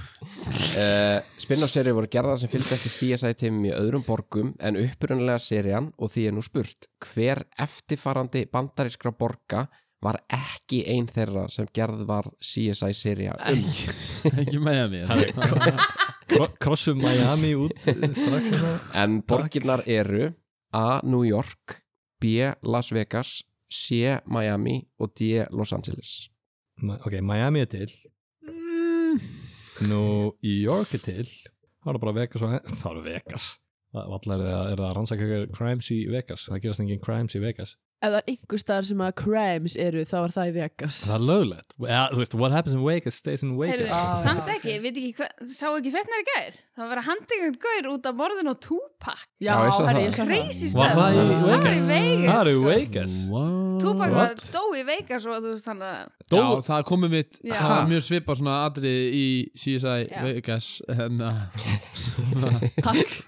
A: Uh, Spin-off serið voru gerðar sem fylgdi eftir CSI teimum í öðrum borgum en upprunnilega serían og því er nú spurt hver eftirfarandi bandarískra borga var ekki ein þeirra sem gerð var CSI seria um
F: Ekki Miami
C: Krossum Miami út eh, strax hérna.
A: en borginnar eru A. New York B. Las Vegas C. Miami og D. Los Angeles
C: Ok, Miami er til
E: Mm.
C: Nú, New York er til Það er bara Vegas og Það eru Vegas Vallar er það, er það að rannsaka ykkur crimes í Vegas Það gerast engin crimes í Vegas
E: ef það er einhver staðar sem að crimes eru þá er það í Vegas
C: Það er löglegt ja, Þú veist, what happens in Vegas stays in
B: Heyrðu,
C: Vegas
B: Samt ekki, veit ekki hvað Sá ekki frettnari gær Það var að vera handtekjönd gaur út af morðin og túpak
E: já,
A: Já, ég sá
E: herri,
A: það.
E: ég sá það
B: Crazy stöð
C: Var það
B: var í Vegas
C: í Vegas? Það eru
B: sko.
C: Vegas
F: What?
B: Tupac var
C: What?
B: dó í Vegas og þú veist þannig að
C: Dó,
F: Já, það komið mitt,
B: Já.
F: það var mjög svipað svona atri í CSI
B: Já.
F: Vegas en uh, að
E: takk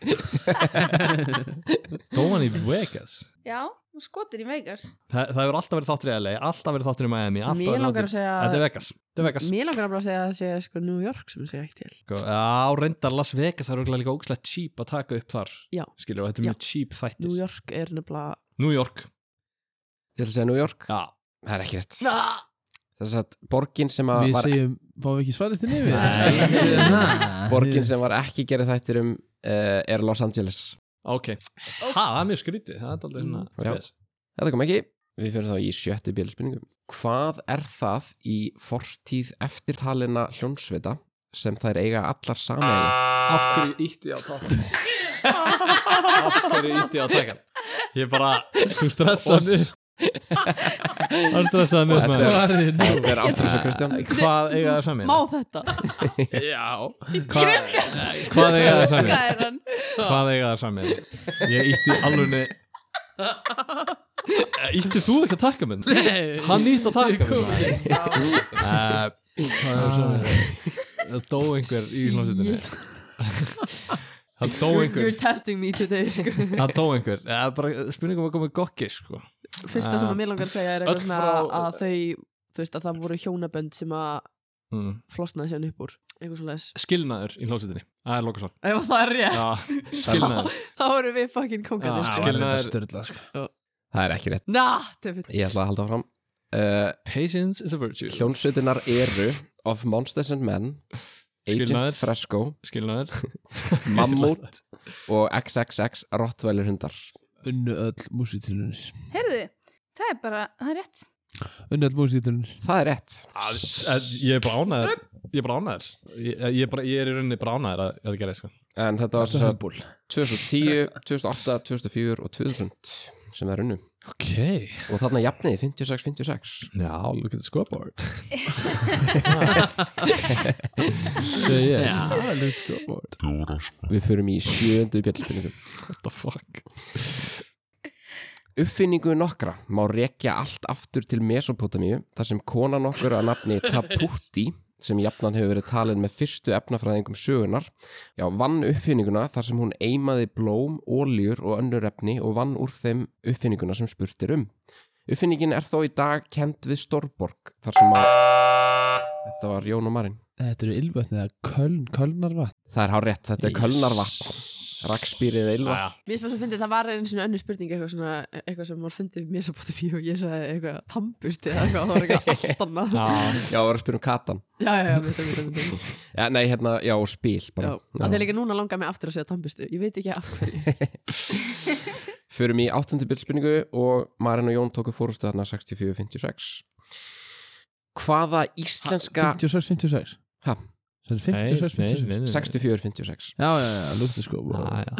C: dó hann í Vegas
B: Já, hún skotir í Vegas
C: Þa, Það hefur alltaf verið þáttur í LA Alltaf verið þáttur í Miami alltaf
E: Mér
C: verið
E: langar
C: þáttur-
E: að segja-
C: Þetta er Vegas Þetta er Vegas
E: mér langar nefnilega að segja að það sé sko New York sem sé ekki til
C: Sko, Já, reyndar Las Vegas Það er örugglega líka ógæslega cheap að taka upp þar
E: Já.
C: Skilur, og þetta er
E: Já.
C: mjög cheap þættir
E: New York er nefnilega
C: New York
A: Ég ætla að segja New York
C: Já
A: Það er ekki rétt
E: Ah!
A: Þess að borgin sem að
F: við
A: var
F: segjum, fáum við ekki svarið til nefið
C: Hérna.
A: borgin sem var ekki gerð þættir um uh, er Los Angeles
C: Ok, ha, það er mjög skrítið Það er aldrei svona
A: Já.
C: spes.
A: Þetta kom ekki. Við fyrir þá í sjöttu bílspurningum. Hvað er það í fortíð eftirtalina hljónsvita sem þær eiga allar sameigilegt?
C: Af hverju ítti ég á takkan? Af hverju ítti ég á takkan? Ég bara, þú stressaði mig Það stressaði
A: Þetta
C: mig svona.
A: er-
F: Svarið
A: Þetta er Ástrís og Kristján.
C: Hvað eiga það samin?
E: má þetta
C: Já Hva, Hvað eiga það samin?
B: Hvað er hann?
C: Hvað eiga það samin? Ég ítti alveg Ítti Eh, þú ekki að takka minn? Hann ítti að takka minn Eh, Það dó einhver í hljómsveitinni Það dó
E: you're,
C: einhver
E: you're testing me today sko.
C: Það dó einhver, það er bara spurningum að koma í gokki sko.
E: fyrsta sem að mér langar að segja er
C: Öll
E: eitthvað svona
C: frá-
E: að þau þú veist að það voru hjónabönd sem að
C: mm.
E: flosnaði sérn upp úr eitthvað svona þess
C: Skilnaður í hljómsveitinni, það er lokasvar
E: ef það er rétt
C: Já, skilnaður
E: þá voru við fucking kongarnir
C: Já.
E: sko.
C: Skilnaður-
F: störla sko.
A: Það er ekki rétt.
E: na, David
A: Ég ætla að halda áfram. Uh,
C: Patience is a virtue
A: hljónsvitinar eru Of Monsters and Men, Agent
C: Skilnaður.
A: Fresco,
C: Skilnaður
A: Mammut og XXX Rottweiler hundar.
F: unnu öll músitilunir
B: Heyrðu, það er bara, það er rétt
F: unnu öll músitilunir
A: Það er rétt.
C: Að- að- eh, Ég er bara ánæður Ég er bara ánæður ég, eh, ég, er bara- ég er í rauninni bara ánæður að, að það gerði sko.
A: En þetta var svo 2010, 2008, 2004 og 2000 sem það er unnu.
C: Ok
A: Og þarna jafniði 56-56.
C: Já, look at the scoreboard Segir ég Já, look at the scoreboard
A: Við förum í sjöndu bjöldspilningu.
C: What the fuck
A: Uppfinningu nokkra má rekja allt aftur til Mesopotamíu þar sem kona nokkur að nafni Taputi sem jafnan hefur verið talin með fyrstu efnafræðingum sögunar já, vann uppfinninguna þar sem hún eimaði blóm, óljur og önnur efni og vann úr þeim uppfinninguna sem spurt er um. Uppfinningin er þó í dag kend við Storborg þar sem að Þetta var Jón og Marinn.
F: þetta eru ylvatn eða köln, kölnarvatn
A: Það er hár rétt, þetta er yes. Kölnarvatn. Rakspýrið
C: Ah.
A: eilva.
E: Mér finnst svo að fyndi, það var einu svona önnur spurning eitthvað svona, eitthvað sem var fundið mér svo bótið fyrir og ég sagði eitthvað tambust eða eitthvað, það var eitthvað allt annað Já,
A: Já, við erum að spyrja um Katan.
E: já, já, mitt, mitt, mitt, mitt
A: Ja, nei, hérna, já, og spil
E: Já,
A: bara.
E: að þeir líka núna langar mig aftur að segja tambustu Ég veit ekki af hverju
A: Förum í áttundu byrjspinningu og Marin og Jón tóku fórustu þarna 64-56. Hvaða íslenska...
F: 56, 56
A: Ha?
F: það er 56, 56
C: 56
A: 64-56.
F: já, já, já, lúktu sko
A: Ah.
C: Ah,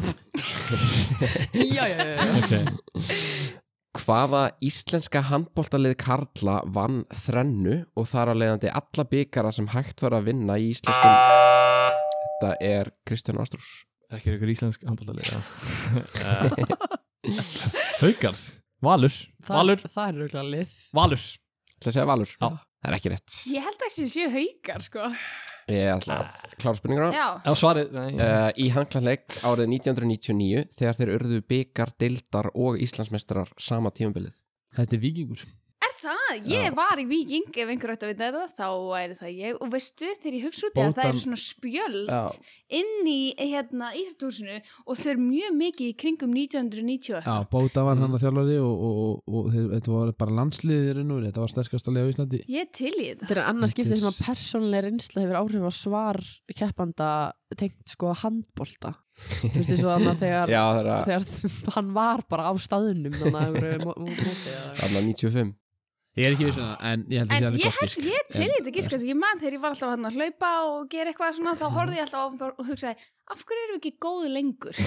E: Já, já, já, já.
A: Hvaða íslenska handbóltalið Karla vann þrennu og þar að leiðandi alla byggara sem hægt var að vinna í íslenskum... Þetta er Kristján Ástrús.
C: Þekkir ykkur íslensk handbóltalið Haukar Valur Valur
D: Það er auðvitað lið
C: Valur
A: ætla að segja Valur
C: Já.
A: það er ekki rétt
B: Ég held að þessi séu haukar, sko.
A: ég ætla að klára spurninguna
B: Já,
C: Já, svarið nei,
A: uh, í hanglaðleik árið 1999 þegar þeir urðu byggar, dildar og Íslandsmestrar sama tímabilið
F: Þetta er vikingur
B: er það? Ég var í Viking, ef einhver ætti að vita þetta, þá væri það ég. Og veistu, þegar ég hugsa út í að það
F: Bóndan-
B: er svona spjöld
A: Já.
B: inn í hérna íhjartúsinu og þau eru mjög mikið í kringum 1990.
F: Já, Bóta var hann að þjálfari og, og, og, og þeir, þetta var bara landsliðir nú, þetta var sterkast að liða á Íslandi
B: Ég er til í þetta.
D: Þetta er annars
F: Þetta
D: skiptið
F: er-
D: sem að persónlega reynsla hefur áhrif á svar keppanda tengt sko handbolta Þú veist þessu að þegar,
A: já það er að
D: þegar hann var bara á staðnum þannig að það eru mótið
A: þarna 95
F: Ég er ekki viss um það, en ég held að sé
B: En
F: alveg
B: ég
F: gott
B: held,
F: fisk.
B: ég er til í þetta gískast, ég man þegar ég var alltaf hann að hlaupa og gera eitthvað svona, þá horfði ég alltaf á og hugsaði, af hverju erum við ekki góðu lengur?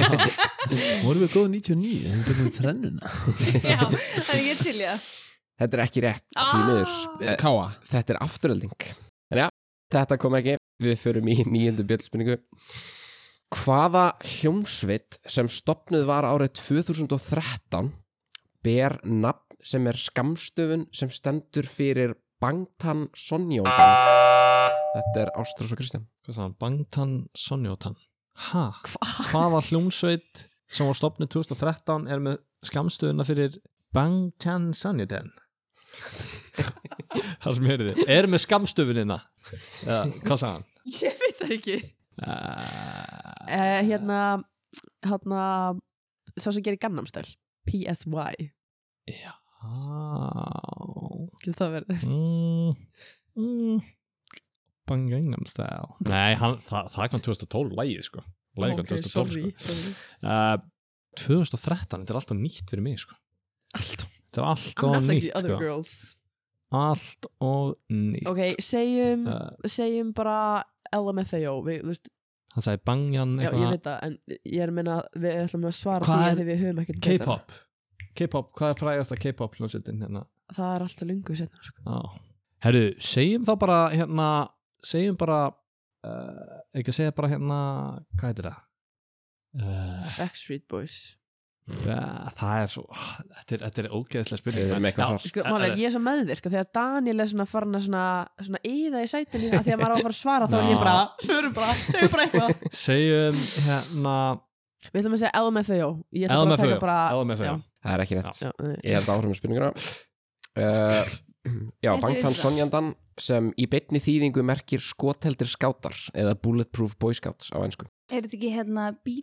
F: Vorum við góð 99, þegar við tökum þrennuna
B: Já, þannig ég er til í það.
A: þetta er ekki rétt því miður
F: Ah!
A: Eh,
F: Káa
A: þetta er afturölding en já, þetta kom ekki við förum í nýjöndu bjöldspurningu hvaða hljómsvit sem stopnuð var árið 2013 ber nafn sem er skamstöfun sem stendur fyrir Bangtan Sonjóngan þetta er Ástrós og Kristján
C: Hvað sagði hann? Bangtan Sonjótan Ha? Hva? Hvaða hljómsveit sem var stopnið 2013 er með skamstöðuna fyrir Bangtan Sonjótan Það sem heyrði Er með skamstöfunina Já, Hvað sagði hann?
D: Ég veit það ekki
C: Uh,
D: eh, Hérna, hérna sá sem gerir gannamstæl PSY
C: já
D: Getur það verið?
C: mm, mm, Bangangnam Style Nei, hann, það, það kom 2012 lægið sko Lægið kom
D: Ok,
C: 2012
D: sorry,
C: sko.
D: sorry.
C: uh, 2013, þetta er alltaf nýtt fyrir mig sko Alltaf Þetta er
D: I'm
C: alltaf
D: not like
C: nýtt
D: the other
C: sko
D: girls
C: Allt og nýtt
D: Ok, segjum,
C: Uh,
D: segjum bara LMFAO við, þú veist,
C: Hann sagði Bangan
D: Já, ég
C: eitthvað
D: veit það, en ég er að minna við ætlum að svara
C: Hvað
D: því
C: er-
D: að við höfum ekkert betra.
C: K-pop K-pop, hvað er frægast að K-pop hljómsveitin hérna?
D: Það er alltaf lungu setna sko.
C: Já. Herru, segjum þá bara hérna, segjum bara uh, ekki að segja bara hérna hvað heitir það? Uh,
D: Backstreet Boys
C: Ja, það er svo, ah, þetta er, þetta er
A: Við
C: ógeðslega spurning
A: erum
C: en-
A: eitthvað
C: já,
A: svar.
D: Sko,
C: eh,
D: málega,
C: eh,
D: ég er svo meðvirk að þegar Daniel er svona farin að svona, svona íða í sætinu að því að maður á að fara að svara þá er ég bara, svörum bara, segjum bara eitthvað
C: Segjum hérna
D: Við ætlum að segja LMFAO Ég ætla bara að taka bara
C: LMFAO
D: Ah, já.
A: það er ekki rétt
D: Já, eh,
A: ég held áhrif með spurninguna uh, Já,
B: Ertu
A: Bangtan
B: viss?
A: Sonjandan sem í beinni þýðingu merkir skoteldir skátar eða bulletproof boy scouts á ennsku
B: Er þetta ekki hérna B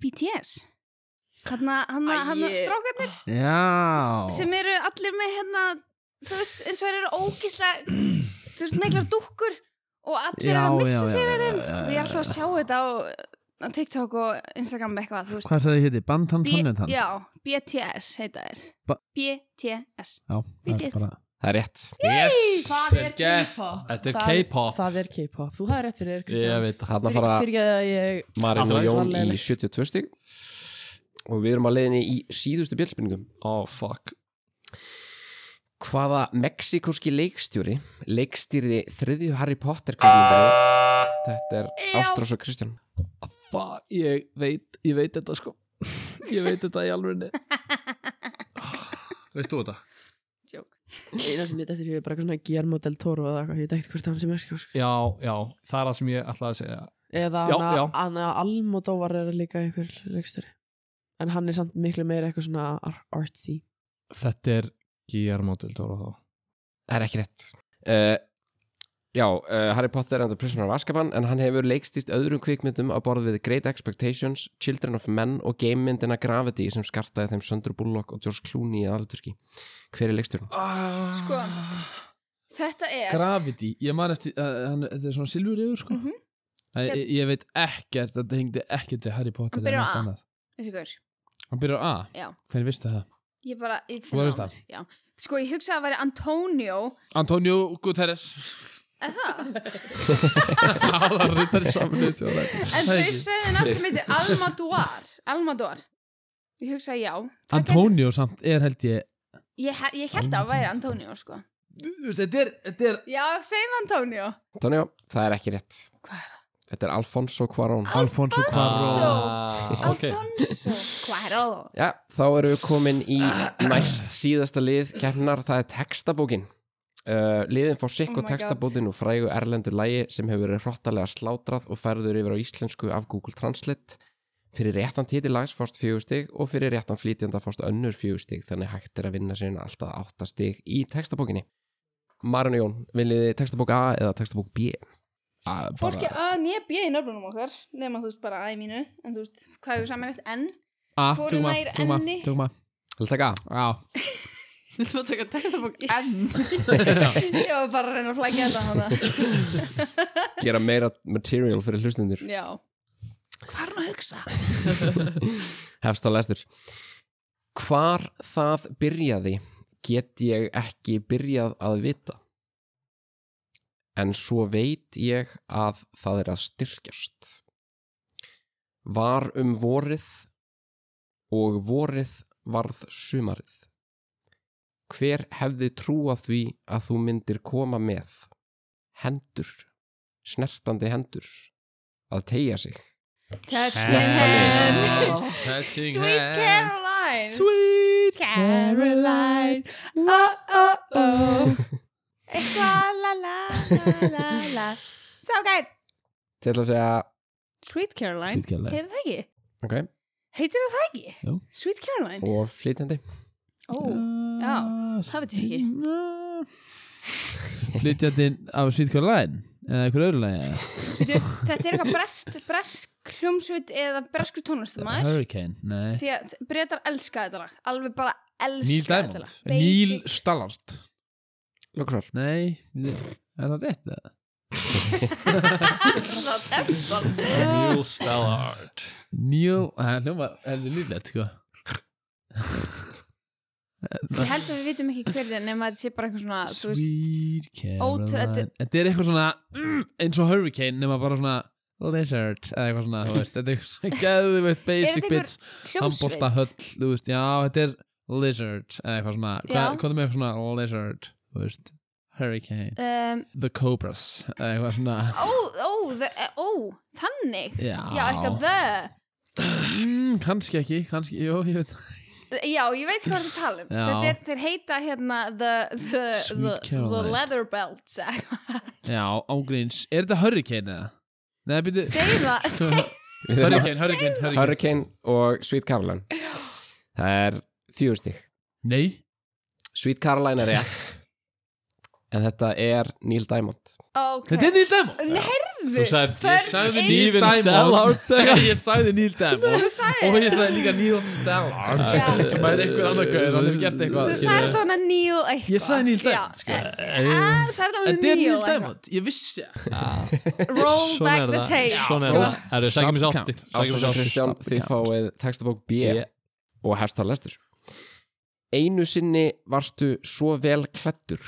B: BTS? Hanna, hanna,
D: Æ,
B: hanna
D: ég-
B: strákarnir
F: Já
B: sem eru allir með hérna, þú veist, eins og þeir eru ógíslega, þú veist, miklar dúkkur og allir eru að missa sig við þeim. Og ég er alltaf að sjá þetta á, á TikTok og Instagram eitthvað, þú veist.
F: Hvað sagði héti? Bantan
B: B-
F: Tonnetan?
B: Já, BTS heita þeir.
F: Ba-
B: BTS.
F: Já, það er
B: Bitches.
F: bara
A: Það er rétt
C: Yes,
D: Það er
C: yes.
D: K-pop
C: Þetta er
D: Það
C: K-pop
D: Það er K-pop, þú hafði rétt fyrir þér
C: Oh. Ég
D: Kristján.
C: veit það
A: Þarna
D: Fyrir
A: fara
D: fyrir að ég
A: Marín og
C: Allra
A: Jón í
D: klálega.
A: 72 stig og við erum að leiðinni í síðustu bjöldspurningum
C: Oh fuck
A: Hvaða mexikoski leikstjóri leikstýrði þriðju Harry Potter kvikmyndinni Þetta er
B: Já.
A: Ástrós og Kristján
C: Fuck, ég veit, ég veit þetta sko Ég veit þetta í alvörinni Veist þú þetta?
B: Joke.
D: eina sem ég dættir ég er bara eitthvað svona Guillermo del Toro eða eitthvað, ég dætti hvort hann sem er sko
C: Já, já, það er það sem ég ætlaði að segja
D: eða
C: Já,
D: hana-
C: já.
D: hana Almodóvar er líka einhver leiksturi en hann er samt miklu meira eitthvað svona ar- artsy
C: Þetta er Guillermo del Toro þá
A: Það er ekki rétt uh, Já, uh, Harry Potter and the Prisoner of Azkaban en hann hefur leikstýrt öðrum kvikmyndum á borð við Great Expectations, Children of Men og gamemyndina Gravity sem skartaði þeim Söndur Bullock og George Clooney í aðalutverki Hver er leikstjórn?
B: Sko,
A: Ah.
B: þetta er...
F: Gravity, ég man eftir uh, hann, Þetta er svona silfur yfir sko
B: Mhm.
F: Æ, ég, ég veit ekkert, þetta hengdi ekkert til Harry Potter
B: Hann byrjar
F: eða
B: á
F: neitt
B: A.
F: annað.
B: Þessi hver?
F: Hann byrjar á A?
B: Já.
F: Hver vistu það?
B: Ég bara, ég
F: Þú
B: finna
F: veist
B: á
F: það.
B: mér. Já. Sko, ég hugsaði að það væri Antonio.
F: Antonio Guterres
B: Er það?
F: Hálar rittar samlið þjóðar
B: En þau sögðu nafn sem heitir Almador Almador Ég hugsaði já Það
F: Antonio samt er held ég
B: gæti- Ég, he- ég held að það væri Antonio sko
F: Þetta er, þetta er
B: Já, segjum Antonio
A: Tónjó, það er ekki rétt
B: Hvað er það?
A: Þetta er Alfonso Cuarón
G: Alfonso Cuarón
C: Ah, ok.
B: Alfonso Cuaró
A: Já, þá erum við komin í næst síðasta lið keppnar, það er textabókin. Uh, liðin fá sikk
B: Oh
A: og
B: my
A: textabótin úr frægu erlendu lægi sem hefur verið hrottalega slátrað og færður yfir á íslensku af Google Translate. Fyrir réttan titilags fást fjögustig og fyrir réttan flýtjanda fást önnur fjögustig þannig hægt er að vinna sinna alltaf áttastig í textabókinni. Marun og Jón, viljið þið textabók A eða textabók B?
B: Fólki að nýja bjöði nöfnum okkar nema þú veist bara að í mínu en þú veist hvað hefur samanlegt en
F: Ah,
B: Hvoru
F: tökum
B: nær
F: að, tökum að,
B: enni?
F: tökum að
A: Held taka A.
F: Já,
D: Þetta var að taka textabók enn
B: ég var bara að reyna að flækja þetta hana
A: Gera meira material fyrir hlustundur.
B: já hvað er hann að hugsa?
A: Hefst á lestur Hvar það byrjaði get ég ekki byrjað að vita en svo veit ég að það er að styrkjast Var um vorið og vorið varð sumarið Hver hefði trúað því að þú myndir koma með hendur snertandi hendur að tegja sig
B: touching hands sweet Caroline
F: Sweet
B: Caroline Oh oh oh Eitthvað la la la la la So gæt
A: til að segja
B: Sweet Caroline
F: Sweet Caroline.
B: Heitir það ekki?
A: ok
B: Heitir það ekki?
F: Jú.
B: Sweet Caroline Oh.
A: og flytjandi
B: Ó, já, það veit ég ekki
F: Flytjandinn af Sweet Caroline eða einhver öðru lagi eða?
B: Veitu, Þetta er eitthvað brest, brest hljómsveit eða bresku tónlistamæður
F: Hurricane, nei
B: Því að breytar elska þetta lag Alveg bara elska
F: Neil
B: þetta
F: Diamond,
B: lag
F: Neil
B: Basic-
F: Stallard
A: Lóksvar
F: Nei, er það rétt eða?
B: Það er testan
G: Neil Stallard
F: Neil, það er hljóma, það er líflegt sko
B: Ég held að við vitum ekki hverðin nema þetta sé bara eitthvað svona þú veist,
F: Sweet
B: ótrú-
F: Caroline
B: þetta-
F: Þetta er eitthvað svona mm, eins og Hurricane nema bara svona Lizard eða eitthvað svona, þú veist Þetta er eitthvað svona geðvitt
B: Er
F: basic
B: þetta
F: bits handbólta
B: Hljómsveit
F: höll, þú veist, já, þetta er lizard, eða eitthvað svona hvað
B: Já.
F: hvað er með eitthvað svona lizard, þú veist hurricane,
B: um,
F: the cobras eða eitthvað svona,
B: ó, ó, the, ó, þannig
F: já
B: Já, eitthvað the
F: mm, kannski ekki, kannski, jú, ég veit
B: Já, ég veit hvað það tala um
F: Já.
B: Þetta er, þeir heita hérna the, the, the,
F: Sweet
B: the
F: Caroline.
B: leather belts eitthvað.
F: já, ángríns, er þetta hurricane eða? Nei, byrju,
B: Segjum það segjum-
F: hurricane, hurricane, hurricane
A: Hurricane og Sweet Caroline Það er fjögustig
F: nei,
A: Sweet Caroline er rétt En þetta er Neil Diamond
B: Ok
F: þetta er Neil Diamond
B: Nei,
G: Þú
B: heyrðu
G: sagði, ég
B: First
G: sagði
B: in-
G: Neil
F: Neil
G: Stallard
F: Diamond, ég sagði Neil Diamond
B: Þú sagði
F: og ég sagði líka Neil Stallard
B: Já.
F: sem er einhver annar gauð, hann hefur gert eitthvað
B: Þú sagði þá hann að Neil eitthvað
F: Ég sagði Neil Diamond, sko.
B: Já, eh, sagði þá hann
F: Þetta er
B: Neil
F: Neil
B: eitthvað
F: Diamond, ég vissi
B: Roll Ah.
G: Svona
B: back
G: er
B: the
G: það.
B: tape
G: Svona er
B: sko.
G: það Það eru sækjum þessi aftur Sækjum
A: Ástáðan
G: þessi
A: Kristján, þið fáið textabók B og herstar lestur Einu sinni varstu svo vel klettur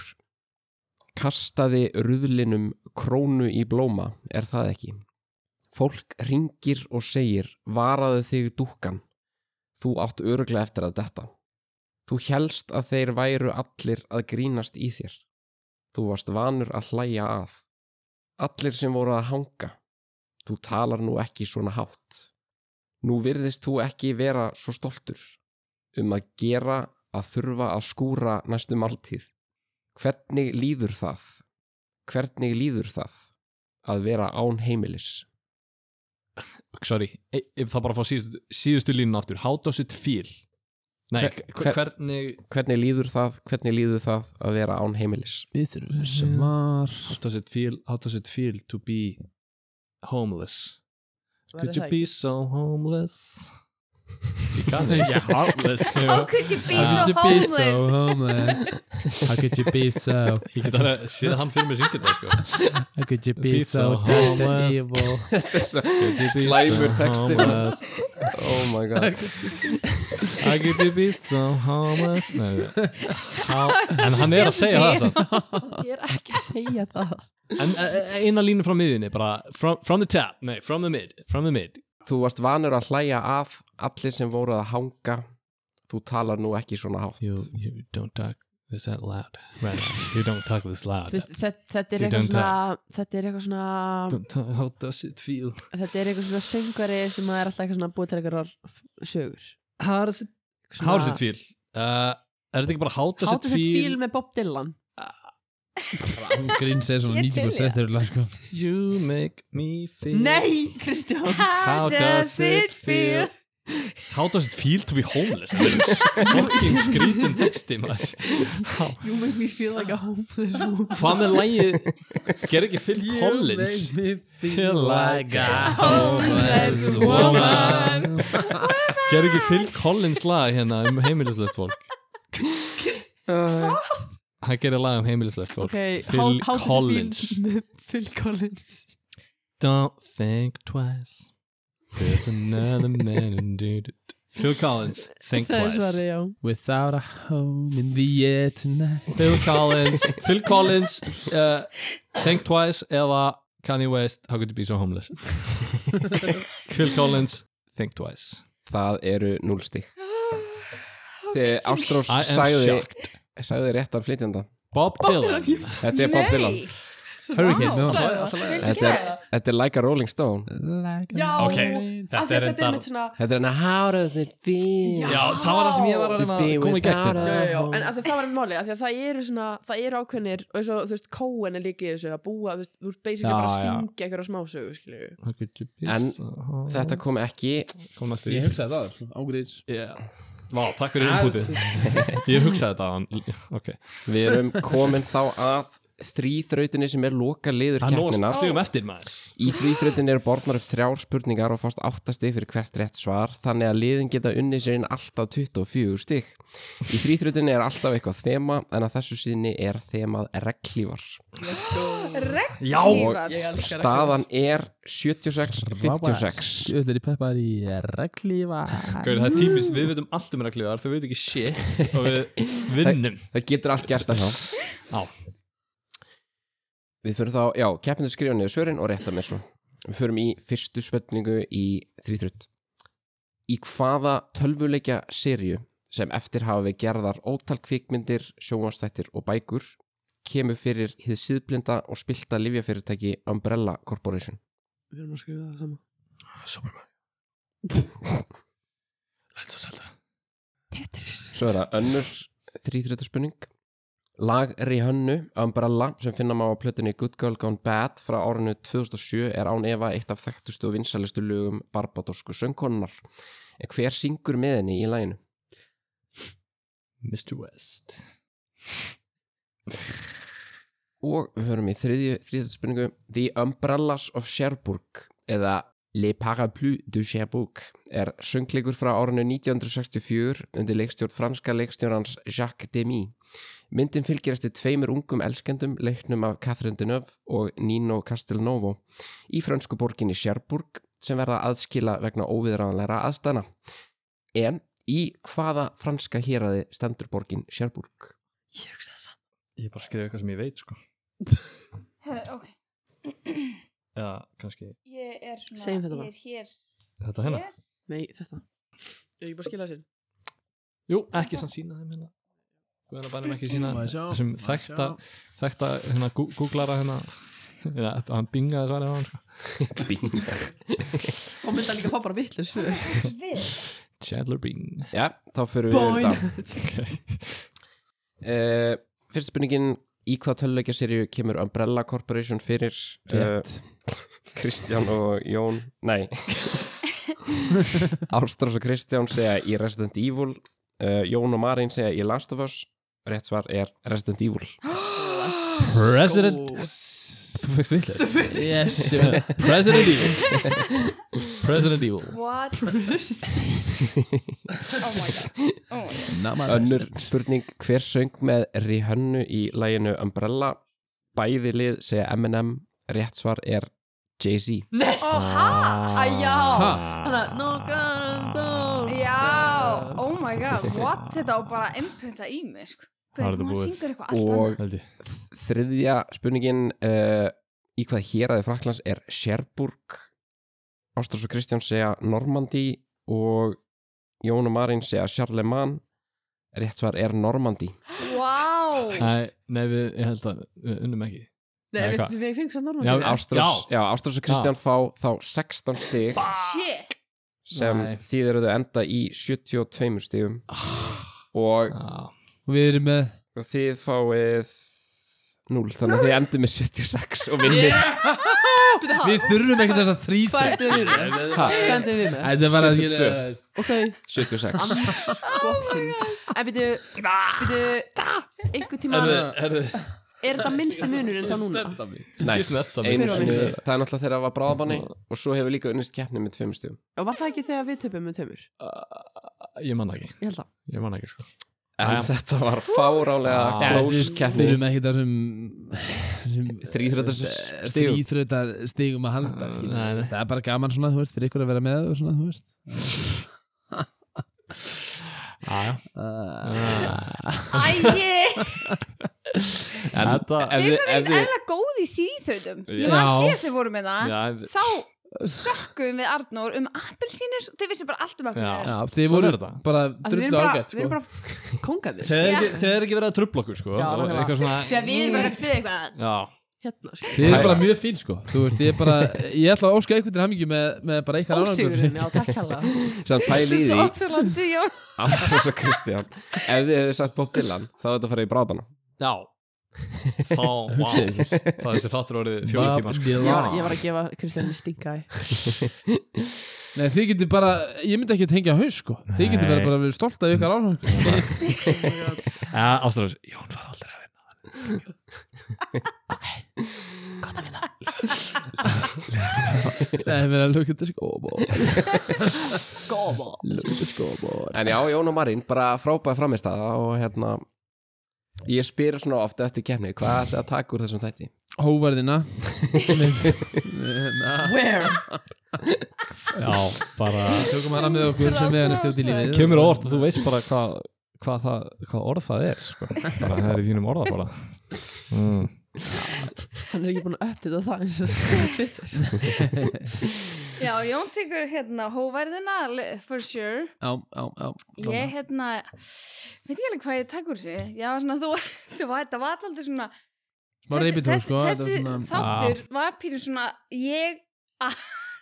A: Kastaði ruðlinum krónu í blóma, er það ekki? Fólk ringir og segir Varaðu þig dúkkan Þú átt öruglega eftir að detta Þú helst að þeir væru allir að grínast í þér Þú varst vanur að hlæja að Allir sem voru að hanga Þú talar nú ekki svona hátt. Nú virðist þú ekki vera svo stoltur um að gera að þurfa að skúra næstu máltíð. Hvernig líður það? Hvernig líður það að vera án heimilis?
G: aftur Sorry, e- ef það bara fá síðustu, síðustu línun aftur How does it feel? Nei,
A: Hver-
G: hver,
A: hver-
G: hvernig
A: Hvernig líður það? Hvernig líður það að vera án heimilis?
F: Við þurfum um svar
G: How does it feel, how does it feel to be homeless?
D: Var
G: Could you
D: það
G: be so homeless? Ég kann ekki
F: Já, harmless
B: How could you be
F: How
B: so
F: could you be so
B: homeless
F: homeless How could you be so
G: Ég get alveg að séð hann fyrir mig syngja þetta sko
F: How could you
G: Be
F: be
G: so
F: so dead and
G: homeless.
F: evil
A: Slæmur textinn.
G: homeless?
A: Oh my god.
G: How could you be so homeless? Nei, how, en hann er að segja það samt.
D: Ég er ekki að segja það
G: En eh, eina línu frá miðinni bara from, from the top, nei, from the mid From the mid
A: Þú varst vanur að hlæja af allir sem voru að hanga. Þú talar nú ekki svona hátt.
G: You, you don't talk Is that loud? Right. you don't talk this loud.
D: Þú veist, þetta, þetta er
G: You
D: eitthvað
G: don't
D: svona þetta er eitthvað svona
G: Don't talk- How does it feel?
D: þetta er eitthvað svona söngvari sem að er alltaf eitthvað svona búið til eitthvað sögur
G: How does it,
D: Svona-
G: how does it feel? Uh, er þetta ekki bara how does
D: How
G: it
D: does it feel
G: feel?
D: með Bob Dylan
F: Grinn segir svona
B: Ég til í
F: 90% eftir lag, sko.
G: You make me feel.
D: Nei, Kristján
G: How does it feel? How does it feel to be homeless? Þetta er fucking skrítin texti, maður.
D: You make me feel like a homeless woman
G: Hvað með lægið? Ger ekki Phil Collins?
F: Feel
G: like
F: a
B: homeless woman.
G: Ger ekki Phil Collins lag hérna um heimilislegt fólk? Hann gerir lag um heimilislegt fólk.
D: okay,
G: Phil
D: how, how does it feel
G: Collins.
D: með Phil Collins
G: Don't think twice. There's another man in dude. Phil Collins, think
D: Það er
G: twice.
D: svarið, já
F: Without a home in the air tonight
G: Phil Collins Phil Collins uh, Think Twice eða Kanye West How could you be so homeless Phil Collins Think Twice
A: Það eru núlstig Þegar Ástrós
G: I am
A: sagði,
G: shocked
A: sagði réttan flytjanda
G: Bob Dylan
A: Þetta er Bob Dylan
G: Hurricanes
F: Wow.
A: Þetta er, þetta er like a Rolling Stone
D: Já,
G: Ok, þetta
D: af því
G: er
D: að þetta
G: reyndar-
D: er mitt svona
A: Þetta er hann How does it feel
G: Já, það var það sem ég var að
A: to
G: reyna
A: be
G: að koma í gegn
A: without
G: hérna.
A: a
D: Já, já, já,
A: home
D: en af því að það var einmitt málið, af því að það eru svona, það eru ákveðnir og eins og, þú veist, kóen er líka í þessu að búa, þú veist, þú ert basically
G: Já,
D: bara að
G: já.
D: syngja einhverja smásögu, skilur við
G: How could you be
A: En
G: so homeless?
A: Þetta kom ekki
G: kom næstu
F: Ég
G: í
F: hugsaði það, svona, ángríns
G: Yeah. Vá, takk fyrir inputið Ég hugsaði þetta hann Ok
A: Við erum komin þá að þrýþrautinni sem er loka liður
G: Hann nóg
A: keppnina
G: stigum eftir maður
A: Í þrýþrautinni eru borðnar upp þrjár spurningar og fást áttasti fyrir hvert rétt svar þannig að liðin geta unni sér inn alltaf 24 stig Í þrýþrautinni er alltaf eitthvað þema en að þessu sinni er þemað reglívar
G: Já
A: og staðan er 76-56
F: Öll er í peppar í reglífa
G: Gauður, það er típist, við veitum allt um reglíðar Þau veit ekki shit og við vinnum
A: Það getur allt gerst að þá
G: Já
A: Við fyrir þá, já, keppindu skrifa niður svörin og rétta mér svo Við förum í fyrstu spurningu í þrýþrutt Í hvaða tölvuleikja serju sem eftir hafa við gerðar ótal kvikmyndir, sjónvastættir og bækur kemur fyrir hið síðblinda og spilta livjafyrirtæki Umbrella Corporation
D: Við erum að skrifa það saman
G: Superman Let's Zelda
A: Svo er það önnur þrýþrjóta spurning Lag Rihannu Umbrella sem finna má á plötunni Good Girl Gone Bad frá árinu 2007 er án efa eitt af þekktustu og vinsælustu lögum barbadosku söngkonunnar En hver syngur með henni í laginu?
G: Mr. West
A: Og við förum í þriðju þrýþrjóta spurningu The Umbrellas of Cherbourg eða Le Parapluie de Cherbourg er söngleikur frá árinu 1964 undir leikstjórn franska leikstjórnans Jacques Demy. Myndin fylgir eftir tveimur ungum elskendum leiknum af Catherine Deneuve og Nino Castelnovo í frönsku borginni Cherbourg sem verða aðskila vegna óviðræðanlegra aðstana. En í hvaða franska héraði stendur borgin Cherbourg?
D: Ég hugsa það saman
G: Ég er bara að skrifa eitthvað sem ég veit sko
B: Herra, ok.
G: Já, kannski
B: Ég er svona,
D: Segjum þetta bara.
B: ég er hér,
G: Þetta hérna?
B: hér.
D: Nei, þetta Ég ekki bara skila þessu
G: Jú, ekki sann sína þeim hérna Við erum bara ekki sína þessum þekkta þekkta hérna gú- googlara hérna Já, þetta- hann bingaði svarið á hann sko.
D: Þá myndi hann líka fá bara vitlu svör
B: Við.
G: Chandler Bing
A: Já, þá fyrir við
D: Boing.
A: yfir þetta. Uh, fyrst spurningin í hvað töluleikjaserju kemur Umbrella Corporation fyrir uh, Kristján og Jón nei Ástrós og Kristján segja í Resident Evil uh, Jón og Marín segja í Last of Us rétt svar er Resident Evil
G: President
D: Go.
G: yes. Þú fegst vitlega
F: Yes, ég veit
G: President Evil President Evil
B: What? oh my god. Oh my god.
F: Ah,
A: Önnur spurning, hver söng með Rihannu í læginu Umbrella bæði lið segja Eminem rétt svar er Jay-Z
B: Oh, ha? Æjá.
G: Ah.
D: Þannig að, no guns, no
B: Já. Oh my god. What? Þetta á bara að imprinta í mér, sko.
G: Þá er
B: Hvernig
G: þetta
B: hún
G: búið.
B: syngur eitthvað allt annað.
A: og þriðja spurningin uh, í hvað héraði Fraklands er Sherburg Ástrós og Kristján segja Normandi og Jón og Marín segja Charlemagne rétt svar er Normandi
B: Vá.
G: Nei, nei, við, ég held að við unnum ekki
D: Nei,
G: Nei,
D: við,
G: hvað?
D: við fengum samt normal
G: Já,
D: trivia.
A: Ástrós, já, Ástrós og Kristján fá þá 16 stig
B: Shit
A: sem
G: Nei.
A: þýðir að þau enda í 72 stigum og
G: Já,
F: Og við erum með
A: þið fáið 0, þannig að þið endið með 76 og vinnir
F: Við þurfum ekkert þess að
D: Hvað
F: þrýþrekt
D: endur við með? Hvað endur við með?
F: Þetta var að
A: 72.
D: Og þau
A: 76
D: gott hinn En byrju, byrju Einhver tíma
G: Herðu,
D: Er þetta minnsti munurinn þá núna?
A: Nei,
G: ég snert að
A: einu
D: Hver var
A: sinni,
D: minnsti?
A: það er náttúrulega þegar það var bráðabanni og svo hefur líka unnist keppni með 2 stigum
D: Og var það ekki þegar við töpum með tömur?
G: Ég manna ekki,
D: Ég held það
G: ég manna ekki sko
A: en
G: Jæja.
A: þetta var fárálega
G: Já.
A: close
F: Við
A: keppni
F: þurfum ekkert þessum
A: Þríþrautar stigum. Ah,
F: Þrýþröndar stigum að halda skilur.
G: Nei, nei.
F: Það er bara gaman svona, þú veist, fyrir ykkur að vera með og svona, þú veist
B: Æi,
A: en
G: Þetta
A: ef
B: þið er
A: þið-
B: svona
A: ef
B: einn
A: þið-
B: eðla góð í síþröndum
G: Já.
B: Ég var síðast þið vorum með það
G: Já, við-
B: Þá sökkum við Arnór um appelsínur Þið vissum bara allt um appelsínur
F: Já, þið
G: Svona
F: voru
G: er þetta.
F: bara
D: Af því Við erum
F: drullu
D: bara,
F: ágætt
D: við
F: sko.
D: erum bara kongaðir
G: Þeir eru ekki verið að trubla okkur sko
D: Já,
G: og
D: nákvæmlega.
G: eitthvað
D: Því
G: svona
D: að við erum bara tvið eitthvað
G: Já,
D: Hérna, sko
F: Þið eru bara mjög fín sko Þú veist, ég er bara Ég ætla að óska ykkur til hamingju með, með bara ykkar
D: Ósigurinn, já, takk hella
A: samt pæli í
B: Svo
A: því
B: óþjólandi, já
A: Ástrós og Kristján ef þið hefðu sagt Bob Dylan þá hefðu þetta farið í bráðabanna
G: já Þá, vá Það er þessi þáttur orðið fjóri tímar sko.
D: Ég
F: Já.
D: var, ég var að gefa Kristján stinga
F: Nei, þið getur bara Ég myndi ekki tengja haus sko Þið getur bara, bara verið stolt af ykkar ánum
G: Já, Ástrós, Jón var aldrei að vinna
F: Nei, við erum að sko. lukka til skóbor
D: Skobo
F: Lukka til skóbor
A: En já, Jón og Marín, bara frábæð framist aða og hérna ég spyr svona ofta eftir kemni hvað ætlaði að taka úr þessum þætti?
F: Hóvarðina
D: Where?
G: Já, bara
F: Tökum hana með okkur sem við erum stjótt í lífið
G: Kemur á orð að þú veist bara hvað hva hvað orð það er sko. bara, það er í þínum orða bara mm.
D: Hann er ekki búin að uppdita það eins og Twitter
B: Já, Jón tekur hérna hóverðina le- for sure
F: Já, já, já
B: Ég hérna, veit ég alveg hvað ég takk úr þessu Já, svona þú, þú var, þetta var alltaf svona
F: Smá reybitur
B: þessi,
F: sko þetta
B: þessi
F: var svona-
B: þáttur var pínu svona ég a-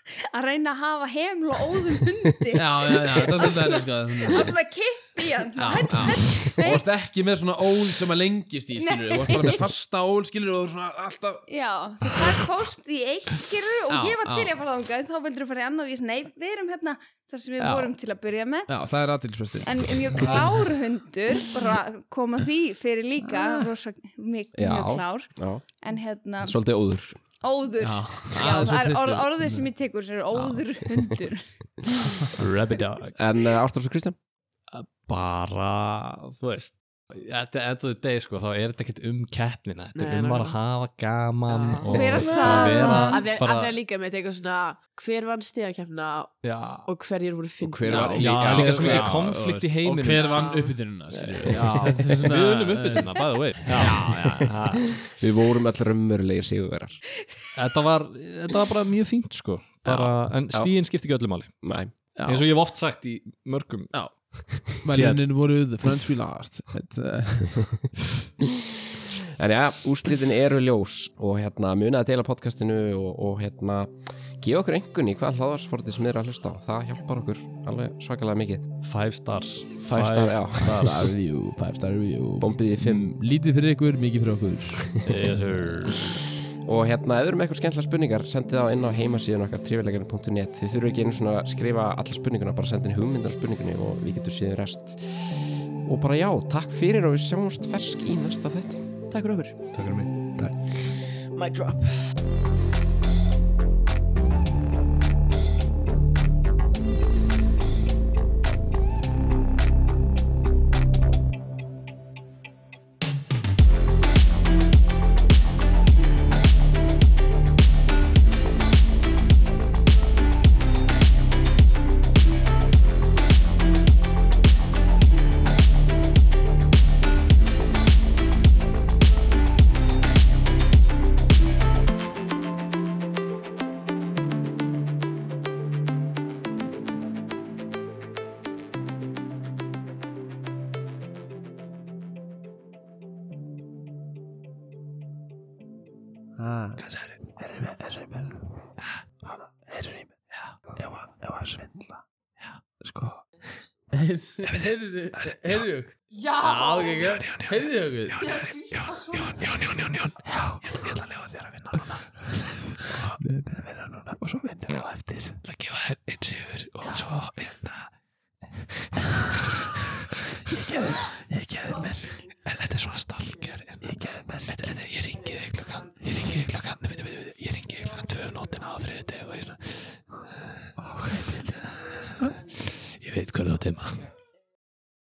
B: að reyna að hafa heiml og óðum hundi
F: Já, já, já, þetta er svolítið erfið, sko, þetta er
B: og
F: svona
B: svona kipp í hann
F: Já,
B: Hætt,
F: já.
B: hætt,
F: Þú
B: nei,
F: varst ekki með svona ól sem að lengist í skilur Þú varst bara með fasta ól skilur og svona alltaf
B: já, svo það fórst í eitt skilur og
F: Já,
B: ég var til
F: já.
B: í að fara þangað þá vildur þú fara í annan og ég snei, við erum hérna það sem við
F: Já.
B: vorum til að byrja með
F: Já, það er aðtilsbesti
B: en mjög klár hundur bara koma því fyrir líka rosa, mjög,
A: Já.
B: mjög klár
A: Já.
B: en hérna,
A: Svolítið óður.
B: óður já, það
F: aðeins og
B: er orð,
F: trilltur.
B: orðið sem ég tekur sem er óður hundur
G: Rabidog
A: En uh, Ástrós og Kristján?
G: bara, þú veist Þetta er endaðu deg sko, þá er þetta ekkert um keppnina Þetta
D: Nei,
G: er um bara að
D: nákvæmlega.
G: hafa gaman
D: Já.
G: og
B: Vera
G: þú veist,
B: saman.
G: að
D: Að
G: vera
D: þeir að
G: bara,
D: þeir líka með eitthvað svona Hver vann stegakefna
G: já,
D: og hverjir voru
A: Og hver
D: fyndna
A: var-
G: já,
A: Já,
G: líka svo
A: já,
G: mikið konflikt í heiminum
F: Og hver vann
D: sko.
F: uppbytununa
G: Já, við unum uppbytunna, by the way já, já, já.
A: Við vorum öll raunverulegir sigurverar.
G: Þetta, var, þetta var bara mjög fínt sko bara, En stíðin skipti ekki öllu máli
A: Nei.
G: Eins og ég hef oft sagt í mörgum já.
F: Mælunin voru the friends we last Þetta, eh,
A: En já, úrslitin eru ljós og hérna munið að deila podcastinu og, og hérna gefa okkur engun í hvaða hláðarsforti sem þið eru að hlusta á. Það hjálpar okkur alveg svakalega mikið.
G: Five stars
A: Five star, já.
F: Five star review, five star review
A: Bóndið í fimm.
F: Lítið fyrir ykkur, mikið fyrir okkur
G: Yes, sir.
A: Og hérna, ef þið eru með eitthvað skemmtilega spurningar, sendið það inn á heimasíðun okkar trivialegarinn.net. Þið þurfum ekki einu svona að skrifa alla spurninguna, bara sendið hugmyndar á spurningunni og við getum síðan rest. Og bara já, takk fyrir og við sjáumst fersk í næsta þetti.
D: Takk fyrir okkur
G: Takk fyrir mig
D: Mic drop
H: Ah.
C: Hvað sagði þau? Erum við, erum við Erum við, já Ef að, ef að svindla Já, sko
F: Heyrðu, heyrðu
I: Já,
F: Já, ok, ok. Heyrðu okkur
I: ég er að fýsa svona
C: Jón, Jón, Jón, Jón Já, ég ætla að lifa þér að vinna núna Við erum að vinna núna Og svo vinnum við á eftir Það ætla að gefa þér einn sigur Og svo, hérna Ég geði, ég geði mér En þetta er svona stalker Ég geði mér Þetta, þetta, ég ringi þig klokkan Ég ringi þig klokkan, nei, veitum, veitum, veitum Ég ringi þig klokkan tvö um nótina á þriðu deg Og ég svona Ég veit hvað þú átt heima